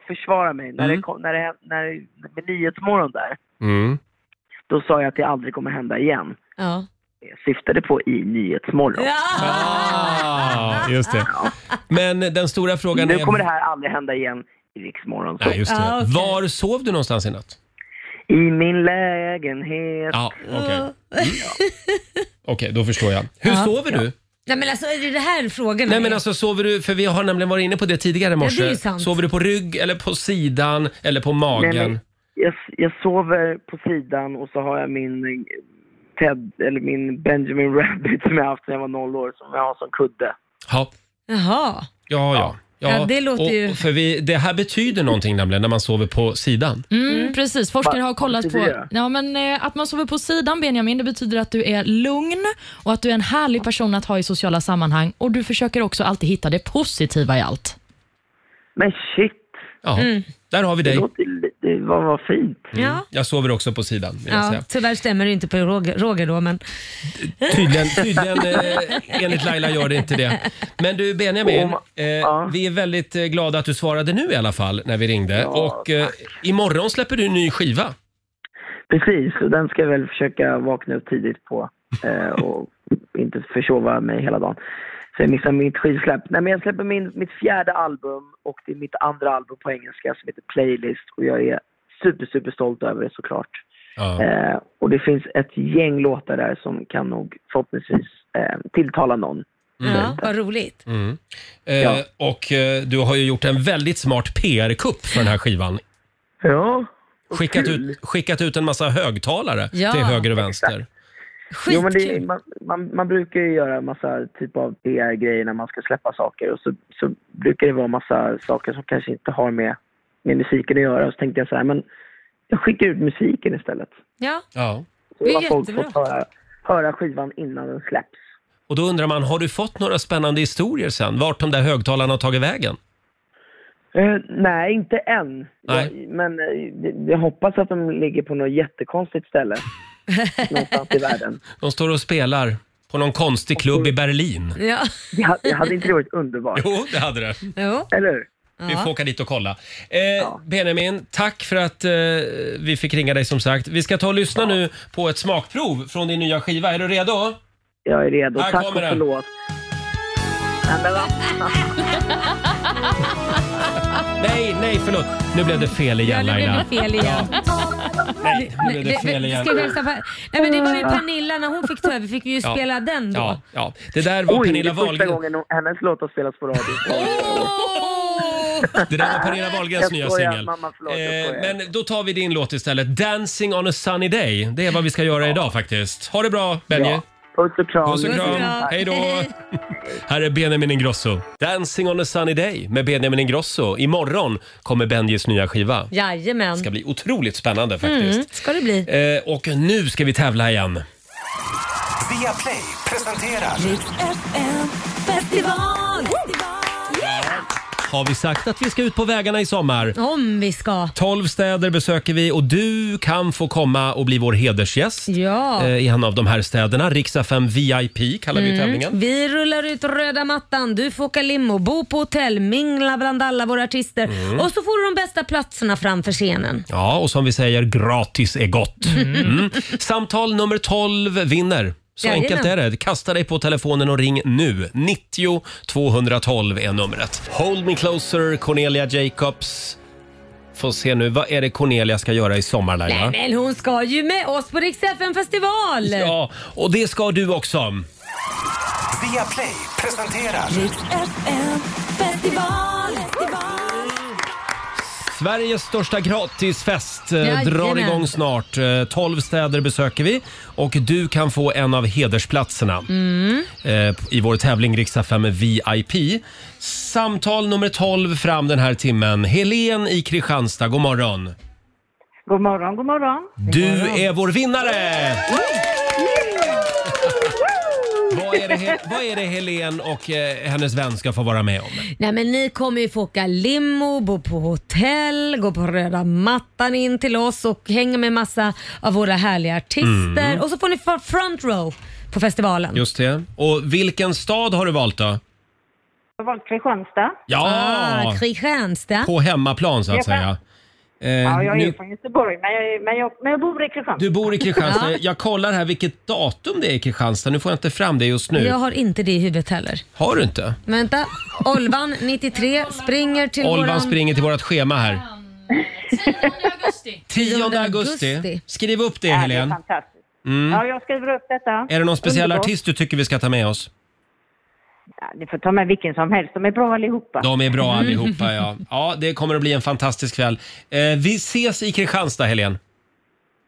[SPEAKER 14] försvara mig. När det kom, när det, när, med Nyhetsmorgon där,
[SPEAKER 1] Mm.
[SPEAKER 14] då sa jag att det aldrig kommer hända igen.
[SPEAKER 2] Ja.
[SPEAKER 14] Jag syftade på i Nyhetsmorgon.
[SPEAKER 1] Ah, just det. Men eh, den stora frågan
[SPEAKER 14] nu
[SPEAKER 1] är...
[SPEAKER 14] kommer det här aldrig hända igen i Riksmorgon.
[SPEAKER 1] Nej, just det.
[SPEAKER 2] Ah,
[SPEAKER 1] Var sov du någonstans i natt?
[SPEAKER 14] I min lägenhet.
[SPEAKER 1] Ja, okej.
[SPEAKER 2] Ah.
[SPEAKER 1] Mm. Okej, då förstår jag. Hur
[SPEAKER 2] Ja.
[SPEAKER 1] sover du?
[SPEAKER 2] Nej men alltså är det det här frågan?
[SPEAKER 1] Nej men alltså sover du, för vi har nämligen varit inne på det tidigare i morse.
[SPEAKER 2] Ja, det är ju sant.
[SPEAKER 1] sover du på rygg eller på sidan eller på magen?
[SPEAKER 14] Nej, men jag, jag sover på sidan och så har jag min Ted, eller min Benjamin Rabbit som jag haft sedan jag var noll år, som jag har som kudde.
[SPEAKER 1] Ja.
[SPEAKER 2] Jaha.
[SPEAKER 1] Ja, ja.
[SPEAKER 2] Ja, det låter
[SPEAKER 1] och,
[SPEAKER 2] ju-
[SPEAKER 1] och För vi, det här betyder någonting nämligen när man sover på sidan.
[SPEAKER 3] Mm, Precis, forskare har kollat
[SPEAKER 1] betyder
[SPEAKER 3] på
[SPEAKER 1] det?
[SPEAKER 3] ja, men, eh, att man sover på sidan Benjamin, det betyder att du är lugn och att du är en härlig person att ha i sociala sammanhang och du försöker också alltid hitta det positiva i allt.
[SPEAKER 14] Men shit!
[SPEAKER 1] Ja,
[SPEAKER 2] Mm.
[SPEAKER 1] där har vi dig.
[SPEAKER 14] Det var, var fint.
[SPEAKER 2] Ja.
[SPEAKER 1] Jag sover också på sidan vill Mm. jag
[SPEAKER 2] Ja,
[SPEAKER 1] säga.
[SPEAKER 2] tyvärr stämmer det inte på Roger, Roger då men.
[SPEAKER 1] Tydligen, tydligen eh, enligt Laila gör det inte det. Men du Benjamin, eh, vi är väldigt eh, glada att du svarade nu i alla fall när vi ringde. och eh, imorgon släpper du en ny skiva.
[SPEAKER 14] Precis, och den ska jag väl försöka vakna upp tidigt på eh, och inte försova mig hela dagen. Så jag missar mitt skivsläpp. Nej men jag släpper min, mitt fjärde album och det är mitt andra album på engelska som heter Playlist och jag är super, super stolt över det såklart. Eh, och det finns ett gäng låtar där som kan nog förhoppningsvis eh, tilltala någon.
[SPEAKER 2] Ja, vad roligt.
[SPEAKER 1] Mm. Eh,
[SPEAKER 14] Ja.
[SPEAKER 1] Och eh, du har ju gjort en väldigt smart PR-kupp för den här skivan.
[SPEAKER 14] Ja.
[SPEAKER 1] Skickat ut, skickat ut en massa högtalare
[SPEAKER 14] Ja,
[SPEAKER 1] till höger och vänster.
[SPEAKER 14] Jo, men det, man, man, man brukar ju göra massa typ av PR-grejer när man ska släppa saker och så, så brukar det vara massa saker som kanske inte har med, med musiken att göra. Och så tänkte jag så här, men jag skickar ut musiken istället.
[SPEAKER 2] Ja.
[SPEAKER 1] Ja.
[SPEAKER 14] Så
[SPEAKER 2] Det är
[SPEAKER 14] har folk
[SPEAKER 2] jättebra.
[SPEAKER 14] fått höra, höra skivan innan den släpps.
[SPEAKER 1] Och då undrar man, har du fått några spännande historier sen? Vart de där högtalarna har tagit vägen?
[SPEAKER 14] Eh, nej, inte än.
[SPEAKER 1] Nej.
[SPEAKER 14] Jag, men eh, jag hoppas att de ligger på något jättekonstigt ställe. någonstans i världen.
[SPEAKER 1] De står och spelar på någon konstig klubb i Berlin.
[SPEAKER 2] Ja.
[SPEAKER 14] Det, ha- det hade inte det varit underbart?
[SPEAKER 1] Jo, det hade det.
[SPEAKER 2] Jo.
[SPEAKER 14] Eller hur?
[SPEAKER 1] Vi får åka dit och kolla. Eh, Benjamin, tack för att eh, vi fick ringa dig som sagt. Vi ska ta och lyssna nu på ett smakprov från din nya skiva. Är du redo?
[SPEAKER 14] Jag är redo.
[SPEAKER 1] Här
[SPEAKER 14] Tack och
[SPEAKER 1] kommer den.
[SPEAKER 14] förlåt. Nej, men vad-
[SPEAKER 1] Nej, nej, förlåt. Nu blev det fel igen
[SPEAKER 2] Nu blev
[SPEAKER 1] Laila.
[SPEAKER 2] det fel igen.
[SPEAKER 1] Nej, nu blev det
[SPEAKER 2] Vi- vi-
[SPEAKER 1] fel igen.
[SPEAKER 2] Ska vi hälsa på? Nej men det var ju
[SPEAKER 14] Ja.
[SPEAKER 2] Pernilla när hon fick ta över, fick vi ju
[SPEAKER 1] Ja.
[SPEAKER 2] spela den då.
[SPEAKER 1] Ja, ja. Det där var
[SPEAKER 14] Oj,
[SPEAKER 1] Pernilla
[SPEAKER 14] det är första
[SPEAKER 1] Wahlgren.
[SPEAKER 14] gången hon- hennes låt har spelats på radio.
[SPEAKER 1] Det där var Pernilla Wahlgrens
[SPEAKER 14] Jag
[SPEAKER 1] nya
[SPEAKER 14] skojar,
[SPEAKER 1] singel.
[SPEAKER 14] mamma, förlåt, jag
[SPEAKER 1] Eh,
[SPEAKER 14] skojar.
[SPEAKER 1] men då tar vi din låt istället. Dancing on a sunny day. Det är vad vi ska göra idag faktiskt. Ha det bra Benji.
[SPEAKER 14] Ja. Puss och kram.
[SPEAKER 1] Puss och kram. Hej då. Här är Benjamin Ingrosso. Dancing on a sunny day med Benjamin Ingrosso. Imorgon kommer Benjis nya skiva.
[SPEAKER 2] Jajamän.
[SPEAKER 1] Det ska bli otroligt spännande faktiskt.
[SPEAKER 2] Mm, ska det bli.
[SPEAKER 1] Eh, och nu ska vi tävla igen.
[SPEAKER 6] Via Play presenterar...
[SPEAKER 11] FM festival!
[SPEAKER 1] Har vi sagt att vi ska ut på vägarna i sommar?
[SPEAKER 2] Om vi ska.
[SPEAKER 1] 12 städer besöker vi och du kan få komma och bli vår hedersgäst
[SPEAKER 2] Ja. Mm.
[SPEAKER 1] eh, i en av de här städerna. Riksa 5 VIP kallar vi tävlingen.
[SPEAKER 2] Vi rullar ut röda mattan, du får åka limo, bo på hotell, mingla bland alla våra artister
[SPEAKER 1] Mm.
[SPEAKER 2] och så får du de bästa platserna framför scenen.
[SPEAKER 1] Ja, och som vi säger, gratis är gott.
[SPEAKER 2] Mm.
[SPEAKER 1] Mm. Samtal nummer 12 vinner. Så
[SPEAKER 2] Jajamän.
[SPEAKER 1] enkelt är det. Kasta dig på telefonen och ring nu. 90 212 är numret. Hold me closer, Cornelia Jacobs. Får se nu, vad är det Cornelia ska göra i sommar, Laila?
[SPEAKER 2] Nej men hon ska ju med oss på Rix FM festival!
[SPEAKER 1] Ja, och det ska du också.
[SPEAKER 6] Via Play presenterar...
[SPEAKER 11] FM festival!
[SPEAKER 1] Sveriges största gratisfest eh,
[SPEAKER 11] Jajamän.
[SPEAKER 1] drar igång snart. Eh, 12 städer besöker vi och du kan få en av hedersplatserna
[SPEAKER 11] Mm.
[SPEAKER 1] eh, i vår tävling Riksa 5 VIP. Samtal nummer 12 fram den här timmen. Helen i Kristianstad, god morgon.
[SPEAKER 15] God morgon, god morgon.
[SPEAKER 1] Du är vår vinnare! Vad är, det, He- vad är det Helen och eh, hennes vän ska få vara med om?
[SPEAKER 2] Nej men ni kommer ju få åka limo, bo på hotell, gå på röda mattan in till oss och hänga med massa av våra härliga artister.
[SPEAKER 1] Mm.
[SPEAKER 2] Och så får ni få front row på festivalen.
[SPEAKER 1] Just det. Och vilken stad har du valt då?
[SPEAKER 15] Jag har valt Kristianstad.
[SPEAKER 1] Ja!
[SPEAKER 2] Ah, Kristianstad.
[SPEAKER 1] På hemmaplan så att
[SPEAKER 15] Jag kan-
[SPEAKER 1] säga. Eh,
[SPEAKER 15] Ja, jag är
[SPEAKER 1] nu,
[SPEAKER 15] från Göteborg, men jag, men jag, men jag bor i Kristianstad.
[SPEAKER 1] du bor i Kristianstad. Jag kollar här vilket datum det är i Kristianstad. Nu får jag inte fram det just nu.
[SPEAKER 2] Jag har inte det i huvudet heller.
[SPEAKER 1] Har du inte?
[SPEAKER 2] Vänta, Olvan 93 springer till
[SPEAKER 1] Olvan
[SPEAKER 2] våran...
[SPEAKER 1] springer till vårt schema här. 10 augusti. 10
[SPEAKER 15] augusti.
[SPEAKER 1] augusti. Skriv upp det,
[SPEAKER 15] Ja, det är
[SPEAKER 1] Helene.
[SPEAKER 15] fantastiskt.
[SPEAKER 1] Mm.
[SPEAKER 15] Ja, jag skriver upp detta.
[SPEAKER 1] Är det någon speciell
[SPEAKER 15] Underbart.
[SPEAKER 1] artist du tycker vi ska ta med oss?
[SPEAKER 15] Ja, ni får ta med vilken som helst. De är bra allihopa.
[SPEAKER 1] De är bra allihopa, ja. Ja, det kommer att bli en fantastisk kväll. Eh, vi ses i Kristianstad, Helene.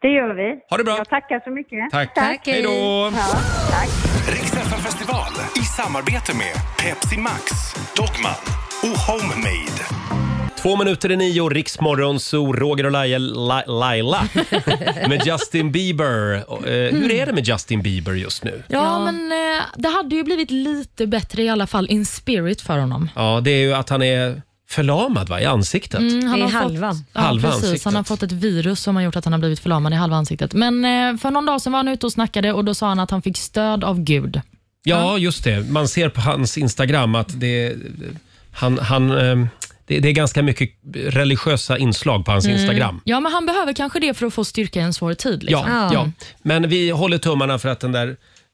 [SPEAKER 15] Det gör vi.
[SPEAKER 1] Ha det bra.
[SPEAKER 15] Jag tackar så mycket.
[SPEAKER 1] Tack. Tack, hej då.
[SPEAKER 15] Ja, tack.
[SPEAKER 6] Rix FM festival i samarbete med Pepsi Max, Dogman och Homemade.
[SPEAKER 1] Två minuter i nio, Riksmorgon, så Roger och Laila, La- Laila med Justin Bieber. Eh, hur är det med Justin Bieber just nu?
[SPEAKER 3] Ja, men eh, det hade ju blivit lite bättre i alla fall in spirit för honom.
[SPEAKER 1] Ja, det är ju att han är förlamad va, i ansiktet.
[SPEAKER 3] Mm, han
[SPEAKER 2] Det
[SPEAKER 3] har
[SPEAKER 2] är
[SPEAKER 3] fått-
[SPEAKER 2] halvan.
[SPEAKER 3] Ja,
[SPEAKER 1] Halva
[SPEAKER 3] precis.
[SPEAKER 1] ansiktet.
[SPEAKER 3] Han har fått ett virus som har gjort att han har blivit förlamad i halva ansiktet. Men eh, för någon dag sedan var han ute och snackade och då sa han att han fick stöd av Gud.
[SPEAKER 1] Ja, just det. Man ser på hans Instagram att det, han, han, eh, det, det är ganska mycket religiösa inslag på hans Instagram.
[SPEAKER 3] Ja, men han behöver kanske det för att få styrka i en svår tid. Liksom.
[SPEAKER 1] Ja, ja. Men vi håller tummarna för att den där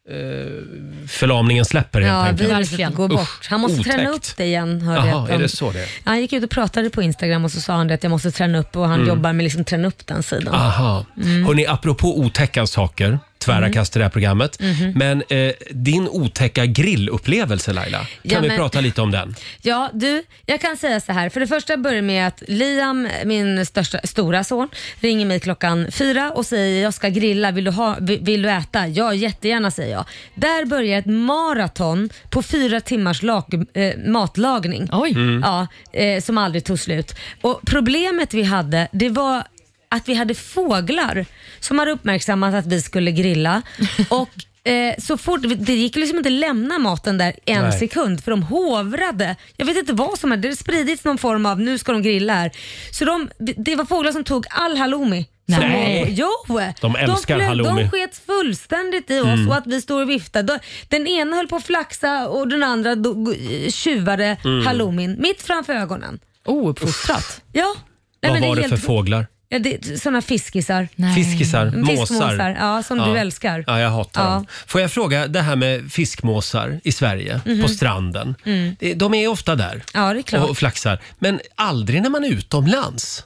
[SPEAKER 1] eh, förlamningen släpper helt
[SPEAKER 2] Ja,
[SPEAKER 1] enkelt.
[SPEAKER 2] viruset går bort.
[SPEAKER 1] Usch,
[SPEAKER 2] Han måste träna
[SPEAKER 1] otäckt.
[SPEAKER 2] upp det igen hörde
[SPEAKER 1] Jaha,
[SPEAKER 2] jag.
[SPEAKER 1] är det så det är?
[SPEAKER 2] Han gick ut och pratade på Instagram och så sa han det att jag måste träna upp och han
[SPEAKER 1] Mm.
[SPEAKER 2] jobbar med liksom träna upp den sidan.
[SPEAKER 1] Aha.
[SPEAKER 2] Mm.
[SPEAKER 1] Hörrni, apropå otäcka saker, tvära
[SPEAKER 2] Mm.
[SPEAKER 1] kast i det här programmet.
[SPEAKER 2] Mhm.
[SPEAKER 1] Men eh, din otäcka grillupplevelse Laila, kan
[SPEAKER 2] Ja,
[SPEAKER 1] vi
[SPEAKER 2] men-
[SPEAKER 1] prata lite om den?
[SPEAKER 2] Ja, du, jag kan säga så här. För det första börjar med att Liam, min största, stora son, ringer mig klockan fyra och säger jag ska grilla, vill du, ha, vill, vill du äta? Ja, jättegärna säger jag. Där börjar ett maraton på fyra timmars lag, eh, matlagning.
[SPEAKER 3] Oj.
[SPEAKER 11] Mm.
[SPEAKER 2] Ja, eh, som aldrig tog slut. Och problemet vi hade, det var att vi hade fåglar som hade uppmärksammat att vi skulle grilla. Och eh, så fort, det gick liksom inte lämna maten där en
[SPEAKER 11] Nej.
[SPEAKER 2] sekund för de hovrade. Jag vet inte vad som hade, det hade spridits någon form av nu ska de grilla här. Så de, det var fåglar som tog all halloumi. som
[SPEAKER 1] Nej.
[SPEAKER 2] var på- Jo!
[SPEAKER 1] De älskar
[SPEAKER 2] flög-
[SPEAKER 1] halloumi.
[SPEAKER 2] De sket fullständigt i oss
[SPEAKER 1] Mm.
[SPEAKER 2] och att vi står och viftar. Då- Den ena höll på att flaxa och den andra do- tjuvade
[SPEAKER 1] Mm.
[SPEAKER 2] halloumin mitt framför ögonen.
[SPEAKER 3] Ouppfostrat.
[SPEAKER 2] Ja. Nej, men
[SPEAKER 1] Vad
[SPEAKER 2] det är
[SPEAKER 1] var det,
[SPEAKER 2] helt-
[SPEAKER 1] för fåglar?
[SPEAKER 2] Ja, det, såna fiskisar.
[SPEAKER 1] Fiskisar? Måsar?
[SPEAKER 2] Mm, Fiskmåsar, ja, som du älskar.
[SPEAKER 1] Ja, jag hatar
[SPEAKER 2] Ja.
[SPEAKER 1] dem. Får jag fråga, det här med fiskmåsar i Sverige,
[SPEAKER 2] Mhm.
[SPEAKER 1] på stranden.
[SPEAKER 2] Mm.
[SPEAKER 1] Det- De är ofta där
[SPEAKER 2] Ja, det är klart.
[SPEAKER 1] och flaxar, men aldrig när man är utomlands.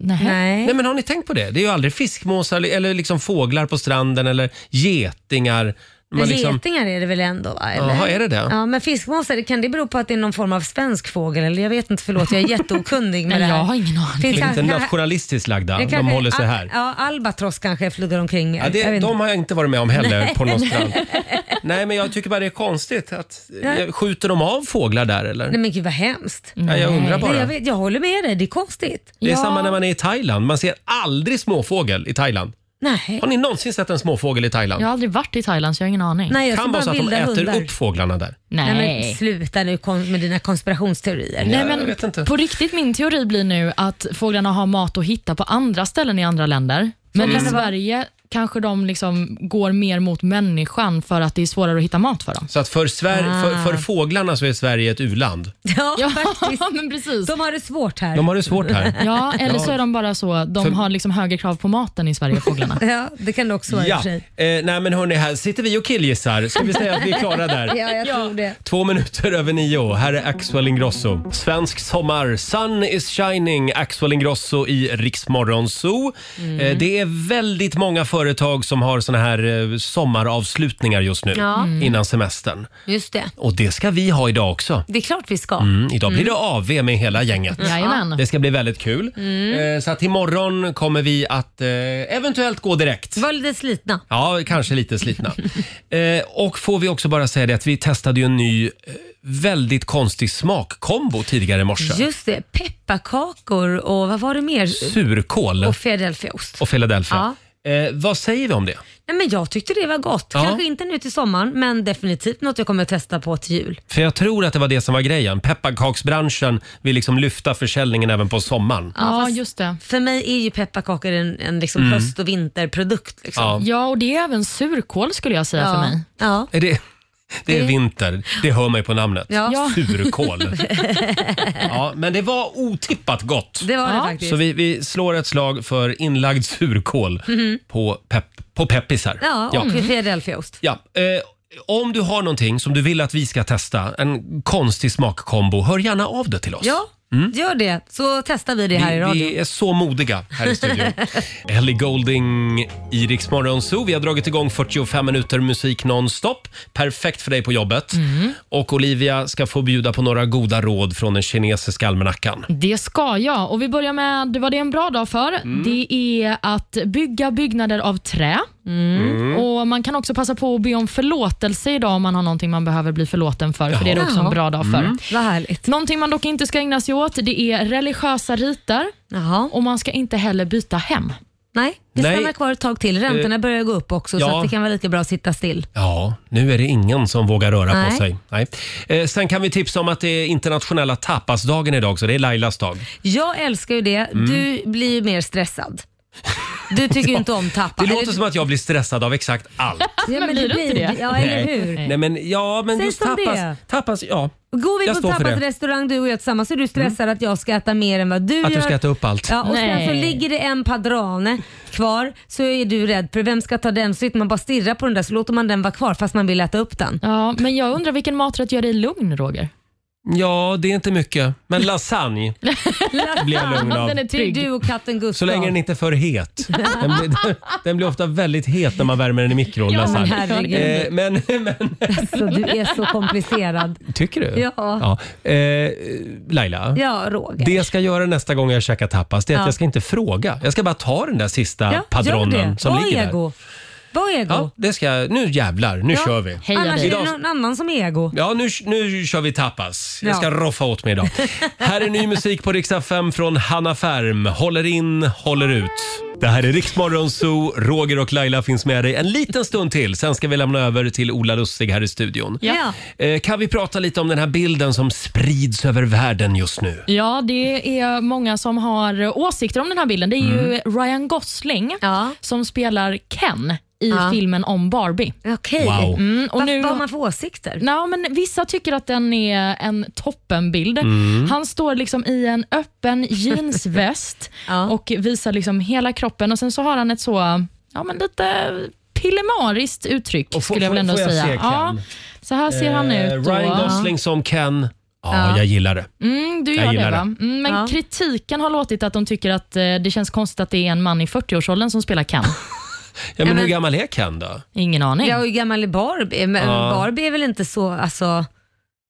[SPEAKER 3] Nej.
[SPEAKER 1] Nej men har ni tänkt på det? Det är ju aldrig fiskmåsar eller liksom fåglar på stranden eller getingar.
[SPEAKER 2] Men
[SPEAKER 1] Man liksom,
[SPEAKER 2] Getingar är det väl ändå? Va? Eller?
[SPEAKER 1] Jaha, är det det?
[SPEAKER 2] Ja, men fiskmåsar, kan det bero på att det är någon form av svensk fågel? Eller jag vet inte, förlåt, jag är jätteokunnig
[SPEAKER 3] Nej,
[SPEAKER 2] med det här.
[SPEAKER 3] jag har ingen
[SPEAKER 1] det
[SPEAKER 2] aning.
[SPEAKER 1] är lite nationalistiskt lagda.
[SPEAKER 2] Det
[SPEAKER 1] De
[SPEAKER 2] kanske-
[SPEAKER 1] håller sig
[SPEAKER 2] al-
[SPEAKER 1] här.
[SPEAKER 2] Ja, albatross kanske flyger omkring mer.
[SPEAKER 1] Ja,
[SPEAKER 2] Jag
[SPEAKER 1] det,
[SPEAKER 2] vet
[SPEAKER 1] de
[SPEAKER 2] inte.
[SPEAKER 1] har jag inte varit med om heller
[SPEAKER 2] Nej.
[SPEAKER 1] på någon strand. Nej, men jag tycker bara det är konstigt. att eh,
[SPEAKER 2] Nej.
[SPEAKER 1] Skjuter de av fåglar där eller?
[SPEAKER 2] Nej men gud vad hemskt.
[SPEAKER 3] Mm.
[SPEAKER 1] Ja, jag undrar bara.
[SPEAKER 2] Nej, jag, vet, jag håller med dig, det är konstigt.
[SPEAKER 1] Det är samma när man är i Thailand. Man ser aldrig småfågel i Thailand.
[SPEAKER 2] Nej.
[SPEAKER 1] Har ni någonsin sett en småfågel i Thailand?
[SPEAKER 3] Jag har aldrig varit i Thailand så jag har ingen aning.
[SPEAKER 1] kan vara så att de äter upp fåglarna där.
[SPEAKER 2] Nej.
[SPEAKER 3] Nej.
[SPEAKER 2] men sluta nu kon- med dina konspirationsteorier.
[SPEAKER 3] Nej, men På riktigt, min teori blir nu att fåglarna har mat att hitta på andra ställen i andra länder. Men
[SPEAKER 2] Mm.
[SPEAKER 3] i Sverige kanske de liksom går mer mot människan för att det är svårare att hitta mat för dem.
[SPEAKER 1] Så att för, Sver-
[SPEAKER 3] Ah.
[SPEAKER 1] för, för fåglarna så är Sverige ett u-land.
[SPEAKER 2] Ja,
[SPEAKER 3] faktiskt. men precis.
[SPEAKER 2] De har det svårt här.
[SPEAKER 1] De har det svårt här.
[SPEAKER 3] Ja, eller
[SPEAKER 1] Ja.
[SPEAKER 3] så är de bara så. De
[SPEAKER 1] För-
[SPEAKER 3] har liksom högre krav på maten i Sverige, fåglarna.
[SPEAKER 2] ja, det kan det också vara i och
[SPEAKER 1] Ja,
[SPEAKER 2] för
[SPEAKER 1] eh,
[SPEAKER 2] sig.
[SPEAKER 1] nej men hörni, här sitter vi och killgissar. Ska vi säga att vi är klara där?
[SPEAKER 2] ja, jag tror det.
[SPEAKER 1] Två minuter över nio. Här är Axel Ingrosso. Svensk sommar. Sun is shining. Axel Ingrosso i Riksmorgon Zoo.
[SPEAKER 2] Mm.
[SPEAKER 1] Eh, Det är väldigt många företag som har såna här eh, sommaravslutningar just nu
[SPEAKER 2] Ja. Mm.
[SPEAKER 1] innan semestern.
[SPEAKER 2] Just det.
[SPEAKER 1] Och det ska vi ha idag också.
[SPEAKER 2] Det är klart vi ska.
[SPEAKER 1] Mm, idag blir det AV med hela gänget.
[SPEAKER 2] Jajamän.
[SPEAKER 1] Det ska bli väldigt kul.
[SPEAKER 2] Mm.
[SPEAKER 1] Eh, Så att imorgon kommer vi att eh, eventuellt gå direkt.
[SPEAKER 2] Var lite slitna.
[SPEAKER 1] Ja, kanske lite slitna. eh, och får vi också bara säga det att vi testade ju en ny eh, väldigt konstig smakkombo tidigare i morse.
[SPEAKER 2] Just det, pepparkakor och vad var det mer?
[SPEAKER 1] Surkål
[SPEAKER 2] Och
[SPEAKER 1] och,
[SPEAKER 2] Philadelphiaost.
[SPEAKER 1] Philadelphia. Eh, vad säger vi om det?
[SPEAKER 2] Nej, men jag tyckte det var gott.
[SPEAKER 1] Ja.
[SPEAKER 2] Kanske inte nu till sommaren, men definitivt något jag kommer att testa på till jul.
[SPEAKER 1] För jag tror att det var det som var grejen. Pepparkaksbranschen vill liksom lyfta försäljningen även på sommaren.
[SPEAKER 2] Alltså,
[SPEAKER 3] Ja, just det.
[SPEAKER 2] För mig är ju pepparkakor en, en liksom
[SPEAKER 1] Mm.
[SPEAKER 2] höst och vinterprodukt. Liksom.
[SPEAKER 1] Ja.
[SPEAKER 3] Ja, och det är även surkål skulle jag säga
[SPEAKER 2] Ja.
[SPEAKER 3] för mig.
[SPEAKER 2] Ja.
[SPEAKER 1] Är det, det är
[SPEAKER 3] Det-
[SPEAKER 1] vinter, det hör mig på namnet.
[SPEAKER 3] Ja. Ja.
[SPEAKER 1] Surkål. Ja, men det var otippat gott.
[SPEAKER 2] Det var det Ja. faktiskt.
[SPEAKER 1] Så vi, vi slår ett slag för inlagd surkål
[SPEAKER 2] Mhm.
[SPEAKER 1] på, pepp, på peppisar.
[SPEAKER 2] Ja, och Philadelphiaost.
[SPEAKER 1] Ja, eh, om du har någonting som du vill att vi ska testa, en konstig smakkombo, hör gärna av dig till oss.
[SPEAKER 2] Ja,
[SPEAKER 1] Mm.
[SPEAKER 2] gör det så testar vi det här i
[SPEAKER 1] vi,
[SPEAKER 2] radion.
[SPEAKER 1] vi är så modiga här i studion. Ellie Golding i Rix Morgon Zoo. Vi har dragit igång 45 minuter musik nonstop. Perfekt för dig på jobbet.
[SPEAKER 2] Mhm.
[SPEAKER 1] Och Olivia ska få bjuda på några goda råd från den kinesiska almanackan.
[SPEAKER 3] Det ska jag. Och Vi börjar med vad det är en bra dag för. Det är att bygga byggnader av trä.
[SPEAKER 11] Mm.
[SPEAKER 3] Och Man kan också passa på att be om förlåtelse idag om man har någonting man behöver bli förlåten för. För Det är det också en bra dag för.
[SPEAKER 2] Mm. Vad härligt.
[SPEAKER 3] Någonting man dock inte ska ägna sig åt det är religiösa riter.
[SPEAKER 2] Och
[SPEAKER 3] man ska inte heller byta hem.
[SPEAKER 2] Nej, det
[SPEAKER 1] Nej.
[SPEAKER 2] stannar kvar ett tag till. Räntorna
[SPEAKER 1] Eh,
[SPEAKER 2] börjar gå upp också så
[SPEAKER 1] ja.
[SPEAKER 2] att det kan vara lika bra att sitta still.
[SPEAKER 1] Ja, nu är det ingen som vågar röra på
[SPEAKER 2] Nej.
[SPEAKER 1] sig. Nej. Eh, sen kan vi tipsa om att det är internationella tapasdagen idag, så det är Lailas dag.
[SPEAKER 2] Jag älskar ju det.
[SPEAKER 1] Mm.
[SPEAKER 2] Du blir ju mer stressad. Du tycker ju inte om tappa.
[SPEAKER 1] Det
[SPEAKER 2] Eller-
[SPEAKER 1] låter som att jag blir stressad av exakt allt.
[SPEAKER 2] Ja, men det blir det. Ja, eller
[SPEAKER 1] Nej.
[SPEAKER 2] hur?
[SPEAKER 1] Nej, men, ja, men
[SPEAKER 2] Säg
[SPEAKER 1] just
[SPEAKER 2] som det
[SPEAKER 1] tapas,
[SPEAKER 2] är.
[SPEAKER 1] tapas, ja.
[SPEAKER 2] Går vi
[SPEAKER 1] Jag
[SPEAKER 2] på
[SPEAKER 1] står för
[SPEAKER 2] tappat
[SPEAKER 1] det. Mm.
[SPEAKER 2] restaurang du och jag tillsammans så är du stressad att jag ska äta mer än vad du
[SPEAKER 1] Att du
[SPEAKER 2] gör.
[SPEAKER 1] ska äta upp allt.
[SPEAKER 2] Ja, och sen så
[SPEAKER 1] Nej.
[SPEAKER 2] ligger det en padrane kvar så är du rädd för vem ska ta den? Så sitter man bara stirrar på den där så låter man den vara kvar fast man vill äta upp den.
[SPEAKER 3] Ja, men jag undrar vilken maträtt gör dig lugn, Roger?
[SPEAKER 1] Ja, det är inte mycket. Men lasagne blir jag lugn av.
[SPEAKER 2] Den är trygg. Det är du och katten Gustav.
[SPEAKER 1] Så länge den inte är för het. Den blir, den blir ofta väldigt het när man värmer den i mikron.
[SPEAKER 2] Ja, men
[SPEAKER 1] lasagne.
[SPEAKER 2] herregud.
[SPEAKER 1] Eh, men, men,
[SPEAKER 2] Alltså, du är så komplicerad.
[SPEAKER 1] tycker du?
[SPEAKER 2] Ja.
[SPEAKER 1] ja. Eh, Laila,
[SPEAKER 2] Ja, Roger.
[SPEAKER 1] det jag ska göra nästa gång jag käkar tapas det är att
[SPEAKER 2] Ja.
[SPEAKER 1] jag ska inte fråga. Jag ska bara ta den där sista
[SPEAKER 2] Ja, gör
[SPEAKER 1] padronen
[SPEAKER 2] det.
[SPEAKER 1] som
[SPEAKER 2] Var
[SPEAKER 1] ligger där.
[SPEAKER 2] ego. Var ego.
[SPEAKER 1] Ja, det ska jag. Nu jävlar, nu
[SPEAKER 2] Ja.
[SPEAKER 1] kör vi.
[SPEAKER 2] Annars är det
[SPEAKER 1] Idag-
[SPEAKER 2] någon annan som är ego.
[SPEAKER 1] Ja, nu, nu kör vi tapas. Jag ska
[SPEAKER 2] Ja.
[SPEAKER 1] roffa åt mig idag. här är ny musik på Riksdag 5 från Hanna Färm. Håller in, håller ut. Det här är Riksmorgon Zoo. Roger och Laila finns med dig en liten stund till. Sen ska vi lämna över till Ola Lustig här i studion.
[SPEAKER 3] Ja.
[SPEAKER 1] Eh, Kan vi prata lite om den här bilden som sprids över världen just nu?
[SPEAKER 3] Ja, det är många som har åsikter om den här bilden. Det är ju
[SPEAKER 1] Mm.
[SPEAKER 3] Ryan Gosling som spelar Ken i
[SPEAKER 2] Ja.
[SPEAKER 3] filmen om Barbie.
[SPEAKER 2] Okej.
[SPEAKER 3] Wow. Mm, och
[SPEAKER 2] Vad-
[SPEAKER 3] nu-
[SPEAKER 2] Vad har man för åsikter?
[SPEAKER 3] Ja, men vissa tycker att den är en toppenbild.
[SPEAKER 2] Mm.
[SPEAKER 3] Han står liksom i en öppen jeansväst och visar liksom hela kroppen och sen så har han ett så, ja men lite pillemariskt uttryck skulle jag väl ändå
[SPEAKER 1] får jag
[SPEAKER 3] säga.
[SPEAKER 1] se Ken?
[SPEAKER 3] ja, så här ser han
[SPEAKER 1] Eh,
[SPEAKER 3] ut. då.
[SPEAKER 1] Ryan Gosling som Ken. Ja,
[SPEAKER 3] Ja.
[SPEAKER 1] jag gillar det.
[SPEAKER 3] Mm, du
[SPEAKER 1] Jag
[SPEAKER 3] gör
[SPEAKER 1] gillar
[SPEAKER 3] det,
[SPEAKER 1] det.
[SPEAKER 3] va? Mm, men
[SPEAKER 1] Ja.
[SPEAKER 3] kritiken har låtit att de tycker att eh, det känns konstigt att det är en man i 40-årsåldern som spelar Ken.
[SPEAKER 1] Ja, men
[SPEAKER 2] Ja,
[SPEAKER 1] hur
[SPEAKER 2] men-
[SPEAKER 1] gammal är Ken då?
[SPEAKER 3] Ingen aning.
[SPEAKER 2] Jag är ju gammal i Barbie, men
[SPEAKER 1] Ja.
[SPEAKER 2] Barbie är väl inte så, alltså...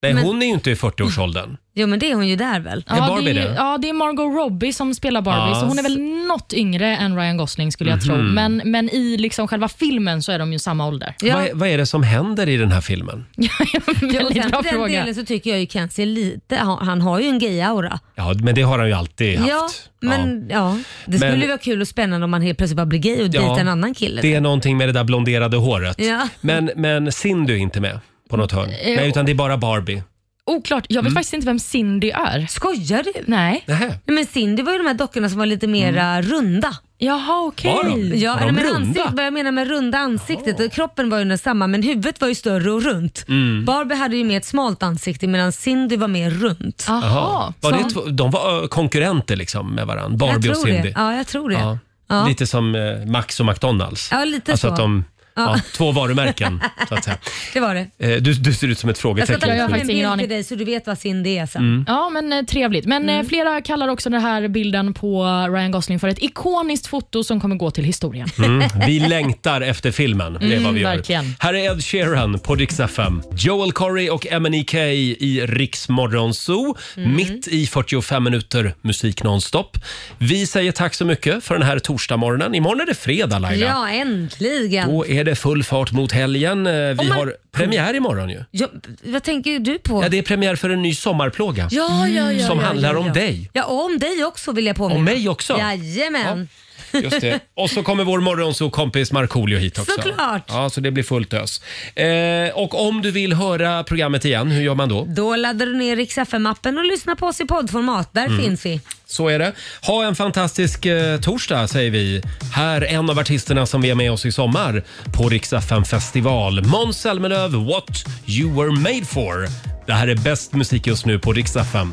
[SPEAKER 1] Nej,
[SPEAKER 2] Men-
[SPEAKER 1] hon är ju inte i 40-årsåldern.
[SPEAKER 2] Jo men det är hon ju där väl?
[SPEAKER 1] Är Barbie
[SPEAKER 3] det är,
[SPEAKER 1] det?
[SPEAKER 3] ja, det är Margot Robbie som spelar Barbie,
[SPEAKER 1] Ja.
[SPEAKER 3] så hon är väl något yngre än Ryan Gosling skulle jag tro.
[SPEAKER 1] Mhm.
[SPEAKER 3] Men, men i liksom själva filmen så är de ju samma ålder.
[SPEAKER 1] Vad, är- vad är det som händer i den här filmen?
[SPEAKER 2] Jo, och
[SPEAKER 3] Väldigt
[SPEAKER 2] sen
[SPEAKER 3] bra
[SPEAKER 2] för den
[SPEAKER 3] fråga.
[SPEAKER 2] delen så tycker jag ju Kenzie är lite, han, han har ju en gay-aura.
[SPEAKER 1] Ja, men det har han ju alltid haft.
[SPEAKER 2] Ja, men ja. det skulle
[SPEAKER 1] Men-
[SPEAKER 2] ju vara kul och spännande om man helt plötsligt bara blir gay och
[SPEAKER 1] Ja,
[SPEAKER 2] dejtar en annan kille.
[SPEAKER 1] Det är någonting med det där blonderade håret.
[SPEAKER 2] Ja.
[SPEAKER 1] Men, men Cindy är inte med på något hörn.
[SPEAKER 3] Eh,
[SPEAKER 1] Nej, utan det är bara Barbie.
[SPEAKER 3] Oklart, jag vet
[SPEAKER 1] Mm.
[SPEAKER 3] faktiskt inte vem Cindy är.
[SPEAKER 2] Skojar du?
[SPEAKER 3] Nej.
[SPEAKER 1] Nej.
[SPEAKER 2] Men Cindy var ju de här dockorna som var lite mera runda.
[SPEAKER 3] Jaha, okej.
[SPEAKER 2] Ja,
[SPEAKER 3] Var de? Var de
[SPEAKER 2] nej, men
[SPEAKER 3] runda?
[SPEAKER 2] ansikt, vad jag menar med runda ansiktet. Och kroppen var ju den samma men huvudet var ju större och runt.
[SPEAKER 1] Mm.
[SPEAKER 2] Barbie hade ju mer ett smalt ansikte medan Cindy var mer runt. Ah,
[SPEAKER 1] Jaha. Var det två, de var ö, konkurrenter liksom med varandra,
[SPEAKER 2] jag
[SPEAKER 1] Barbie
[SPEAKER 2] tror
[SPEAKER 1] och Cindy.
[SPEAKER 2] Det. Ja, jag tror det.
[SPEAKER 1] Ja.
[SPEAKER 2] Ja. Ja.
[SPEAKER 1] Lite som eh, Max och McDonalds.
[SPEAKER 2] Ja, lite
[SPEAKER 1] alltså
[SPEAKER 2] så.
[SPEAKER 1] Att de, ja.
[SPEAKER 2] Ja.
[SPEAKER 1] två varumärken, så att säga.
[SPEAKER 2] Det var det.
[SPEAKER 1] Eh, Du, du ser ut som ett
[SPEAKER 2] Jag ska
[SPEAKER 1] frågetecken.
[SPEAKER 2] ta
[SPEAKER 1] just
[SPEAKER 2] fram
[SPEAKER 1] nu.
[SPEAKER 2] en bild till dig så du vet vad Cindy är sen.
[SPEAKER 1] Mm.
[SPEAKER 3] Ja, men eh, trevligt. Men eh,
[SPEAKER 2] Mm.
[SPEAKER 3] flera kallar också den här bilden på Ryan Gosling för ett ikoniskt foto som kommer gå till historien.
[SPEAKER 1] Mm. Vi längtar efter filmen. Det är
[SPEAKER 3] Mm,
[SPEAKER 1] vad vi gör.
[SPEAKER 3] verkligen.
[SPEAKER 1] Här är Ed Sheeran på Dix FM. Joel Corey och MNEK i Rix Morgon Zoo.
[SPEAKER 2] Mm.
[SPEAKER 1] Mitt i 45 minuter musik nonstop. Vi säger tack så mycket för den här torsdagsmorgonen. Imorgon är det fredag Laila.
[SPEAKER 2] Ja, äntligen.
[SPEAKER 1] Då är det full fart mot helgen. Eh, Vi
[SPEAKER 2] man-
[SPEAKER 1] har premiär imorgon ju.
[SPEAKER 2] Ja, vad tänker du på?
[SPEAKER 1] Ja, det är premiär för en ny sommarplåga.
[SPEAKER 2] Ja, ja, ja,
[SPEAKER 1] som
[SPEAKER 2] ja,
[SPEAKER 1] handlar
[SPEAKER 2] ja,
[SPEAKER 1] om
[SPEAKER 2] ja.
[SPEAKER 1] dig.
[SPEAKER 2] Ja, och om dig också vill jag påminna.
[SPEAKER 1] Om mig också?
[SPEAKER 2] Jajamän.
[SPEAKER 1] Just det. Och så kommer vår morgonsokompis Markoolio hit också.
[SPEAKER 2] Såklart.
[SPEAKER 1] Ja, så det blir fullt ös. Eh, och om du vill höra programmet igen, hur gör man då?
[SPEAKER 2] Då laddar du ner Rix FM-appen och lyssnar på oss i poddformat. Där
[SPEAKER 1] Mm.
[SPEAKER 2] finns vi.
[SPEAKER 1] Så är det. Ha en fantastisk eh, torsdag säger vi. Här är en av artisterna som vi är med oss i sommar på Rix FM festival. Måns Zelmerlöw, What You Were Made For. Det här är bäst musik just nu på Rix FM.